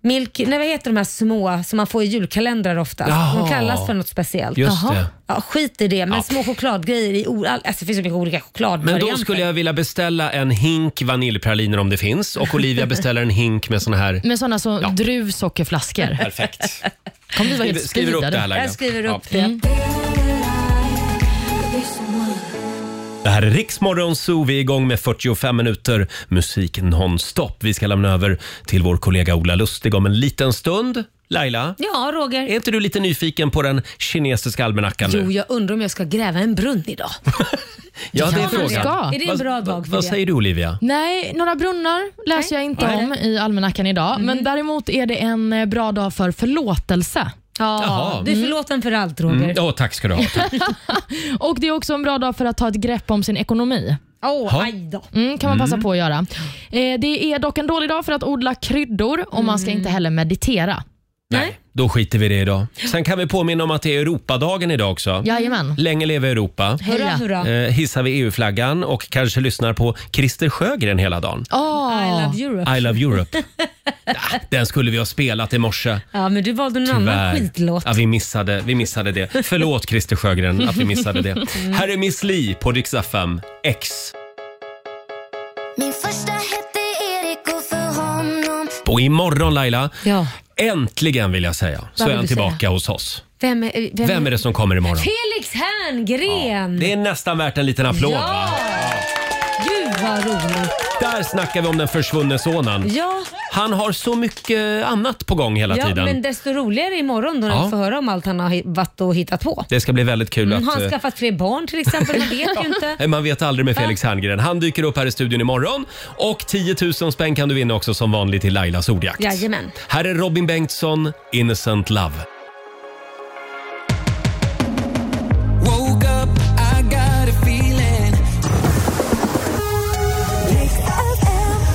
[SPEAKER 2] Milk, nej, vad heter de här små som man får i julkalendrar ofta?
[SPEAKER 1] Jaha.
[SPEAKER 2] De kallas för något speciellt.
[SPEAKER 1] Just Jaha. det.
[SPEAKER 2] Ja, skit i det, men
[SPEAKER 1] Ja.
[SPEAKER 2] små chokladgrejer i o- all- alltså, det finns så mycket olika
[SPEAKER 1] Men
[SPEAKER 2] chokladvarianter.
[SPEAKER 1] då skulle jag vilja beställa en hink vaniljpraliner om det finns och [laughs] Olivia beställer en hink med såna här...
[SPEAKER 5] Med sådana som druvsockerflaskor.
[SPEAKER 1] [laughs] Perfekt.
[SPEAKER 5] Kommer vi vara helt
[SPEAKER 1] Skriver- skriver upp
[SPEAKER 5] speedade.
[SPEAKER 1] det här, Laila. Jag skriver upp Ja. det.
[SPEAKER 5] Mm.
[SPEAKER 1] Det här är Riksmorgon Zoo. Vi är igång med 45 minuter musik nonstop. Vi ska lämna över till vår kollega Ola Lustig om en liten stund. Laila,
[SPEAKER 2] Ja, Roger.
[SPEAKER 1] är inte du lite nyfiken på den kinesiska almanackan
[SPEAKER 2] Jo,
[SPEAKER 1] nu?
[SPEAKER 2] jag undrar om jag ska gräva en brunn idag.
[SPEAKER 1] Ja, det är
[SPEAKER 5] Ja, man
[SPEAKER 1] frågan.
[SPEAKER 5] ska. Är det en
[SPEAKER 1] Vad-
[SPEAKER 5] bra dag för
[SPEAKER 1] Vad
[SPEAKER 5] det?
[SPEAKER 1] säger du Olivia?
[SPEAKER 5] Nej, några brunnar läser jag inte
[SPEAKER 1] Nej.
[SPEAKER 5] om i almanackan idag. Men däremot är det en eh, bra dag för förlåtelse.
[SPEAKER 1] Jaha. du är
[SPEAKER 2] förlåten för allt
[SPEAKER 1] Mm, ja, tack ska du ha.
[SPEAKER 5] Och det är också en bra dag för att ta ett grepp om sin ekonomi.
[SPEAKER 2] Åh,
[SPEAKER 1] Ja.
[SPEAKER 2] aj då.
[SPEAKER 5] Mm, kan man passa
[SPEAKER 1] Mm.
[SPEAKER 5] på att Mm. göra. Eh, det är dock en dålig dag för att odla kryddor och man ska inte heller meditera.
[SPEAKER 1] Nej, då skiter vi i det idag. Sen kan vi påminna om att det är Europadagen idag också.
[SPEAKER 5] Jajamän.
[SPEAKER 1] Länge leve Europa.
[SPEAKER 5] Hurra, hurra.
[SPEAKER 1] Eh, hissar vi EU-flaggan och kanske lyssnar på Christer Sjögren hela dagen.
[SPEAKER 5] I love Europe.
[SPEAKER 1] I love Europe. ja, den skulle vi ha spelat i morse.
[SPEAKER 2] Ja, men du valde en annan
[SPEAKER 1] Tyvärr.
[SPEAKER 2] skitlåt.
[SPEAKER 1] Ja, vi, missade, vi missade det. Förlåt Christer Sjögren att vi missade det.
[SPEAKER 2] Mm.
[SPEAKER 1] Här är Miss Li på Dix FM. X.
[SPEAKER 16] Min första hette
[SPEAKER 13] er
[SPEAKER 16] Erik och för honom
[SPEAKER 1] Och imorgon Laila,
[SPEAKER 2] ja.
[SPEAKER 1] äntligen vill jag säga, så
[SPEAKER 2] Vad
[SPEAKER 1] är
[SPEAKER 2] vill
[SPEAKER 1] han
[SPEAKER 2] du
[SPEAKER 1] tillbaka
[SPEAKER 2] säga?
[SPEAKER 1] hos oss.
[SPEAKER 2] Vem är, vem,
[SPEAKER 1] Vem är det som kommer imorgon?
[SPEAKER 2] Felix Herngren!
[SPEAKER 1] Det är nästan värt en liten applåd
[SPEAKER 2] Ja.
[SPEAKER 1] va?
[SPEAKER 2] Gud vad roligt.
[SPEAKER 1] Där snackar vi om den försvunne sonen.
[SPEAKER 2] Ja,
[SPEAKER 1] Han har så mycket annat på gång hela
[SPEAKER 2] ja
[SPEAKER 1] tiden.
[SPEAKER 2] men desto roligare imorgon då när
[SPEAKER 1] Ja.
[SPEAKER 2] vi får höra om allt han har hi- varit och hittat på.
[SPEAKER 1] Det ska bli väldigt kul
[SPEAKER 2] Mm, har
[SPEAKER 1] att...
[SPEAKER 2] han
[SPEAKER 1] eh,
[SPEAKER 2] skaffat fler barn till exempel? Man vet
[SPEAKER 1] [laughs]
[SPEAKER 2] ju inte.
[SPEAKER 1] Nej, Man vet aldrig med Felix Herngren. Han dyker upp här i studion imorgon. Och 10 000 spänn kan du vinna också som vanligt i Lailas ordjakt.
[SPEAKER 2] Jajamän.
[SPEAKER 1] Här är Robin Bengtsson, Innocent Love.
[SPEAKER 15] Woke up, I got a feeling.